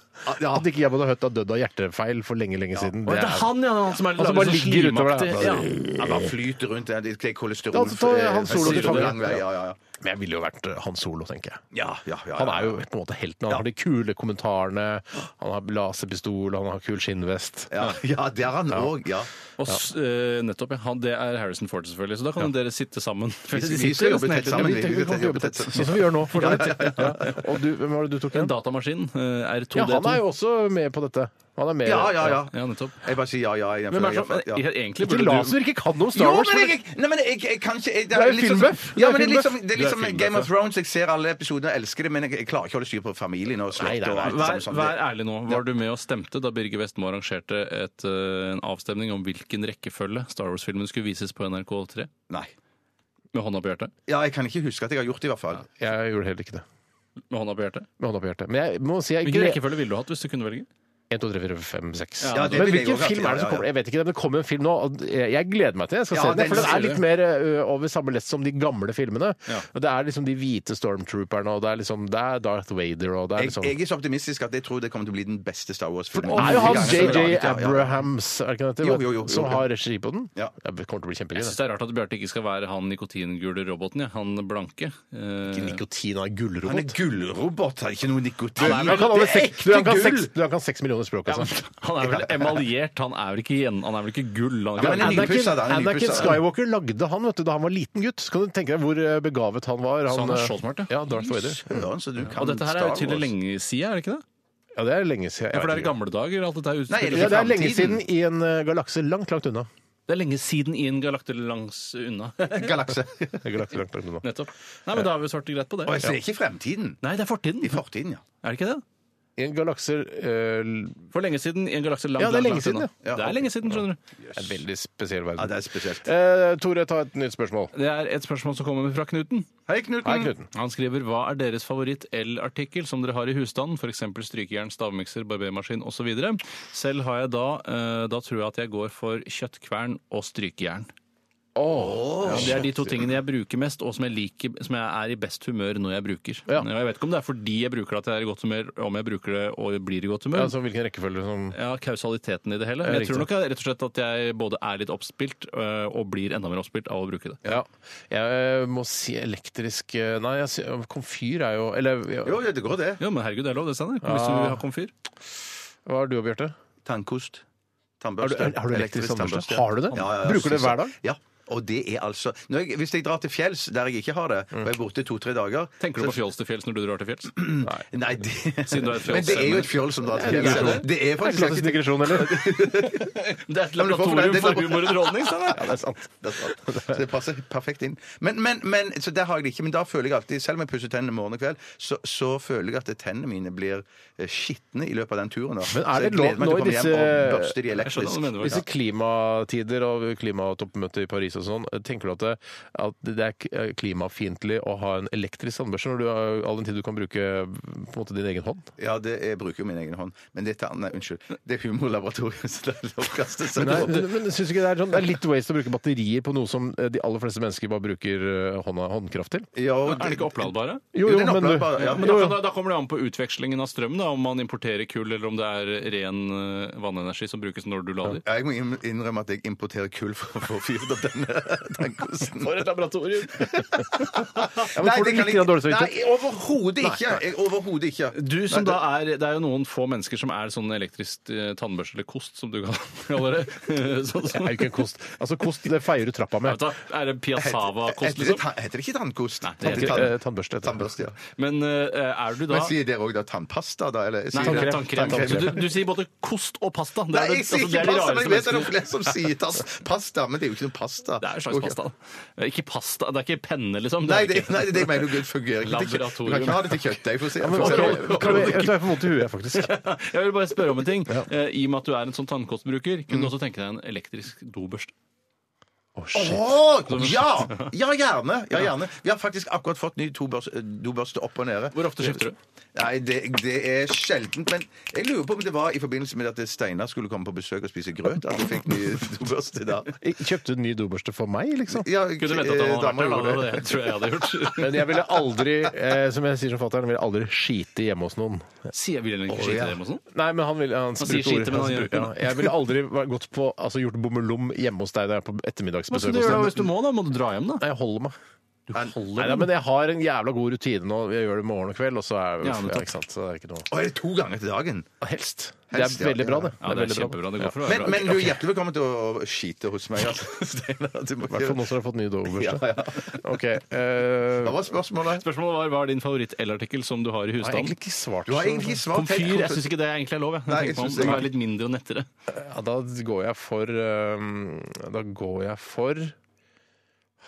[SPEAKER 5] Ja.
[SPEAKER 4] At ikke Jabba the Hutt har dødd av hjertefeil for lenge, lenge siden.
[SPEAKER 3] Å, Det er han, ja! Han som er
[SPEAKER 4] Han som bare
[SPEAKER 3] litt
[SPEAKER 4] ligger utover
[SPEAKER 3] slimaktig.
[SPEAKER 4] der.
[SPEAKER 3] Ja.
[SPEAKER 5] Ja, bare flyter rundt der. Det er kolesterol.
[SPEAKER 4] Ja, altså, ta
[SPEAKER 5] eh,
[SPEAKER 4] Han Solo til fange.
[SPEAKER 5] lang vei, Ja, ja, ja.
[SPEAKER 4] Men jeg ville jo vært eh, Han Solo, tenker jeg.
[SPEAKER 5] Ja, ja, ja, ja.
[SPEAKER 4] Han er jo på en måte helten. Han har de kule kommentarene, han har laserpistol, han har kul skinnvest.
[SPEAKER 5] ja, ja, det er han òg, ja.
[SPEAKER 3] Og s- eh, nettopp, ja. Han, det er Harrison Ford, selvfølgelig. Så da kan dere sitte sammen.
[SPEAKER 5] Vi skal jobbe tett sammen. vi. Vi skal jobbe tett
[SPEAKER 4] Sånn som
[SPEAKER 5] sammen.
[SPEAKER 4] vi gjør nå. For så vidt. Ja. Og du, hvem var det du tok
[SPEAKER 3] En
[SPEAKER 4] igjen?
[SPEAKER 3] datamaskin. eh, R2D2.
[SPEAKER 4] Ja, han er jo også med på dette. Han er med.
[SPEAKER 5] Ja, ja, ja.
[SPEAKER 3] Ja, nettopp.
[SPEAKER 5] Jeg bare sier ja, ja. jeg-
[SPEAKER 3] Hvem er det
[SPEAKER 5] jeg-
[SPEAKER 3] som
[SPEAKER 5] ja.
[SPEAKER 3] Egentlig
[SPEAKER 4] Ikke
[SPEAKER 3] burde
[SPEAKER 4] la
[SPEAKER 3] du
[SPEAKER 4] som ikke kan noe om
[SPEAKER 5] Jo,
[SPEAKER 4] Star Wars.
[SPEAKER 5] men
[SPEAKER 4] men-
[SPEAKER 5] jeg, nei, men jeg, jeg kan ikke jeg,
[SPEAKER 4] Du er jo
[SPEAKER 5] litt sånn-
[SPEAKER 4] filmbuff. Du
[SPEAKER 5] Ja,
[SPEAKER 4] er
[SPEAKER 5] men det er litt som- det
[SPEAKER 4] filmbuff.
[SPEAKER 5] er
[SPEAKER 3] Du er
[SPEAKER 5] litt som
[SPEAKER 3] filmbuff,
[SPEAKER 5] Game of
[SPEAKER 3] ja.
[SPEAKER 5] Thrones. Jeg ser alle episodene og elsker det, men jeg, jeg klarer ikke å holde styr på familien og slott
[SPEAKER 4] Nei, nei,
[SPEAKER 5] og
[SPEAKER 4] nei.
[SPEAKER 5] alt
[SPEAKER 3] Vær,
[SPEAKER 5] sammen sånt.
[SPEAKER 3] vær ærlig nå. Var du med og stemte da Birger Vestmo arrangerte et, eh, en avstemning om hvilken rekkefølge Star Wars-filmen skulle vises på NRK3?
[SPEAKER 5] Nei.
[SPEAKER 3] Med hånda på hjertet?
[SPEAKER 5] Ja, jeg kan ikke huske at jeg har gjort det, i hvert fall.
[SPEAKER 4] Jeg gjorde heller ikke det.
[SPEAKER 3] Med hånda på hjertet?
[SPEAKER 4] Med hånda på hjertet. Men jeg må si jeg
[SPEAKER 3] Hvilken
[SPEAKER 4] gleder-
[SPEAKER 3] rekkefølge ville du hatt hvis du kunne velge?
[SPEAKER 4] 1, 2, 3, 4, 5, 6.
[SPEAKER 3] Ja, det
[SPEAKER 4] men
[SPEAKER 5] vil jeg
[SPEAKER 4] hvilken
[SPEAKER 5] også
[SPEAKER 4] film er det
[SPEAKER 5] si, ja, ja,
[SPEAKER 4] som kommer? Jeg vet ikke, det kommer en film nå. og Jeg gleder meg til det. Jeg skal
[SPEAKER 5] Ja,
[SPEAKER 4] se den,
[SPEAKER 5] den
[SPEAKER 4] for den
[SPEAKER 5] skal
[SPEAKER 4] er litt
[SPEAKER 3] du.
[SPEAKER 4] mer ø, over samme lest som de gamle filmene.
[SPEAKER 3] Ja.
[SPEAKER 4] Og Det er liksom de hvite stormtrooperne, og det er liksom det er Darth Vader og det er
[SPEAKER 5] Jeg,
[SPEAKER 4] liksom
[SPEAKER 5] jeg er så optimistisk at jeg tror det kommer til å bli den beste Star Wars-filmen.
[SPEAKER 4] Det er jo han
[SPEAKER 5] Ja, ja, ja,
[SPEAKER 4] JJ
[SPEAKER 5] ja, ja.
[SPEAKER 4] Abrahams, er det ikke det?
[SPEAKER 5] Jo, jo, jo, jo.
[SPEAKER 4] som har regi på den?
[SPEAKER 5] Ja.
[SPEAKER 4] Det kommer til å bli kjempegøy.
[SPEAKER 3] Jeg syns
[SPEAKER 4] det.
[SPEAKER 3] det er rart at Bjarte ikke skal være han nikotingule roboten, ja. han blanke. Eh,
[SPEAKER 4] Ikke Nikotin av
[SPEAKER 5] Han er
[SPEAKER 4] gullrobot.
[SPEAKER 5] gullrobot, han er ikke noe nikotin.
[SPEAKER 4] Han kan over
[SPEAKER 5] det er
[SPEAKER 4] seks- du,
[SPEAKER 5] ekte
[SPEAKER 4] han kan
[SPEAKER 5] gull!
[SPEAKER 4] seks- du, han kan seks millioner han i språket, altså.
[SPEAKER 3] Han er vel emaljert, han er vel ikke, igjen, han er vel ikke gull? Han
[SPEAKER 5] Ja,
[SPEAKER 3] er ikke,
[SPEAKER 5] men en
[SPEAKER 4] Anakin,
[SPEAKER 5] nypussa, da, en
[SPEAKER 4] Anakin
[SPEAKER 5] nypussa.
[SPEAKER 4] Skywalker lagde han vet du, da han var liten gutt. Så kan du tenke deg hvor eh, begavet han var.
[SPEAKER 3] Så han er
[SPEAKER 4] eh,
[SPEAKER 3] så smart, ja.
[SPEAKER 4] ja. Darth Vader.
[SPEAKER 5] Søren, så du kan
[SPEAKER 3] og dette her er jo til lenge siden, er det ikke det?
[SPEAKER 4] Ja, det er lenge siden. jeg
[SPEAKER 3] Ja, for
[SPEAKER 4] vet
[SPEAKER 3] det er i
[SPEAKER 4] ikke.
[SPEAKER 3] gamle dager alt dette er
[SPEAKER 5] Nei,
[SPEAKER 3] utspilt.
[SPEAKER 5] eller-
[SPEAKER 4] ja, det er lenge
[SPEAKER 5] Fremtiden.
[SPEAKER 4] siden i en eh, galakse langt, langt unna.
[SPEAKER 3] Det er lenge siden i en galakte langs unna.
[SPEAKER 5] Galakse.
[SPEAKER 4] En galakse langt, langt unna.
[SPEAKER 3] Nettopp. Nei, men da har vi svart greit på det.
[SPEAKER 5] Og jeg ser ikke fremtiden.
[SPEAKER 3] Nei, det er fortiden.
[SPEAKER 5] I fortiden, ja.
[SPEAKER 3] Er det ikke det?
[SPEAKER 4] I en galakse eh, l-
[SPEAKER 3] For lenge siden i en galakse langt,
[SPEAKER 4] Ja, det er
[SPEAKER 3] langt,
[SPEAKER 4] lenge siden,
[SPEAKER 3] langt unna.
[SPEAKER 5] ja. Ja,
[SPEAKER 3] Det er lenge siden, skjønner du.
[SPEAKER 4] En veldig
[SPEAKER 5] ja.
[SPEAKER 4] spesiell verden.
[SPEAKER 5] Det er spesielt.
[SPEAKER 4] Eh, Tore, ta et nytt spørsmål.
[SPEAKER 3] Det er et spørsmål som kommer fra Knuten.
[SPEAKER 5] Hei, Knuten.
[SPEAKER 4] Hei, Knuten.
[SPEAKER 3] Han skriver hva er deres favoritt el-artikkel som dere har i husstanden, f.eks. strykejern, stavmikser, barbermaskin osv. Selv har jeg da eh, Da tror jeg at jeg går for kjøttkvern og strykejern. Ja, det er de to tingene jeg bruker mest, og som jeg, liker, som jeg er i best humør når jeg bruker.
[SPEAKER 4] Ja.
[SPEAKER 3] Jeg vet ikke om det er fordi jeg bruker det at jeg er i godt humør, om jeg bruker det og blir i godt humør.
[SPEAKER 4] Altså, hvilken rekkefølge som
[SPEAKER 3] Ja, kausaliteten i det hele.
[SPEAKER 4] Ja,
[SPEAKER 3] Men jeg tror
[SPEAKER 4] riktig.
[SPEAKER 3] nok rett og slett at jeg både er litt oppspilt øh, og blir enda mer oppspilt av å bruke det.
[SPEAKER 4] ja. Jeg eh, må si elektrisk eh, Nei, jeg, sier- komfyr er jo Eller ja,
[SPEAKER 5] Jo, ja, det går, det.
[SPEAKER 3] Ja, men herregud, det er lov, det, Steinar. Hvis du vil ha komfyr.
[SPEAKER 4] hva har du og Bjarte?
[SPEAKER 5] Tannkost.
[SPEAKER 4] Har du,
[SPEAKER 5] Tannbørste.
[SPEAKER 4] har du elektrisk tannbørste? Har du det?
[SPEAKER 5] Ja, ja, ja.
[SPEAKER 4] Bruker du det hver dag?
[SPEAKER 5] Ja. Og det er altså når jeg, Hvis jeg drar til fjells der jeg ikke har det,
[SPEAKER 4] Mm.
[SPEAKER 5] og jeg er borte to-tre dager
[SPEAKER 3] Tenker du på
[SPEAKER 5] så-
[SPEAKER 3] fjols til fjells når du drar til fjells?
[SPEAKER 5] Nei, det,
[SPEAKER 3] Siden du er et fjols,
[SPEAKER 5] Men det er jo et fjoll som drar til fjells.
[SPEAKER 4] det er det.
[SPEAKER 5] Det er
[SPEAKER 4] Det er
[SPEAKER 5] faktisk
[SPEAKER 4] klassisk digresjon, eller?
[SPEAKER 3] Det er et
[SPEAKER 5] men du får for
[SPEAKER 3] laboratorium
[SPEAKER 5] det-
[SPEAKER 3] for humor og underholdning, Steinar.
[SPEAKER 5] Ja, det er sant. Det er sant. Så det passer perfekt inn. Men, men, men, så der har jeg det ikke. Men da føler jeg alltid, selv om jeg pusser tennene morgen og kveld, så, så føler jeg at tennene mine blir eh, skitne i løpet av den turen. Da.
[SPEAKER 4] Men er
[SPEAKER 5] så
[SPEAKER 4] det
[SPEAKER 5] jeg
[SPEAKER 4] lov
[SPEAKER 5] gleder meg
[SPEAKER 4] nå
[SPEAKER 5] til å komme
[SPEAKER 4] i
[SPEAKER 5] hjem
[SPEAKER 4] disse-
[SPEAKER 5] og børste de
[SPEAKER 3] Jeg skjønner hva
[SPEAKER 5] elektrisk.
[SPEAKER 3] du mener.
[SPEAKER 4] Disse
[SPEAKER 3] Våge.
[SPEAKER 4] klimatider og klimatoppmøtet i Paris og sånn, tenker du at det, at det er k- eh, klimafiendtlig å ha en elektrisk sandbørse når du har all den tid du kan bruke på en måte din egen hånd?
[SPEAKER 5] Ja, det, jeg bruker jo min egen hånd. Men det er tann- nei, unnskyld. Det er humorlaboratoriet, så det er lov å kaste seg
[SPEAKER 4] Nei,
[SPEAKER 5] på.
[SPEAKER 4] men men synes du ikke det er, sånn, det er litt waste å bruke batterier på noe som eh, de aller fleste mennesker bare bruker eh, hånda, håndkraft til?
[SPEAKER 5] Ja, og
[SPEAKER 3] Er det ikke oppladbare?
[SPEAKER 5] Jo, den
[SPEAKER 4] du-
[SPEAKER 5] oppladbare, ja.
[SPEAKER 3] Men
[SPEAKER 4] Jo,
[SPEAKER 3] da,
[SPEAKER 4] jo.
[SPEAKER 3] da, da kommer det an på utvekslingen av strøm, da, om man importerer kull, eller om det er ren øh, vannenergi som brukes når du lader.
[SPEAKER 5] Jeg må inn- innrømme at jeg importerer kull for å få fyrt opp denne tannkosten.
[SPEAKER 4] For et laboratorium! ja, men
[SPEAKER 5] Nei,
[SPEAKER 4] får
[SPEAKER 5] det
[SPEAKER 4] du
[SPEAKER 5] kan
[SPEAKER 4] litt
[SPEAKER 5] jeg-
[SPEAKER 4] grann dårlig samvittighet?
[SPEAKER 5] Nei, overhodet ikke. Jeg- Overhodet ikke.
[SPEAKER 3] Du som da er, Det er jo noen få mennesker som er sånn elektrisk eh, tannbørste eller kost, som du kaller det. Sånn som-
[SPEAKER 4] Det er jo ikke en kost. Altså, kost det feier du trappa
[SPEAKER 3] Jeg
[SPEAKER 4] med.
[SPEAKER 3] vet da, Er det Piazzava-kost,
[SPEAKER 5] Heter det,
[SPEAKER 3] liksom?
[SPEAKER 5] tan- heter det ikke tannkost?
[SPEAKER 3] Nei, det heter-
[SPEAKER 5] Tann-
[SPEAKER 4] Eh, Tannbørste. heter det.
[SPEAKER 5] Tannbørste, ja.
[SPEAKER 3] Men eh, er du da
[SPEAKER 5] Men sier dere òg da tannpasta, da? Eller,
[SPEAKER 3] Nei,
[SPEAKER 5] sier dere-
[SPEAKER 3] tannkrem.
[SPEAKER 5] tannkrem,
[SPEAKER 3] Så
[SPEAKER 5] ja.
[SPEAKER 3] du, du sier både kost og pasta. Det
[SPEAKER 5] Nei,
[SPEAKER 3] er det-
[SPEAKER 5] jeg sier
[SPEAKER 3] altså, det
[SPEAKER 5] ikke
[SPEAKER 3] er de
[SPEAKER 5] pasta, men jeg
[SPEAKER 3] rareste
[SPEAKER 5] vet det er
[SPEAKER 3] menneskene.
[SPEAKER 5] flere som sier tas- pasta. Men det er jo ikke noe pasta.
[SPEAKER 3] Det er en slags pasta. da. Ikke pasta, det er ikke penne, liksom. Det
[SPEAKER 5] Nei,
[SPEAKER 3] er
[SPEAKER 5] det,
[SPEAKER 3] ikke-
[SPEAKER 5] nei, det er det jeg mener det fungerer ikke. Det er ikke- Du kan ikke ha det sånn. til kjøttdeig, for å si
[SPEAKER 4] Ja, men,
[SPEAKER 5] for å si
[SPEAKER 4] ok,
[SPEAKER 5] det.
[SPEAKER 4] kan vi, jeg tror jeg får vondt i huet, faktisk.
[SPEAKER 3] Jeg vil bare spørre om en ting. Eh, I og med at du er en sånn tannkostbruker, kunne du også tenke deg en elektrisk dobørste?
[SPEAKER 4] Å, shit.
[SPEAKER 5] Å, ja! Ja, gjerne. ja, gjerne. Vi har faktisk akkurat fått ny tobørs- eh, dobørste opp og nede.
[SPEAKER 3] Hvor ofte skifter du?
[SPEAKER 5] Nei, det, det er sjeldent. Men jeg lurer på om det var i forbindelse med at Steinar skulle komme på besøk og spise grøt, at du fikk ny dobørste da.
[SPEAKER 4] Kjøpte du en ny dobørste for meg, liksom?
[SPEAKER 5] Ja, eh,
[SPEAKER 3] Kunne vente at han hadde
[SPEAKER 5] damer
[SPEAKER 3] vært
[SPEAKER 5] gjorde
[SPEAKER 3] der,
[SPEAKER 5] det.
[SPEAKER 3] da. Det tror jeg jeg hadde gjort.
[SPEAKER 4] Men jeg ville aldri, eh, som jeg sier som fatter'n, ville aldri skite hjemme hos noen.
[SPEAKER 3] Sier Wilhelm ikke
[SPEAKER 5] ja.
[SPEAKER 3] skite hjemme og sånn?
[SPEAKER 4] Nei, men han ville Han,
[SPEAKER 3] sier
[SPEAKER 4] sprutte
[SPEAKER 3] skite,
[SPEAKER 4] ordet.
[SPEAKER 3] men han
[SPEAKER 4] Han
[SPEAKER 3] gjør
[SPEAKER 4] sprutte- ja.
[SPEAKER 3] ikke
[SPEAKER 4] Jeg ville aldri vært- gått på, altså, gjort bommelom hjemme hos deg når jeg er på
[SPEAKER 3] Hva skal
[SPEAKER 4] ettermiddagsbesøk.
[SPEAKER 3] du
[SPEAKER 4] hos
[SPEAKER 3] gjøre da
[SPEAKER 4] deg.
[SPEAKER 3] hvis du må? da? Må du dra hjem, da?
[SPEAKER 4] Nei, jeg holder meg.
[SPEAKER 3] Holder
[SPEAKER 4] Nei,
[SPEAKER 3] den?
[SPEAKER 4] da, men jeg har en jævla god rutine nå. Jeg gjør det morgen og kveld, og så er,
[SPEAKER 3] Ja, nettopp.
[SPEAKER 4] ja, ikke sant? Så det er ikke noe
[SPEAKER 5] Å, er det to ganger til dagen?
[SPEAKER 4] Helst. Det er
[SPEAKER 5] Helst, ja.
[SPEAKER 4] veldig bra, det.
[SPEAKER 3] Ja, det er
[SPEAKER 4] veldig bra,
[SPEAKER 3] kjempebra. Det går for å være
[SPEAKER 5] Men,
[SPEAKER 3] bra.
[SPEAKER 5] men du er hjertelig velkommen til å skite hos meg, altså. Steinar. Du må
[SPEAKER 4] I hvert fall
[SPEAKER 5] ikke-
[SPEAKER 4] nå som du har fått ny
[SPEAKER 5] Ja,
[SPEAKER 4] dobørste.
[SPEAKER 5] ja.
[SPEAKER 4] Ok. eh,
[SPEAKER 5] Hva var spørsmålet?
[SPEAKER 3] Spørsmålet var hva er din favoritt-elartikkel som du har i
[SPEAKER 4] jeg har egentlig
[SPEAKER 3] husstanden?
[SPEAKER 4] ikke svart.
[SPEAKER 5] Du har egentlig ikke svart.
[SPEAKER 3] Komfyr? Jeg syns ikke det egentlig er lov. Jeg,
[SPEAKER 5] Nei,
[SPEAKER 3] jeg
[SPEAKER 5] jeg
[SPEAKER 3] tenker meg om.
[SPEAKER 5] synes
[SPEAKER 3] Det må
[SPEAKER 5] egentlig-
[SPEAKER 3] være litt mindre og nettere.
[SPEAKER 4] Ja, da går jeg for eh, Da går jeg for Jeg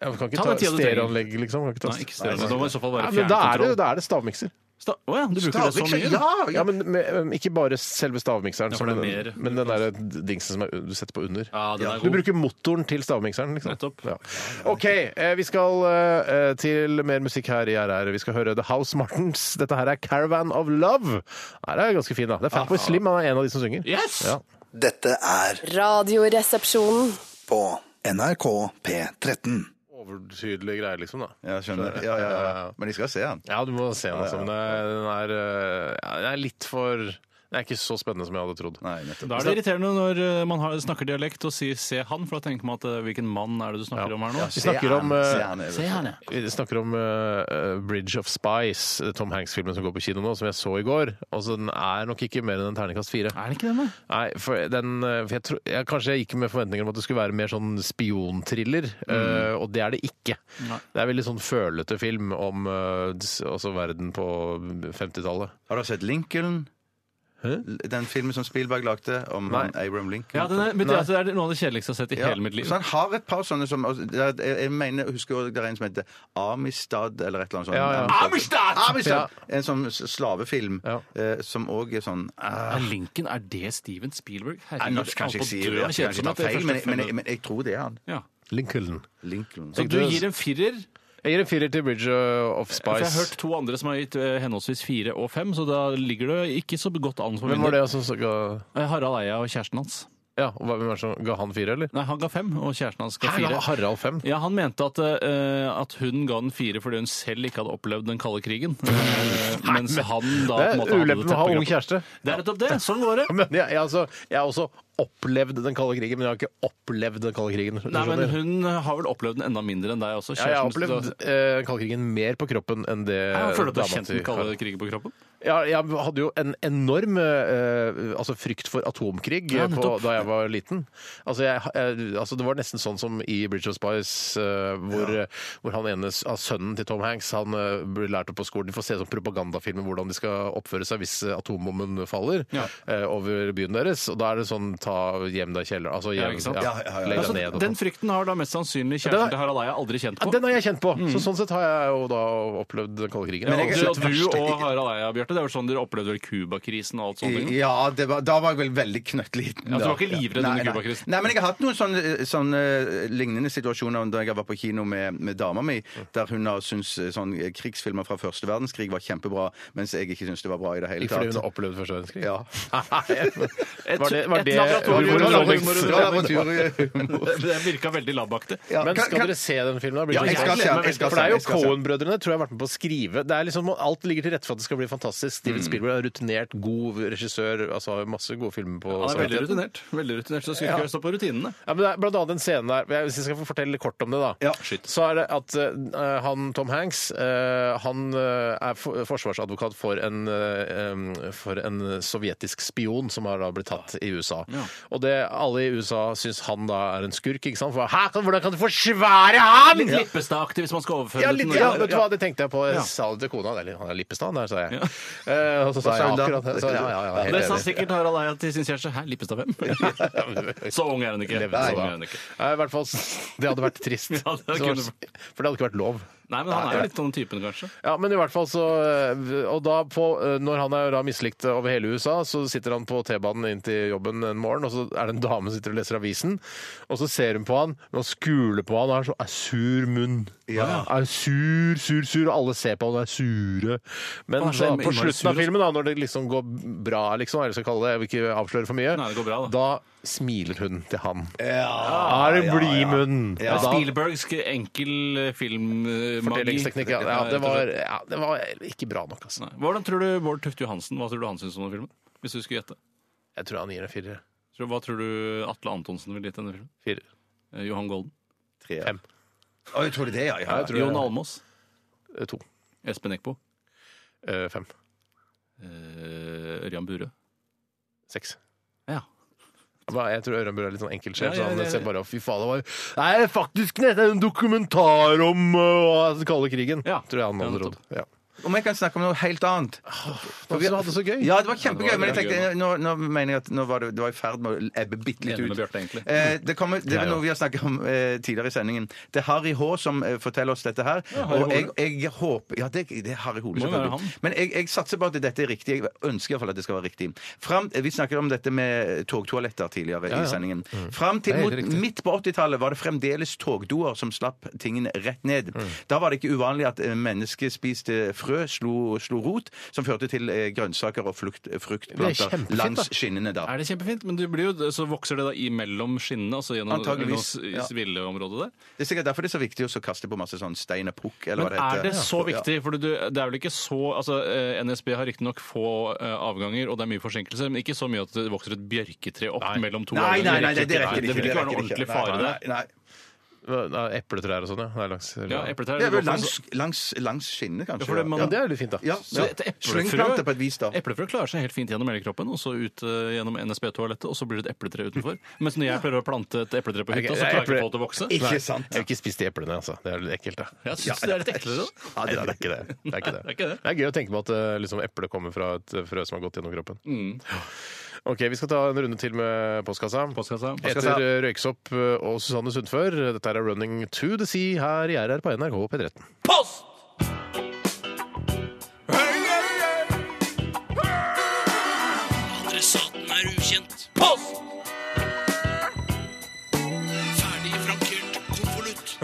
[SPEAKER 4] kan ikke
[SPEAKER 3] Ta
[SPEAKER 4] ta,
[SPEAKER 3] den tiden du trenger.
[SPEAKER 4] stereoanlegg, liksom. Kan ikke ta,
[SPEAKER 3] Nei, ikke stedet. Da må i så fall
[SPEAKER 4] Nei,
[SPEAKER 3] være
[SPEAKER 4] men da er, det,
[SPEAKER 3] fjernkontroll.
[SPEAKER 4] da er det stavmikser.
[SPEAKER 3] Sta- Å ja, du bruker det så mye?
[SPEAKER 5] Ja,
[SPEAKER 4] Ja,
[SPEAKER 5] ja.
[SPEAKER 4] men med, um, Ikke bare selve stavmikseren,
[SPEAKER 3] Ja, for
[SPEAKER 4] som
[SPEAKER 3] det er
[SPEAKER 4] den,
[SPEAKER 3] mer.
[SPEAKER 4] men den der dingsen som er, du setter på under.
[SPEAKER 3] Ja, den er
[SPEAKER 4] Du
[SPEAKER 3] god.
[SPEAKER 4] bruker motoren til stavmikseren, liksom.
[SPEAKER 3] Nettopp.
[SPEAKER 4] Ja. OK, eh, vi skal eh, til mer musikk her i RR. Vi skal høre The House Martens. Dette her er Caravan of Love. Her er ganske fin, da. Det er
[SPEAKER 3] Ah.
[SPEAKER 4] Fatboy Slim, han er en av de som synger.
[SPEAKER 3] Yes!
[SPEAKER 4] Ja.
[SPEAKER 8] Dette er
[SPEAKER 6] Radioresepsjonen.
[SPEAKER 8] på NRK P13.
[SPEAKER 4] Overtydelige greier, liksom, da.
[SPEAKER 5] Ja, skjønner. Ja, ja, ja. Men jeg skal se han.
[SPEAKER 4] Ja, du må se den, altså. Men det- den er, eh, ja, den er litt for Det er ikke så spennende som jeg hadde trodd.
[SPEAKER 5] Nei, nettopp.
[SPEAKER 3] Da er det irriterende når eh, man har, snakker dialekt og sier 'se han', for da tenker man at eh, hvilken mann er det du snakker om her nå?
[SPEAKER 4] Vi snakker om, eh,
[SPEAKER 5] Se han, ja.
[SPEAKER 4] Vi snakker om eh, Bridge of Spice, Tom Hanks-filmen som går på kino nå, som jeg så i går. Altså, den er nok ikke mer enn en terningkast fire.
[SPEAKER 3] Er det ikke den, da?
[SPEAKER 4] Nei, for den eh, for jeg tror- jeg, Kanskje jeg gikk med forventninger om at det skulle være mer sånn spionthriller, eh,
[SPEAKER 5] Mm.
[SPEAKER 4] og det er det ikke. Det er veldig sånn følete film om eh, s- altså verden på 50-tallet.
[SPEAKER 5] Har du sett Lincoln? Den filmen som Spielberg lagde om han Abraham Lincoln?
[SPEAKER 3] Ja, den er, men det, er- det er noe av det kjedeligste jeg har sett i
[SPEAKER 5] Ja,
[SPEAKER 3] hele mitt liv.
[SPEAKER 5] Så han har et par sånne som altså, Jeg jeg mener, jeg husker også, det er en som heter Amistad, eller et eller annet sånt.
[SPEAKER 4] Ja, ja.
[SPEAKER 5] Amistad! Amistad! En sånn s- slavefilm
[SPEAKER 4] Ja.
[SPEAKER 5] eh, som òg er sånn ah,
[SPEAKER 3] Er Lincoln, er det Steven Spielberg?
[SPEAKER 5] Nei, Nå skal jeg ikke si det, jeg kanskje tar feil, men, men, men jeg tror det er han.
[SPEAKER 3] ja.
[SPEAKER 4] Lincoln.
[SPEAKER 5] Lincoln.
[SPEAKER 3] Så du gir en firer?
[SPEAKER 4] Jeg gir en firer til Bridge eh, of
[SPEAKER 3] For jeg
[SPEAKER 4] Spice.
[SPEAKER 3] har hørt to andre som har gitt eh, henholdsvis fire og fem, så da ligger det ikke så godt an for
[SPEAKER 4] Hvem
[SPEAKER 3] min
[SPEAKER 4] var det
[SPEAKER 3] del.
[SPEAKER 4] som så- ga,
[SPEAKER 3] Eh, Harald Eia og kjæresten hans.
[SPEAKER 4] ja, og hva- hvem er det som ga han fire, eller?
[SPEAKER 3] Nei, han ga fem, og kjæresten hans ga
[SPEAKER 4] Hæ, ga
[SPEAKER 3] fire.
[SPEAKER 4] Harald fem?
[SPEAKER 3] Ja, Han mente at, eh, at hun ga den fire fordi hun selv ikke hadde opplevd den kalde krigen. Eh, mens han da
[SPEAKER 4] Det
[SPEAKER 3] på en
[SPEAKER 4] er
[SPEAKER 3] måte hadde
[SPEAKER 4] ulempen med å ha
[SPEAKER 3] teppet
[SPEAKER 4] ung
[SPEAKER 3] grønt.
[SPEAKER 4] kjæreste.
[SPEAKER 3] Det er nettopp det! Sånn går det.
[SPEAKER 4] Men jeg, jeg, altså, jeg har også opplevd den kalde krigen, men jeg har ikke opplevd den kalde krigen. hvis du
[SPEAKER 3] Nei, men
[SPEAKER 4] skjønner.
[SPEAKER 3] Hun har vel opplevd den enda mindre enn deg også?
[SPEAKER 4] Sånn ja, jeg har
[SPEAKER 3] kjæresten, så-
[SPEAKER 4] opplevd eh, kalde krigen mer på kroppen enn det
[SPEAKER 3] Ja, Føler du at du har
[SPEAKER 4] dama
[SPEAKER 3] kjent
[SPEAKER 4] til
[SPEAKER 3] den kalde
[SPEAKER 4] Harald.
[SPEAKER 3] krigen på kroppen?
[SPEAKER 4] Ja, jeg hadde jo en enorm eh, altså frykt for atomkrig
[SPEAKER 3] Ja,
[SPEAKER 4] eh, på,
[SPEAKER 3] nettopp.
[SPEAKER 4] da jeg var liten. Altså, jeg, jeg, altså, det var nesten sånn som i Bridge of Spice, eh, hvor, eh, hvor han ene, s- ah, sønnen til Tom Hanks han eh, ble lært opp på skolen. De får se sånn propagandafilmer hvordan de skal oppføre seg hvis eh, atombomben faller
[SPEAKER 3] Ja.
[SPEAKER 4] eh, over byen deres. Og da er det sånn ta gjem deg i kjelleren. Altså,
[SPEAKER 3] Ja,
[SPEAKER 4] gjem,
[SPEAKER 3] ikke sant?
[SPEAKER 4] ja,
[SPEAKER 5] Ja, ja, ja, ja.
[SPEAKER 4] Legg
[SPEAKER 3] Altså,
[SPEAKER 4] deg ned. og
[SPEAKER 3] den
[SPEAKER 4] sånn.
[SPEAKER 3] frykten har da mest sannsynlig
[SPEAKER 4] Ja, det er-
[SPEAKER 3] kjæresten til Harald Eia aldri kjent
[SPEAKER 4] Ja,
[SPEAKER 3] på.
[SPEAKER 4] den har jeg kjent på! Så sånn sett har jeg jo da opplevd den kalde krigen.
[SPEAKER 3] Mm. Men
[SPEAKER 4] jeg,
[SPEAKER 3] jeg,
[SPEAKER 5] jeg-
[SPEAKER 3] og du og Harald Eia, Bjarte, det er vel sånn dere opplevde vel Cuba-krisen og alt sånt? ikke?
[SPEAKER 5] Ja, det var, da var jeg vel veldig knøttliten.
[SPEAKER 3] Ja, du
[SPEAKER 5] da.
[SPEAKER 3] var ikke livredd
[SPEAKER 5] Nei,
[SPEAKER 3] under
[SPEAKER 5] nei.
[SPEAKER 3] Cuba-krisen?
[SPEAKER 5] Nei, men jeg har hatt noen sånne, sånne eh, lignende situasjoner da jeg var på kino med, med dama mi, der hun har syntes sånn krigsfilmer fra første verdenskrig var kjempebra, mens jeg ikke syntes det var bra i det hele
[SPEAKER 4] fordi hun
[SPEAKER 5] tatt.
[SPEAKER 4] har opplevd første verdenskrig?
[SPEAKER 5] Ja.
[SPEAKER 4] var det, var
[SPEAKER 3] Et
[SPEAKER 4] det
[SPEAKER 3] laboratorium
[SPEAKER 4] humor-
[SPEAKER 3] av
[SPEAKER 4] humor-
[SPEAKER 3] humor-
[SPEAKER 5] Bra laboratoriehumor.
[SPEAKER 3] Det virka veldig labaktig.
[SPEAKER 5] Ja,
[SPEAKER 4] Men
[SPEAKER 5] kan-
[SPEAKER 4] skal
[SPEAKER 5] kan-
[SPEAKER 4] dere se den filmen? da? Blir det
[SPEAKER 3] Ja,
[SPEAKER 4] sånn
[SPEAKER 3] jeg skal
[SPEAKER 4] spennende?
[SPEAKER 3] se den, jeg skal
[SPEAKER 4] For det er
[SPEAKER 5] se den,
[SPEAKER 4] jo
[SPEAKER 5] jeg skal se den.
[SPEAKER 4] Cohen-brødrene tror jeg har vært med på å skrive. Det er liksom, alt ligger til rette for at det skal bli fantastisk. Steven Spielberg er rutinert, god regissør, altså har masse gode filmer på
[SPEAKER 3] Han er veldig
[SPEAKER 4] samvittigheten.
[SPEAKER 3] rutinert, veldig rutinert så skulle ikke stå på rutinene.
[SPEAKER 4] altså, Ja, men det er blant annet en scene der Hvis jeg skal få fortelle litt kort om det, da.
[SPEAKER 5] Ja.
[SPEAKER 4] Skyt. Så er det at eh, han Tom Hanks eh, Han eh, er for, forsvarsadvokat for en, eh, em, for en sovjetisk spion som har da blitt tatt i USA. Og det alle i USA syns han da er en skurk, ikke sant? For Hæ, kan- hvordan kan du forsvare han?!
[SPEAKER 3] Litt lippestakaktig hvis man skal overføre
[SPEAKER 4] Ja,
[SPEAKER 3] det
[SPEAKER 4] litt,
[SPEAKER 3] til
[SPEAKER 4] ja,
[SPEAKER 3] Norge.
[SPEAKER 4] vet du hva, det tenkte jeg på.
[SPEAKER 3] Ja.
[SPEAKER 4] Jeg sa det til kona. Eller, han er Lippestad, der, sa jeg. Eh, og så sa
[SPEAKER 5] Hva sa
[SPEAKER 4] jeg
[SPEAKER 5] hun da?
[SPEAKER 4] akkurat det. Så, ja, ja, ja, helt
[SPEAKER 3] Det sa
[SPEAKER 4] enig.
[SPEAKER 3] sikkert Harald Eia til sin kjæreste. Hæ, Lippestad hvem? Så ung er hun ikke.
[SPEAKER 4] Levde så
[SPEAKER 3] Så ung
[SPEAKER 4] da.
[SPEAKER 3] er hun ikke.
[SPEAKER 4] Nei, i hvert fall, det hadde vært trist.
[SPEAKER 3] Ja, det
[SPEAKER 4] Så-
[SPEAKER 3] kunne-
[SPEAKER 4] For det hadde ikke vært lov.
[SPEAKER 3] Nei, men han er jo litt sånn typen, kanskje.
[SPEAKER 4] Ja, men i hvert fall så øh, Og da på, øh, når han er da mislikt over hele USA, så sitter han på T-banen inn til jobben en morgen, og så er det en dame som sitter og leser avisen, og så ser hun på han, og skuler på han, og har så er sur munn.
[SPEAKER 5] Ja.
[SPEAKER 4] Er sur, sur, sur, og alle ser på han og er sure. Men
[SPEAKER 3] Han er så
[SPEAKER 4] da, på
[SPEAKER 3] innmari
[SPEAKER 4] slutten
[SPEAKER 3] sur,
[SPEAKER 4] av filmen, da, når det liksom går bra, liksom, eller skal jeg kalle det, jeg vil ikke avsløre for mye,
[SPEAKER 3] Nei, det går bra, da.
[SPEAKER 4] smiler hun til han.
[SPEAKER 5] Ja.
[SPEAKER 4] Da er det blid i munnen.
[SPEAKER 5] Ja.
[SPEAKER 4] Og da-
[SPEAKER 3] Spielbergsk enkel eh, filmmagi.
[SPEAKER 4] Fordelingsteknikk, ja. Ja, det var, ja. Det var ikke bra nok, altså.
[SPEAKER 3] Nei. Hvordan tror du Bård Tufte Johansen Hva tror du han syns om den filmen? Hvis du skulle gjette.
[SPEAKER 4] Jeg tror han gir en firer.
[SPEAKER 3] Tror- Hva tror du Atle Antonsen ville gitt denne filmen?
[SPEAKER 4] Firer.
[SPEAKER 3] Eh, Johan Golden?
[SPEAKER 5] Tre.
[SPEAKER 4] Fem.
[SPEAKER 5] Å, jeg tror det, er det, ja. ja.
[SPEAKER 4] tror
[SPEAKER 3] Jon
[SPEAKER 4] jeg-
[SPEAKER 3] Almås?
[SPEAKER 4] Eh, To.
[SPEAKER 3] Espen Eckbo?
[SPEAKER 4] Eh, Fem.
[SPEAKER 3] Eh, Ørjan Burøe?
[SPEAKER 4] Seks.
[SPEAKER 3] Ja.
[SPEAKER 4] Hva, Jeg tror Ørjan Burøe er litt sånn enkeltsjef.
[SPEAKER 3] Ja, ja,
[SPEAKER 4] så
[SPEAKER 3] ja,
[SPEAKER 4] han
[SPEAKER 3] ja.
[SPEAKER 4] ser bare, fy faen, det var jo- Nei, det er faktisk det er en dokumentar om uh, den kalde krigen.
[SPEAKER 3] Ja.
[SPEAKER 4] Tror jeg han
[SPEAKER 3] Ja,
[SPEAKER 4] hadde
[SPEAKER 3] nettopp.
[SPEAKER 4] råd. Ja.
[SPEAKER 5] Om jeg kan snakke om noe helt annet?
[SPEAKER 4] For vi hadde det så gøy.
[SPEAKER 5] Ja, det var kjempegøy,
[SPEAKER 3] Ja, det var
[SPEAKER 5] men jeg
[SPEAKER 3] veldig
[SPEAKER 5] tenkte, nå, nå mener jeg at nå var det, det var i ferd med å ebbe bitte litt
[SPEAKER 3] Enig
[SPEAKER 5] ut.
[SPEAKER 3] med Bjarte, egentlig.
[SPEAKER 5] Eh, det, kommer, det
[SPEAKER 4] Jeg
[SPEAKER 5] er
[SPEAKER 4] også.
[SPEAKER 5] noe vi har snakket om eh, tidligere i sendingen. Det er Harry H. som eh, forteller oss dette her.
[SPEAKER 3] Harry
[SPEAKER 5] og jeg,
[SPEAKER 3] Hole.
[SPEAKER 5] jeg håper Ja, det, det er Harry Hole,
[SPEAKER 3] Må jo være
[SPEAKER 5] selvfølgelig. Men jeg, jeg satser på at dette er riktig. Jeg ønsker iallfall at det skal være riktig. Fram, eh, vi snakket om dette med eh, togtoaletter tidligere
[SPEAKER 4] ja. Mm.
[SPEAKER 5] i sendingen. Fram til
[SPEAKER 4] Det er
[SPEAKER 5] mot,
[SPEAKER 4] helt riktig.
[SPEAKER 5] midt på 80-tallet var det
[SPEAKER 4] Mm.
[SPEAKER 5] fremdeles togdoer som slapp tingene rett ned. Da var det ikke uvanlig at eh, mennesker spiste frø frø slo, slo rot, som førte til eh, grønnsaker og frukt, fruktplanter
[SPEAKER 4] kjempefint, da.
[SPEAKER 5] langs skinnene da.
[SPEAKER 3] Er det kjempefint? Men det blir jo, så vokser det da imellom skinnene, altså gjennom
[SPEAKER 5] Antageligvis, ja.
[SPEAKER 3] svilleområdet der.
[SPEAKER 5] Det er sikkert derfor det er så viktig å så kaste på masse sånn stein og pukk, eller
[SPEAKER 3] Men
[SPEAKER 5] hva det heter.
[SPEAKER 3] er det så
[SPEAKER 5] Ja.
[SPEAKER 3] viktig? For du, det er vel ikke så altså, eh, NSB har riktignok få eh, avganger, og det er mye forsinkelser, men ikke så mye at det vokser et bjørketre opp mellom to
[SPEAKER 5] Nei, nei,
[SPEAKER 3] avganger.
[SPEAKER 5] nei, det rekker ikke.
[SPEAKER 3] Det vil ikke være
[SPEAKER 5] rekker
[SPEAKER 3] noen ordentlig fare
[SPEAKER 5] Nei,
[SPEAKER 3] der.
[SPEAKER 5] nei, nei.
[SPEAKER 4] Nei, Epletrær og sånn, ja. Nei, langs,
[SPEAKER 3] Ja, epletrær.
[SPEAKER 5] Det er vel
[SPEAKER 3] går for-
[SPEAKER 5] langs, langs, langs skinnet, kanskje.
[SPEAKER 3] Ja, for det man-
[SPEAKER 4] Ja, det er litt fint, da.
[SPEAKER 5] Ja,
[SPEAKER 3] Så
[SPEAKER 5] ja.
[SPEAKER 3] et
[SPEAKER 5] Slyngplante på et vis, da.
[SPEAKER 3] eplefrø, eplefrø klarer seg helt fint gjennom hele kroppen, og så ut eh, gjennom NSB-toalettet, og så blir det et epletre utenfor. Mens når jeg pleier å plante et epletre på hytta, så klarer ikke folk å vokse.
[SPEAKER 5] Ikke
[SPEAKER 4] Nei,
[SPEAKER 5] sant.
[SPEAKER 4] Jeg vil ikke spise de eplene, altså. Det er litt ekkelt, da.
[SPEAKER 3] Jeg syns det er litt eklere, da.
[SPEAKER 4] Nei, det er ikke det. Det er, ikke det.
[SPEAKER 3] Det er ikke det.
[SPEAKER 4] Det er gøy å tenke på at eh, liksom, eplet kommer fra et frø som har gått gjennom kroppen.
[SPEAKER 3] Mm.
[SPEAKER 4] Ja. Ok, Vi skal ta en runde til med postkassa.
[SPEAKER 3] Postkassa.
[SPEAKER 4] Etter eh, Røyksopp eh, og Susanne Sundfør. Dette er Running to the Sea her i RR på NRK P13.
[SPEAKER 7] Post! Adressaten er ukjent. Post! Ferdig frankert konvolutt.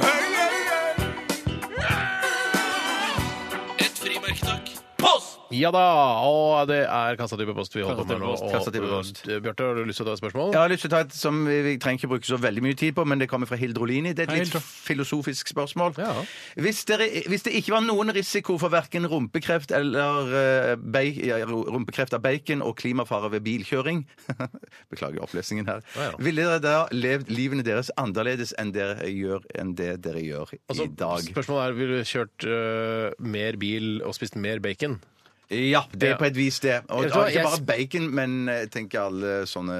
[SPEAKER 7] Et frimerke, takk. Post!
[SPEAKER 4] Ja da! Og det er kassatype post vi holder på med nå.
[SPEAKER 3] Kassatype post,
[SPEAKER 4] Og,
[SPEAKER 5] kassatype post.
[SPEAKER 4] eh, Bjarte, har du lyst til å ta et spørsmål?
[SPEAKER 5] Jeg har lyst til å ta et som vi, vi trenger ikke bruke så veldig mye tid på, men det kommer fra Hildrolini. Det er
[SPEAKER 3] Hei,
[SPEAKER 5] et
[SPEAKER 3] Hildre.
[SPEAKER 5] litt filosofisk spørsmål.
[SPEAKER 4] Ja.
[SPEAKER 5] Hvis, dere, hvis det ikke var noen risiko for verken rumpekreft eller eh, bei- ja, ro- rumpekreft av bacon og klimafare ved bilkjøring Beklager opplesningen her.
[SPEAKER 4] Ja, ja.
[SPEAKER 5] Ville dere da levd livene deres annerledes enn, dere gjør, enn det dere gjør
[SPEAKER 4] Altså,
[SPEAKER 5] i dag?
[SPEAKER 4] Spørsmålet er ville du kjørt eh, mer bil og spist mer bacon.
[SPEAKER 5] Ja, det
[SPEAKER 4] Ja.
[SPEAKER 5] er på et vis det. Og, og
[SPEAKER 4] Vet du hva,
[SPEAKER 5] ikke
[SPEAKER 4] jeg-
[SPEAKER 5] bare bacon, men jeg tenker alle sånne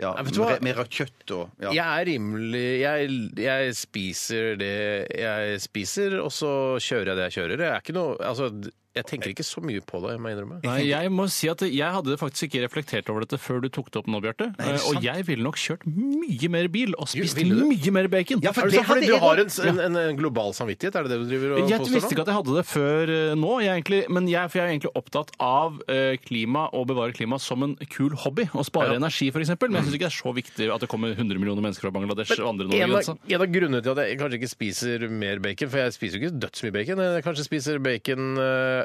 [SPEAKER 5] ja,
[SPEAKER 4] vet du hva?
[SPEAKER 5] mer- Mer av kjøtt og ja.
[SPEAKER 4] Jeg er rimelig jeg, jeg spiser det jeg spiser, og så kjører jeg det jeg kjører. Jeg, er ikke noe, altså, jeg tenker ikke så mye på det, jeg må innrømme.
[SPEAKER 3] Nei, jeg må si at jeg hadde faktisk ikke reflektert over dette før du tok det opp nå, Bjarte.
[SPEAKER 5] er det
[SPEAKER 3] Eh, Og
[SPEAKER 5] sant?
[SPEAKER 3] jeg ville nok kjørt mye mer bil og spist
[SPEAKER 4] ville du?
[SPEAKER 3] mye mer bacon.
[SPEAKER 5] Ja, for
[SPEAKER 4] Er
[SPEAKER 5] det
[SPEAKER 4] det sånn
[SPEAKER 5] hadde
[SPEAKER 4] fordi du
[SPEAKER 5] jeg
[SPEAKER 4] har
[SPEAKER 5] også.
[SPEAKER 4] en, en, en- en global samvittighet? Er det det du driver og
[SPEAKER 3] Jeg visste
[SPEAKER 4] påstår
[SPEAKER 3] ikke
[SPEAKER 4] nå?
[SPEAKER 3] at jeg hadde det før eh, nå, jeg er egentlig, men jeg, for jeg er egentlig opptatt av eh, klima og bevare klima som en kul hobby. Å spare energi, f.eks. Men jeg syns ikke det er så viktig at det kommer 100 millioner mennesker fra Bangladesh og andre
[SPEAKER 4] En
[SPEAKER 3] Norge. altså.
[SPEAKER 4] av, en av grunnene til at jeg kanskje ikke spiser mer bacon, for jeg spiser jo ikke dødsmye bacon Jeg kanskje spiser bacon eh,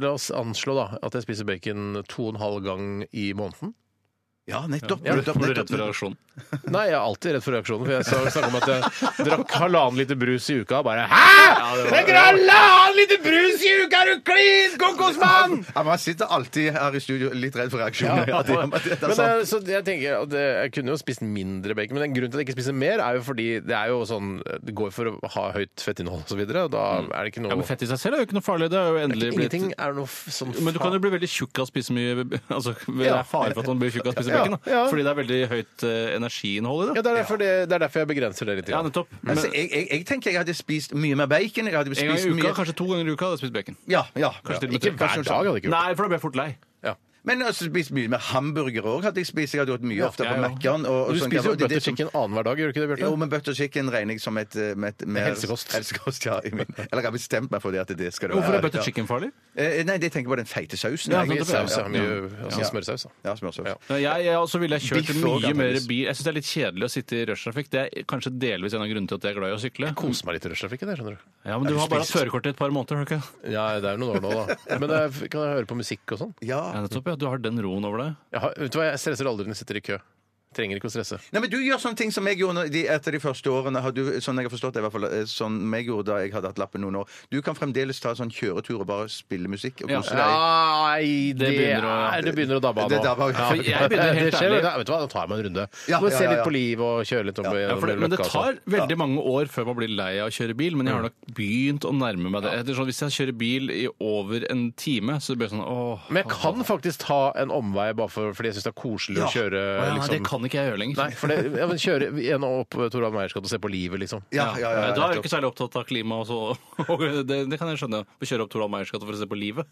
[SPEAKER 4] La oss anslå da at jeg spiser bacon to og en halv gang i måneden.
[SPEAKER 5] Ja, nettopp.
[SPEAKER 3] Ja,
[SPEAKER 5] nettopp,
[SPEAKER 3] blir du
[SPEAKER 5] nettopp,
[SPEAKER 3] redd for reaksjonen?
[SPEAKER 4] Nei, jeg er alltid redd for reaksjonen, for jeg sa- snakka om at jeg drakk halvannen liter brus i uka. og Bare Hæ?! Jeg drakk halvannen liter brus i uka, er du klin kokosmann?!
[SPEAKER 5] Ja, man sitter alltid her i studio litt redd for reaksjoner. Ja, det,
[SPEAKER 4] Men,
[SPEAKER 5] det, det er sånn. sant.
[SPEAKER 4] eh, så jeg tenker at eh, Jeg kunne jo spist mindre bacon, men den grunnen til at jeg ikke spiser mer, er jo fordi det er jo sånn Det går for å ha høyt fettinnhold og så videre. og Da er det ikke
[SPEAKER 3] Ja,
[SPEAKER 4] noe
[SPEAKER 3] men Fett i seg selv er jo ikke noe farlig. Det er jo endelig blitt
[SPEAKER 4] Ingenting er noe f- sånn
[SPEAKER 3] men du kan jo
[SPEAKER 4] faen-
[SPEAKER 3] bli veldig tjukk av å spise mye altså, Det
[SPEAKER 4] Ja.
[SPEAKER 3] er fare for at man blir tjukk av å spise
[SPEAKER 4] Ja,
[SPEAKER 3] bacon. Da.
[SPEAKER 4] ja.
[SPEAKER 3] Fordi det er veldig høyt eh, energiinnhold i
[SPEAKER 4] ja,
[SPEAKER 3] det.
[SPEAKER 4] det, er derfor, det, det er derfor jeg begrenser det litt.
[SPEAKER 3] Ja,
[SPEAKER 4] grann.
[SPEAKER 3] nettopp. Men
[SPEAKER 5] Altså, jeg, jeg, jeg tenker jeg hadde spist mye mer bacon. Jeg hadde
[SPEAKER 3] en gang
[SPEAKER 5] spist
[SPEAKER 3] i uka,
[SPEAKER 5] mye...
[SPEAKER 3] kanskje to ganger i uka, hadde jeg spist bacon.
[SPEAKER 5] Ja, ja.
[SPEAKER 3] Kanskje til og med
[SPEAKER 4] ikke
[SPEAKER 3] tre.
[SPEAKER 4] hver dag hadde jeg ikke gjort.
[SPEAKER 3] Nei, for da blir jeg fort lei.
[SPEAKER 5] Men jeg hadde spist mye mer hamburger òg. Hadde jeg spist. Jeg hadde gjort mye oftere
[SPEAKER 3] jeg
[SPEAKER 5] på
[SPEAKER 3] også.
[SPEAKER 5] Mækkern. og- og
[SPEAKER 4] Du
[SPEAKER 5] sånn.
[SPEAKER 4] spiser jo
[SPEAKER 5] Det- det
[SPEAKER 4] butter
[SPEAKER 5] som-
[SPEAKER 4] chicken annenhver dag, gjør du ikke det,
[SPEAKER 5] Jo,
[SPEAKER 4] Bjarte?
[SPEAKER 5] men butter chicken regner jeg som et, eh, med et med
[SPEAKER 4] Helsekost.
[SPEAKER 5] helsekost, ja, i min. Eller jeg har bestemt meg for det at det skal det
[SPEAKER 3] Hvorfor
[SPEAKER 5] være.
[SPEAKER 3] er butter chicken farlig?
[SPEAKER 5] Ja. Eh, Nei, det tenker jeg på den feite sausen.
[SPEAKER 3] Ja,
[SPEAKER 5] jeg.
[SPEAKER 3] nettopp, ja.
[SPEAKER 4] Saus er mye altså,
[SPEAKER 5] Ja.
[SPEAKER 4] smørsaus. da.
[SPEAKER 5] Ja, smørsaus.
[SPEAKER 4] Ja.
[SPEAKER 3] Ja, Jeg, jeg også ville jeg kjørt
[SPEAKER 5] Biff og
[SPEAKER 3] mye mer
[SPEAKER 5] antageligvis.
[SPEAKER 3] bil. Jeg syns det er litt kjedelig å sitte i rushtrafikk. Det er kanskje delvis en av grunnene til at jeg er glad i å sykle.
[SPEAKER 4] Koser meg litt i rushtrafikken, det, skjønner du.
[SPEAKER 3] Ja, men du har bare hatt førerkort i et par måneder, har du ikke?
[SPEAKER 4] Ja, det er jo noen år nå, da. Men eh, f- kan jeg høre på musikk og sånn?
[SPEAKER 5] Ja.
[SPEAKER 3] Ja, nettopp, ja. Du har den roen over deg.
[SPEAKER 4] Jeg har- vet du hva, jeg stresser aldri når jeg sitter i kø. Trenger ikke å stresse.
[SPEAKER 5] Nei, men Du gjør sånne ting som jeg gjorde når- de, etter de første årene. Har du, sånn jeg har forstått det, i hvert fall, eh, sånn jeg gjorde da jeg hadde hatt lappen noen år. Du kan fremdeles ta sånn kjøretur og bare spille musikk og
[SPEAKER 3] Ja.
[SPEAKER 5] kose deg.
[SPEAKER 4] Nei, det,
[SPEAKER 3] begynner å-
[SPEAKER 4] er- det begynner å dabbe av nå.
[SPEAKER 5] Det dabber av, ja.
[SPEAKER 3] For jeg begynner helt
[SPEAKER 4] Det skjer,
[SPEAKER 3] ærlig-
[SPEAKER 4] da. Vet du hva, da tar jeg meg en runde.
[SPEAKER 5] Ja,
[SPEAKER 4] Må
[SPEAKER 5] ja,
[SPEAKER 4] se
[SPEAKER 5] ja,
[SPEAKER 4] litt
[SPEAKER 5] ja.
[SPEAKER 4] på livet og kjøre litt opp
[SPEAKER 3] Ja, for det, men det
[SPEAKER 4] altså.
[SPEAKER 3] tar veldig mange år før man blir lei av å kjøre bil, men jeg har nok begynt å nærme meg det. Etter sånn, hvis jeg kjører bil i over en time, så blir det sånn åh.
[SPEAKER 4] Men jeg kan faktisk ta en omvei bare for, fordi jeg syns det er koselig å kjøre.
[SPEAKER 3] Åh, ja,
[SPEAKER 4] liksom.
[SPEAKER 3] Det kan ikke jeg gjøre lenger.
[SPEAKER 4] Nei, for det, ja, men kjøre en og opp Torvald Meyers gate og se på livet, liksom.
[SPEAKER 5] Ja, ja, ja, ja,
[SPEAKER 3] da er du
[SPEAKER 5] nettopp.
[SPEAKER 3] ikke særlig opptatt av klima og så og det, det kan jeg skjønne. Å kjøre opp Torald Meyers gate for å se på livet.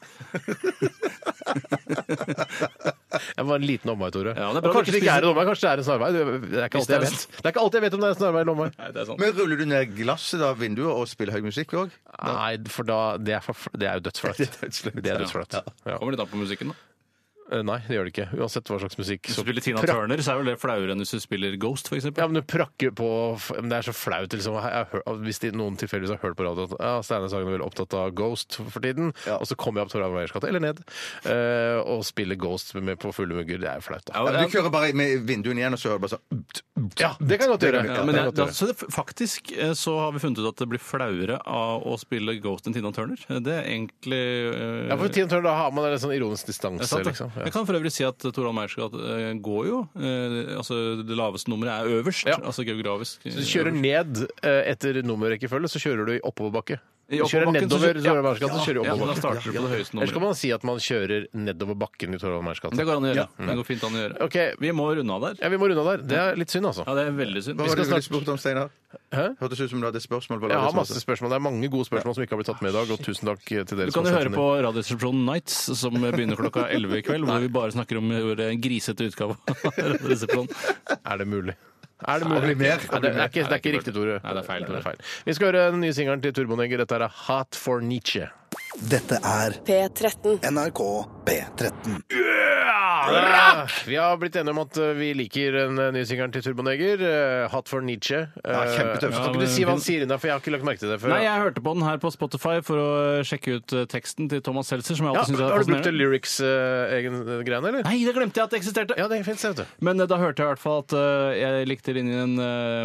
[SPEAKER 4] Jeg var en liten omvei, Tore.
[SPEAKER 3] Ja, det
[SPEAKER 4] og
[SPEAKER 3] er bra du
[SPEAKER 4] kanskje det
[SPEAKER 3] ikke
[SPEAKER 4] ikke
[SPEAKER 3] spiser-
[SPEAKER 4] er en omvei, kanskje det er en snarvei. Det det er ikke alltid jeg vet. Det er ikke alltid jeg vet om det er en snarvei eller omvei.
[SPEAKER 3] Nei, det er sånn. sant.
[SPEAKER 5] Men ruller du ned glasset da, vinduet og spiller høy musikk òg?
[SPEAKER 4] Nei, for da Det er, for, det er jo dødsflaut. Det er dødsflaut. Ja.
[SPEAKER 3] Kommer litt an på musikken, da.
[SPEAKER 4] Eh, Nei, det gjør det ikke. Uansett hva slags musikk.
[SPEAKER 3] Hvis
[SPEAKER 4] så
[SPEAKER 3] du spiller Tina
[SPEAKER 4] prakk-
[SPEAKER 3] Turner, så er vel det flauere enn hvis du spiller Ghost, for eksempel.
[SPEAKER 4] Ja, men du prakker på f- men Det er så flaut, liksom. Jeg har hørt, hvis de, noen tilfeldigvis har hørt på radio at ja, Steinar Sagen er veldig opptatt av Ghost for tiden, og så kommer jeg opp Torgeir Meyers gate, eller ned, eh, og spiller Ghost med på fulle mugger, det er jo flaut, da.
[SPEAKER 5] Ja, Du kjører bare med vinduene igjen, og så hører du bare sånn
[SPEAKER 4] Ja, det kan jeg godt gjøre.
[SPEAKER 3] Ja, men jeg, da, så det, faktisk eh, så har vi funnet ut at det blir flauere av å spille Ghost enn Tina Turner. Eh, Det er egentlig eh,
[SPEAKER 4] Ja, for Tina Turner, da har man en sånn ironisk distanse,
[SPEAKER 3] det er sant, det.
[SPEAKER 4] liksom.
[SPEAKER 3] Jeg kan for øvrig si at Torald Meyers gate eh, går jo. eh, Altså, det laveste nummeret er øverst,
[SPEAKER 4] Ja.
[SPEAKER 3] altså geografisk.
[SPEAKER 4] Så du kjører ned eh, etter nummerrekkefølge, så kjører du i oppoverbakke.
[SPEAKER 3] I
[SPEAKER 4] Du kjører
[SPEAKER 3] oppoverbakken, så
[SPEAKER 4] nedover
[SPEAKER 3] kjø-
[SPEAKER 4] Torgeir Meyers gate, så kjører du
[SPEAKER 3] Ja, men da
[SPEAKER 4] oppoverbakke.
[SPEAKER 3] starter du på det høyeste
[SPEAKER 4] Eller skal
[SPEAKER 3] nummeret.
[SPEAKER 4] man si at man kjører nedover bakken i Torgeir Meyers gate?
[SPEAKER 3] Det går an å gjøre.
[SPEAKER 4] Ja.
[SPEAKER 3] Det går fint an å gjøre.
[SPEAKER 4] Ok.
[SPEAKER 3] Vi må runde av der.
[SPEAKER 4] Ja, vi må runde av der. Det er litt synd, altså.
[SPEAKER 3] Ja, det er veldig synd.
[SPEAKER 5] Hva
[SPEAKER 3] Vi
[SPEAKER 5] var
[SPEAKER 3] skal
[SPEAKER 5] det du
[SPEAKER 3] snakke
[SPEAKER 5] ville spurt om, Steinar?
[SPEAKER 4] Hæ?
[SPEAKER 5] Hørtes ut som du hadde spørsmål. på
[SPEAKER 4] Jeg har
[SPEAKER 5] laget,
[SPEAKER 4] masse spørsmål. Det er mange gode spørsmål som ikke har blitt tatt med i dag, og tusen takk til dere
[SPEAKER 3] altså. Du kan
[SPEAKER 4] som
[SPEAKER 3] jo
[SPEAKER 4] har
[SPEAKER 3] høre
[SPEAKER 4] sendt
[SPEAKER 3] på
[SPEAKER 4] inn.
[SPEAKER 3] Radioresepsjonen Nights, som begynner klokka 11 i kveld, hvor vi bare snakker om vår grisete utgave av Radioresepsjonen.
[SPEAKER 4] Er det mulig? Er det mulig?
[SPEAKER 5] det mer?
[SPEAKER 4] Nei, det, det, er ikke, det er ikke riktig, Tore.
[SPEAKER 3] Nei, det er feil, Tore.
[SPEAKER 4] Vi skal høre den nye singelen til Turbonegger. Dette er Hot for Nietzsche.
[SPEAKER 8] Dette er
[SPEAKER 6] P13.
[SPEAKER 8] NRK P13.
[SPEAKER 4] Vi har blitt enige om at eh, vi liker den eh, nye singelen til Turboneger. Hot for Nietzsche. Eh,
[SPEAKER 5] Ja, kjempetøft.
[SPEAKER 4] Kan ikke du si hva han sier innafor? Jeg har ikke lagt merke til det før.
[SPEAKER 3] Nei, jeg hørte på den her på Spotify for å sjekke ut eh, teksten til Thomas Seltzer, som jeg
[SPEAKER 4] ja,
[SPEAKER 3] alltid synes er
[SPEAKER 4] har du brukt eh,
[SPEAKER 3] fascinerende.
[SPEAKER 4] lyrics-egen-greiene, eller?
[SPEAKER 3] Nei, det glemte jeg at det eksisterte!
[SPEAKER 4] Ja, det fins, vet du.
[SPEAKER 3] Men eh, da hørte jeg i hvert fall at eh, jeg likte linjen eh,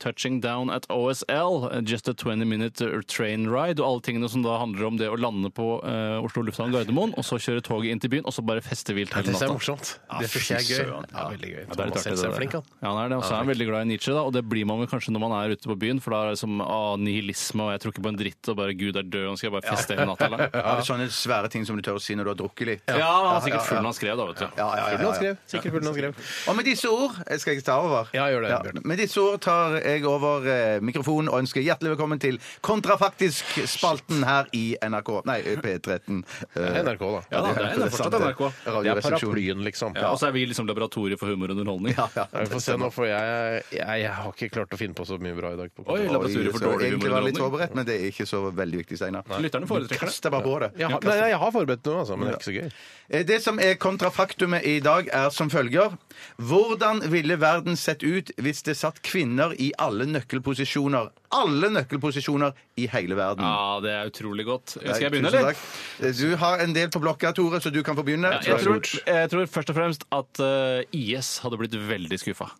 [SPEAKER 3] 'Touching down at OSL', eh, 'Just a 20 minute eh, train ride', og alle tingene som da handler om det å lande på eh, Oslo lufthavn Gardermoen, og så kjøre toget inn til byen, og så bare feste vilt
[SPEAKER 4] Det
[SPEAKER 3] hele
[SPEAKER 4] syns jeg er
[SPEAKER 3] natta.
[SPEAKER 4] morsomt. Det syns jeg er gøy. Ja, veldig gøy.
[SPEAKER 3] Ja, det er litt
[SPEAKER 4] Thomas
[SPEAKER 3] artig,
[SPEAKER 4] Seltzer
[SPEAKER 3] det
[SPEAKER 4] er
[SPEAKER 3] der.
[SPEAKER 4] flink, han.
[SPEAKER 3] Ja, han er det. Og så er han veldig glad i Nietzsche, da, og det blir man vel kanskje når man er ute på byen, for da er det som ah, nihilisme, og jeg tror ikke på en dritt, og bare Gud er død, og nå skal jeg bare feste hele natta lang.
[SPEAKER 5] Ja, det er sånne svære ting som du tør å si når du har drukket litt.
[SPEAKER 3] Ja, han var sikkert full når han skrev, da, vet du.
[SPEAKER 5] Ja, ja, ja,
[SPEAKER 4] Fuglen
[SPEAKER 5] ja,
[SPEAKER 4] han
[SPEAKER 5] ja.
[SPEAKER 4] skrev. Sikkert fuglen han skrev.
[SPEAKER 5] Og med disse ord jeg skal ikke ta over.
[SPEAKER 4] Ja, gjør det, Bjørn.
[SPEAKER 5] Med disse ord tar jeg over eh, mikrofonen og ønsker hjertelig velkommen til Kontrafaktisk-spalten her i NRK. Nei, P13. eh,
[SPEAKER 4] NRK, da.
[SPEAKER 3] Ja, da, det er det, fortsatt NRK.
[SPEAKER 4] Det er
[SPEAKER 5] Radioresepsjon.
[SPEAKER 4] paraplyen, liksom.
[SPEAKER 3] Ja, og så er vi liksom laboratoriet for humor og underholdning.
[SPEAKER 5] Ja, ja.
[SPEAKER 4] Ja, Vi får se nå, for jeg, jeg, jeg har ikke klart å finne på så mye bra i dag. På
[SPEAKER 3] Oi,
[SPEAKER 4] kontoret.
[SPEAKER 3] laboratoriet for
[SPEAKER 5] Så
[SPEAKER 3] dårlig
[SPEAKER 5] Egentlig var jeg litt
[SPEAKER 3] humor og underholdning.
[SPEAKER 5] forberedt, men det er ikke så veldig viktig, Steinar.
[SPEAKER 3] Lytterne foretrekker det.
[SPEAKER 5] Kast deg bare på det.
[SPEAKER 4] jeg, har, nei, nei, jeg har forberedt noe, altså, men det er ikke så gøy.
[SPEAKER 5] Eh, Det som er kontrafaktumet i dag, er som følger. Hvordan ville verden sett ut hvis det satt kvinner i alle nøkkelposisjoner? Alle nøkkelposisjoner i hele verden.
[SPEAKER 3] Ja, det er utrolig godt. Skal jeg begynne,
[SPEAKER 5] Tusen
[SPEAKER 3] eller?
[SPEAKER 5] takk. Du har en del på blokka, Tore, så du kan få begynne.
[SPEAKER 3] Ja, jeg, tror, jeg tror først og fremst at eh, IS hadde blitt veldig skuffa.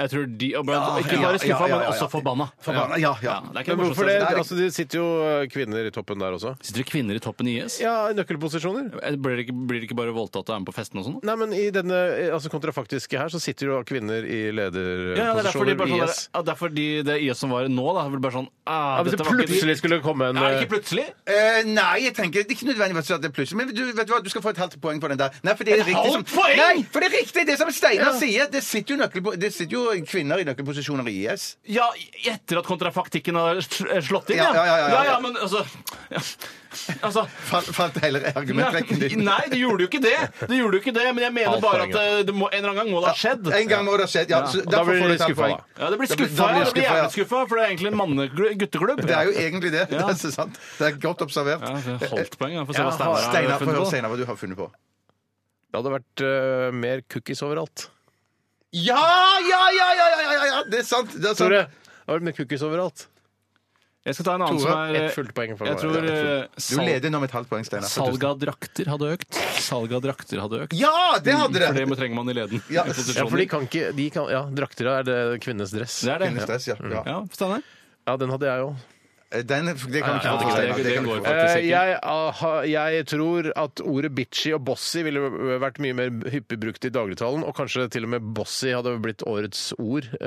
[SPEAKER 3] Jeg tror de, og bare, Ikke
[SPEAKER 5] ja,
[SPEAKER 3] bare skuffa,
[SPEAKER 5] ja, ja,
[SPEAKER 3] men
[SPEAKER 5] ja.
[SPEAKER 3] også forbanna.
[SPEAKER 5] Forbanna, ja, ja.
[SPEAKER 3] Ja, det er ikke
[SPEAKER 4] Men
[SPEAKER 3] morsomt.
[SPEAKER 4] hvorfor det?
[SPEAKER 3] Nei,
[SPEAKER 4] Altså, det sitter jo eh, kvinner i toppen der også.
[SPEAKER 3] Sitter det kvinner i toppen i IS?
[SPEAKER 4] Ja, i nøkkelposisjoner.
[SPEAKER 3] Blir det ikke, blir det ikke bare voldtatt og er med på festen og sånn?
[SPEAKER 4] Nei, men i denne eh, altså, kontrafaktiske her, så sitter jo kvinner i
[SPEAKER 3] Ja, det er derfor, de
[SPEAKER 4] lederposisjoner
[SPEAKER 3] bare
[SPEAKER 4] i
[SPEAKER 3] sånn,
[SPEAKER 4] IS.
[SPEAKER 3] ja, derfor de, det IS som var nå, da, var det bare sånn ah,
[SPEAKER 4] Ja, hvis det
[SPEAKER 3] dette var ikke-
[SPEAKER 4] plutselig skulle komme en
[SPEAKER 3] Nei,
[SPEAKER 4] eh,
[SPEAKER 3] ikke plutselig.
[SPEAKER 5] Eh, nei, jeg tenker det er ikke nødvendigvis at det er plutselig. Men du, vet du hva, du skal få et halvt poeng på den der. Nei, for det er
[SPEAKER 3] Et
[SPEAKER 5] riktig som,
[SPEAKER 3] halvt poeng?
[SPEAKER 5] Nei, for det er riktig det som Steinar sier. Det sitter, jo nøkkelpo- det sitter jo kvinner i nøkkelposisjoner i IS.
[SPEAKER 3] Ja, etter at kontrafaktikken har sl- slått inn,
[SPEAKER 5] Ja, ja, ja, ja, ja.
[SPEAKER 3] men altså ja. Altså
[SPEAKER 5] Falt, falt hele
[SPEAKER 3] Nei,
[SPEAKER 5] argumentrekken din.
[SPEAKER 3] nei, det gjorde jo ikke det! Det gjorde jo ikke det, Men jeg mener
[SPEAKER 4] Halvt
[SPEAKER 3] bare
[SPEAKER 4] poeng,
[SPEAKER 3] at eh, det må, en eller annen gang må det ha skjedd.
[SPEAKER 5] En gang må det ha skjedd, ja. Så
[SPEAKER 4] og da
[SPEAKER 5] derfor
[SPEAKER 4] blir
[SPEAKER 5] får du
[SPEAKER 4] de
[SPEAKER 5] et halvt
[SPEAKER 4] skuffa,
[SPEAKER 5] poeng.
[SPEAKER 4] da.
[SPEAKER 3] Ja, det blir
[SPEAKER 5] Da blir-
[SPEAKER 3] skuffa,
[SPEAKER 5] da blir
[SPEAKER 3] ja.
[SPEAKER 5] jeg
[SPEAKER 3] Det blir
[SPEAKER 5] skuffa, ja.
[SPEAKER 3] jævlig skuffa, for det er egentlig en mannegutteklubb.
[SPEAKER 5] Det er jo egentlig det.
[SPEAKER 3] Ja.
[SPEAKER 5] Det, er så sant. det er godt observert.
[SPEAKER 3] Ja, det er halvt poeng, ja, for å
[SPEAKER 4] Ja,
[SPEAKER 3] se hva Steinar
[SPEAKER 5] Steinar, få
[SPEAKER 3] har funnet
[SPEAKER 5] høre
[SPEAKER 3] på.
[SPEAKER 5] Steinar, hva du har funnet på.
[SPEAKER 4] Det hadde vært eh, mer cookies overalt.
[SPEAKER 5] Ja, ja, ja, ja, ja, ja, ja! Det er sant. Det er sant.
[SPEAKER 4] Tore, det hadde vært mer cookies overalt.
[SPEAKER 3] Jeg skal ta en annen
[SPEAKER 5] Tore,
[SPEAKER 3] som er
[SPEAKER 4] Ett
[SPEAKER 3] eh,
[SPEAKER 4] fullt poeng for
[SPEAKER 3] Jeg
[SPEAKER 4] meg.
[SPEAKER 3] tror
[SPEAKER 4] Ja, ett fullt.
[SPEAKER 3] eh,
[SPEAKER 5] Du
[SPEAKER 3] sal-
[SPEAKER 5] leder nå med et halvt poeng, Steinar.
[SPEAKER 3] salget av drakter hadde økt. Salget av drakter hadde økt.
[SPEAKER 5] Ja, det hadde
[SPEAKER 3] Mm, For
[SPEAKER 5] det!
[SPEAKER 3] det må- trenger man i leden.
[SPEAKER 5] Ja.
[SPEAKER 3] I posisjoner.
[SPEAKER 4] Ja, for de kan ikke de kan, Ja, drakter er det kvinnenes dress.
[SPEAKER 3] Det er det.
[SPEAKER 5] Kvinnenes dress, ja. Ja.
[SPEAKER 3] Mm.
[SPEAKER 5] Eh,
[SPEAKER 3] Ja, Steinar?
[SPEAKER 4] Ja, den hadde jeg òg.
[SPEAKER 5] Den, det kan vi ikke
[SPEAKER 3] Ja,
[SPEAKER 5] få til,
[SPEAKER 3] det-
[SPEAKER 5] Steinar.
[SPEAKER 3] det
[SPEAKER 5] Det kan vi
[SPEAKER 3] går
[SPEAKER 5] ikke få til.
[SPEAKER 3] for. Faktisk ikke.
[SPEAKER 4] Eh, jeg, aha, jeg tror at ordet bitchy og bossy ville vært mye mer hyppig brukt i dagligtalen, og kanskje til og med bossy hadde blitt årets ord. Eh,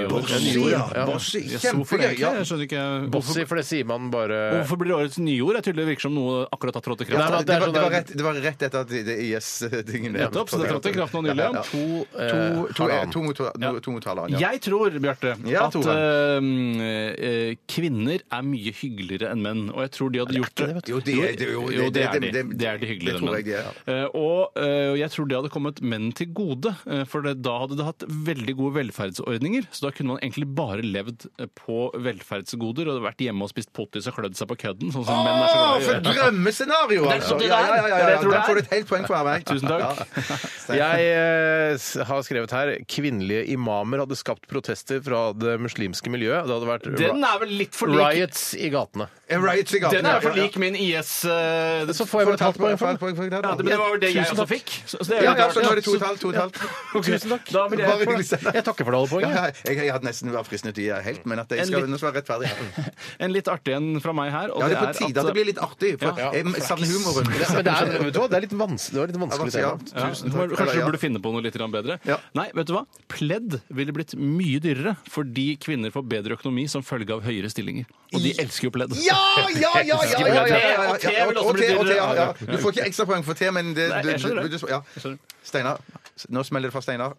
[SPEAKER 4] ja,
[SPEAKER 3] ord.
[SPEAKER 4] nye
[SPEAKER 5] Bossy,
[SPEAKER 4] ord,
[SPEAKER 5] ja.
[SPEAKER 4] ja.
[SPEAKER 5] Bossy,
[SPEAKER 3] Yes, hvorfor det
[SPEAKER 5] Kjempegøy.
[SPEAKER 3] egentlig?
[SPEAKER 5] Ja.
[SPEAKER 3] Jeg skjønner ikke
[SPEAKER 4] Bossy, for det sier man bare
[SPEAKER 3] Hvorfor- Hvorfor blir det årets nyord? Jeg tydelig virker som noe akkurat har trådt
[SPEAKER 4] Nei,
[SPEAKER 3] i kraft.
[SPEAKER 4] men
[SPEAKER 5] Eh. Det
[SPEAKER 4] at det er
[SPEAKER 5] var, det, var
[SPEAKER 4] sånn der-
[SPEAKER 5] rett, det var rett etter at det- det IS-tingen
[SPEAKER 3] Nettopp, så det trådte i kraft nå nylig, ja.
[SPEAKER 4] to, eh,
[SPEAKER 5] To, to,
[SPEAKER 4] halvannen.
[SPEAKER 5] to mot to- to mot halvannen, ja.
[SPEAKER 3] Jeg tror, Bjarte,
[SPEAKER 5] Ja,
[SPEAKER 3] at
[SPEAKER 5] Tore.
[SPEAKER 3] ehm, eh, eh, kvinner er mye hyggeligere enn menn. Og jeg tror de hadde gjort det.
[SPEAKER 5] Jo, de er- det- jo,
[SPEAKER 3] Jo,
[SPEAKER 5] det-
[SPEAKER 3] det er de.
[SPEAKER 5] det- det-
[SPEAKER 3] Det er de hyggeligere
[SPEAKER 5] det tror jeg
[SPEAKER 3] enn
[SPEAKER 5] de
[SPEAKER 3] menn. Eh, Og eh, jeg tror det hadde kommet menn til gode, eh, for det, da hadde det hatt veldig gode velferdsordninger. Så da kunne man egentlig bare levd eh, på velferdsgoder og vært hjemme og spist pottis og klødd seg på kødden, sånn som menn er så glad
[SPEAKER 5] Å,
[SPEAKER 3] i å
[SPEAKER 5] for
[SPEAKER 3] gjøre.
[SPEAKER 5] drømmescenario, altså!
[SPEAKER 2] det
[SPEAKER 5] Ja, ja, ja, ja,
[SPEAKER 3] Det er det
[SPEAKER 5] ja.
[SPEAKER 3] jeg tror det
[SPEAKER 5] Der får du
[SPEAKER 3] er.
[SPEAKER 5] et helt poeng for meg.
[SPEAKER 3] Tusen takk.
[SPEAKER 4] Jeg eh, s- har skrevet her kvinnelige imamer hadde skapt protester fra det muslimske miljøet. Det hadde vært
[SPEAKER 3] Den er vel litt for lik
[SPEAKER 4] riots i gatene.
[SPEAKER 5] Ja. Riots i gaten,
[SPEAKER 3] Den er
[SPEAKER 5] ja,
[SPEAKER 3] for
[SPEAKER 5] ja,
[SPEAKER 3] lik min IS eh,
[SPEAKER 4] Så får jeg bare tatt poeng for det.
[SPEAKER 3] Ja, det, men det var vel det jeg også fikk. Så, så det er
[SPEAKER 5] Ja,
[SPEAKER 3] jo
[SPEAKER 5] ja,
[SPEAKER 3] klart.
[SPEAKER 5] så tar du to og et halvt. To og et halvt.
[SPEAKER 4] Tusen takk.
[SPEAKER 3] Da vil jeg-
[SPEAKER 5] Bare hyggelig.
[SPEAKER 4] Jeg takker for det, alle
[SPEAKER 5] Ja,
[SPEAKER 4] poengene.
[SPEAKER 5] Jeg, jeg, hadde nesten vært fristende til å gjøre helt, men at jeg
[SPEAKER 3] En
[SPEAKER 5] skal
[SPEAKER 3] litt-
[SPEAKER 5] nå skal være rettferdig.
[SPEAKER 3] En litt artig en fra meg her. og
[SPEAKER 5] Ja, det er på tide at det blir litt artig, for
[SPEAKER 3] Ja.
[SPEAKER 5] jeg savner humoren.
[SPEAKER 4] Ja, Men det er, vet du hva, det er litt vanskelig. Det var litt vanskelig
[SPEAKER 5] Ja,
[SPEAKER 4] tema.
[SPEAKER 3] ja,
[SPEAKER 5] tusen
[SPEAKER 3] må-
[SPEAKER 5] takk.
[SPEAKER 3] Kanskje
[SPEAKER 5] Eller,
[SPEAKER 3] du
[SPEAKER 5] ja.
[SPEAKER 3] burde finne på noe litt grann bedre.
[SPEAKER 5] Ja.
[SPEAKER 3] Nei, vet du hva? Pledd ville blitt mye dyrere fordi kvinner får bedre økonomi som følge av høyere stillinger. Og de elsker jo pledd.
[SPEAKER 5] Ja, ja, ja! ja, ja, ja, ja, ja, ja.
[SPEAKER 3] Og te vil også
[SPEAKER 5] Og
[SPEAKER 3] bli
[SPEAKER 5] te, og te,
[SPEAKER 3] dyrere.
[SPEAKER 5] ja, ja. Du får ikke ekstrapoeng for te, men det,
[SPEAKER 3] Nei,
[SPEAKER 5] du,
[SPEAKER 3] jeg
[SPEAKER 5] du,
[SPEAKER 3] skjønner det.
[SPEAKER 5] du, ja.
[SPEAKER 3] Skjønner.
[SPEAKER 5] Steinar. Nå smeller det fra Steinar.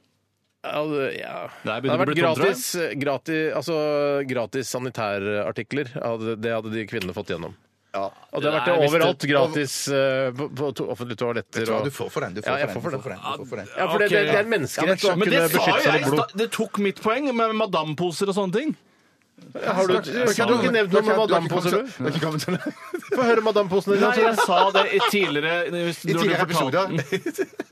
[SPEAKER 4] Ja, det- ja. Det
[SPEAKER 3] Der
[SPEAKER 4] hadde
[SPEAKER 3] begynner
[SPEAKER 4] vært
[SPEAKER 3] det å bli
[SPEAKER 4] gratis, gratis, altså, gratis sanitærartikler. Hadde- Det hadde de kvinnene fått gjennom. Og det har vært det
[SPEAKER 3] Nei, hvis det-
[SPEAKER 4] overalt. Gratis eh, på, på to- offentlige toaletter.
[SPEAKER 5] Ja,
[SPEAKER 4] og-
[SPEAKER 5] du får for den. Du
[SPEAKER 4] Ja,
[SPEAKER 5] får
[SPEAKER 4] jeg
[SPEAKER 5] for
[SPEAKER 4] får
[SPEAKER 5] den.
[SPEAKER 4] for
[SPEAKER 5] Du
[SPEAKER 4] den.
[SPEAKER 5] får for den.
[SPEAKER 4] Ja, for det, det, det er en
[SPEAKER 3] Ok.
[SPEAKER 4] menneskerett å
[SPEAKER 3] Men det
[SPEAKER 4] kunne
[SPEAKER 3] sa
[SPEAKER 4] beskytte
[SPEAKER 3] jo
[SPEAKER 4] seg
[SPEAKER 3] jeg!
[SPEAKER 4] mot blod.
[SPEAKER 3] sta- Det tok mitt poeng med madamposer og sånne ting.
[SPEAKER 4] Har du, du, har ikke nevnt noe med madamposer, du?
[SPEAKER 5] Du har ikke kommet til det.
[SPEAKER 4] Få høre madamposene dine.
[SPEAKER 3] Nei,
[SPEAKER 4] Tore.
[SPEAKER 3] jeg sa det i tidligere hvis-
[SPEAKER 5] I
[SPEAKER 3] når du
[SPEAKER 5] tidligere
[SPEAKER 3] fortalte-
[SPEAKER 5] episoder.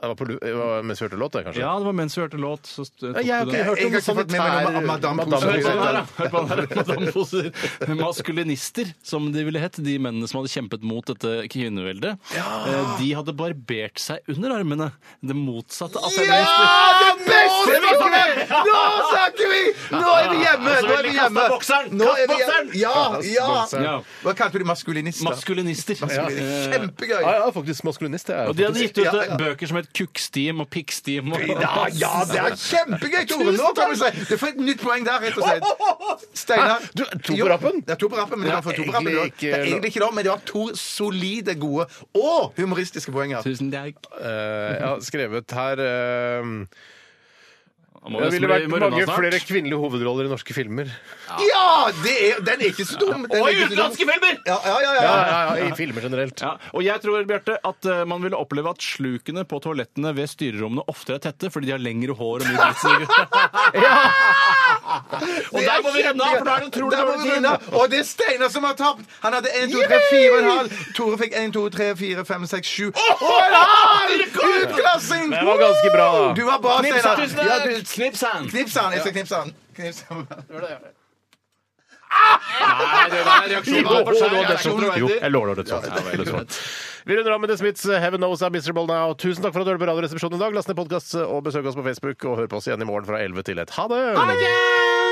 [SPEAKER 4] Det var på lu- det var mens vi hørte låt, det, kanskje.
[SPEAKER 3] Ja, det var mens vi hørte låt. Så st- tok
[SPEAKER 4] Nei, Jeg har
[SPEAKER 3] du
[SPEAKER 4] ikke
[SPEAKER 3] den.
[SPEAKER 4] hørt
[SPEAKER 5] Jeg
[SPEAKER 4] om
[SPEAKER 5] har ikke fått med meg noe
[SPEAKER 4] sanitær
[SPEAKER 5] om madamposer.
[SPEAKER 3] Hør på den
[SPEAKER 4] madamposer.
[SPEAKER 3] her, da. Hør på den her. Madamposer. Maskulinister, som de ville hett, de mennene som hadde kjempet mot dette kvinneveldet, eh, de hadde barbert seg under armene. Det motsatte av feminister.
[SPEAKER 5] det beste vi kunne! Nå snakker vi! Nå er vi hjemme! Nå er vi hjemme! Nå er vi hjemme. Ja, ja.
[SPEAKER 3] Ja.
[SPEAKER 5] Hva kalte du de? maskulinister?
[SPEAKER 3] Maskulinister.
[SPEAKER 5] Maskulinister.
[SPEAKER 3] Eh,
[SPEAKER 5] Kjempegøy!
[SPEAKER 4] Ja, ja, faktisk maskulinist. Det er
[SPEAKER 3] Og
[SPEAKER 4] jeg
[SPEAKER 3] de hadde
[SPEAKER 4] faktisk.
[SPEAKER 3] gitt ut
[SPEAKER 5] Ja,
[SPEAKER 3] eh,
[SPEAKER 5] ja.
[SPEAKER 3] bøker som het Kukkstim og Pikkstim. Og...
[SPEAKER 5] Ja, Ah, ja, det er kjempegøy, Tore! Nå kan vi se. Du får et nytt poeng der, rett og slett. Steinar.
[SPEAKER 4] Du, to på
[SPEAKER 5] Jo,
[SPEAKER 4] rappen?
[SPEAKER 5] Ja, to på rappen, men du kan få to på rappen.
[SPEAKER 4] egentlig
[SPEAKER 5] du også. Det
[SPEAKER 4] ikke-
[SPEAKER 5] er egentlig ikke det, men det var to solide, gode og humoristiske poenger.
[SPEAKER 3] Tusen takk.
[SPEAKER 4] Eh, jeg har skrevet her eh,
[SPEAKER 3] Må
[SPEAKER 4] Det
[SPEAKER 3] nesten
[SPEAKER 4] ville
[SPEAKER 3] bli-
[SPEAKER 4] vært
[SPEAKER 3] må runde av
[SPEAKER 4] mange
[SPEAKER 3] snart.
[SPEAKER 4] flere kvinnelige hovedroller i norske filmer.
[SPEAKER 5] Ja! det er- Den er ikke så dum. Den er
[SPEAKER 3] Og i
[SPEAKER 5] ikke så dum.
[SPEAKER 3] utenlandske filmer!
[SPEAKER 5] Ja, ja, ja, ja.
[SPEAKER 4] Ja, ja, ja, I filmer generelt.
[SPEAKER 3] Ja, og jeg tror, Bjarte, at eh, man ville oppleve at slukene på toalettene ved styrerommene oftere er tette fordi de har lengre hår og mye dritsnigger. Og
[SPEAKER 5] Det er
[SPEAKER 3] der må vi runde av, for da er det utrolig
[SPEAKER 5] Der må
[SPEAKER 3] dårlig
[SPEAKER 5] vi
[SPEAKER 3] tid.
[SPEAKER 5] runde av. Og det er Steinar som har tapt! Han hadde 1, 2, 3, 4, en halv. Tore fikk 1, 2, 3, 4, 5, 6, 7 Og en halv! Utklassing!
[SPEAKER 4] Det var ganske bra, da.
[SPEAKER 5] Du var bra,
[SPEAKER 3] Knips,
[SPEAKER 5] Steinar.
[SPEAKER 3] tusen
[SPEAKER 5] Ja,
[SPEAKER 3] takk!
[SPEAKER 5] du-
[SPEAKER 3] Knips han!
[SPEAKER 5] Knips han. Jeg skal knipse han. Knips han.
[SPEAKER 3] Nei, det der reaksjonen var for seg.
[SPEAKER 4] Jo, jeg lover det. sånn. Vi runder av med The Smiths Heaven Knows I'm Miserable Now. Tusen takk for at du hørte på Radioresepsjonen i dag. Last ned podkast og besøk oss på Facebook, og hør på oss igjen i morgen fra 11 til 1. Ha det!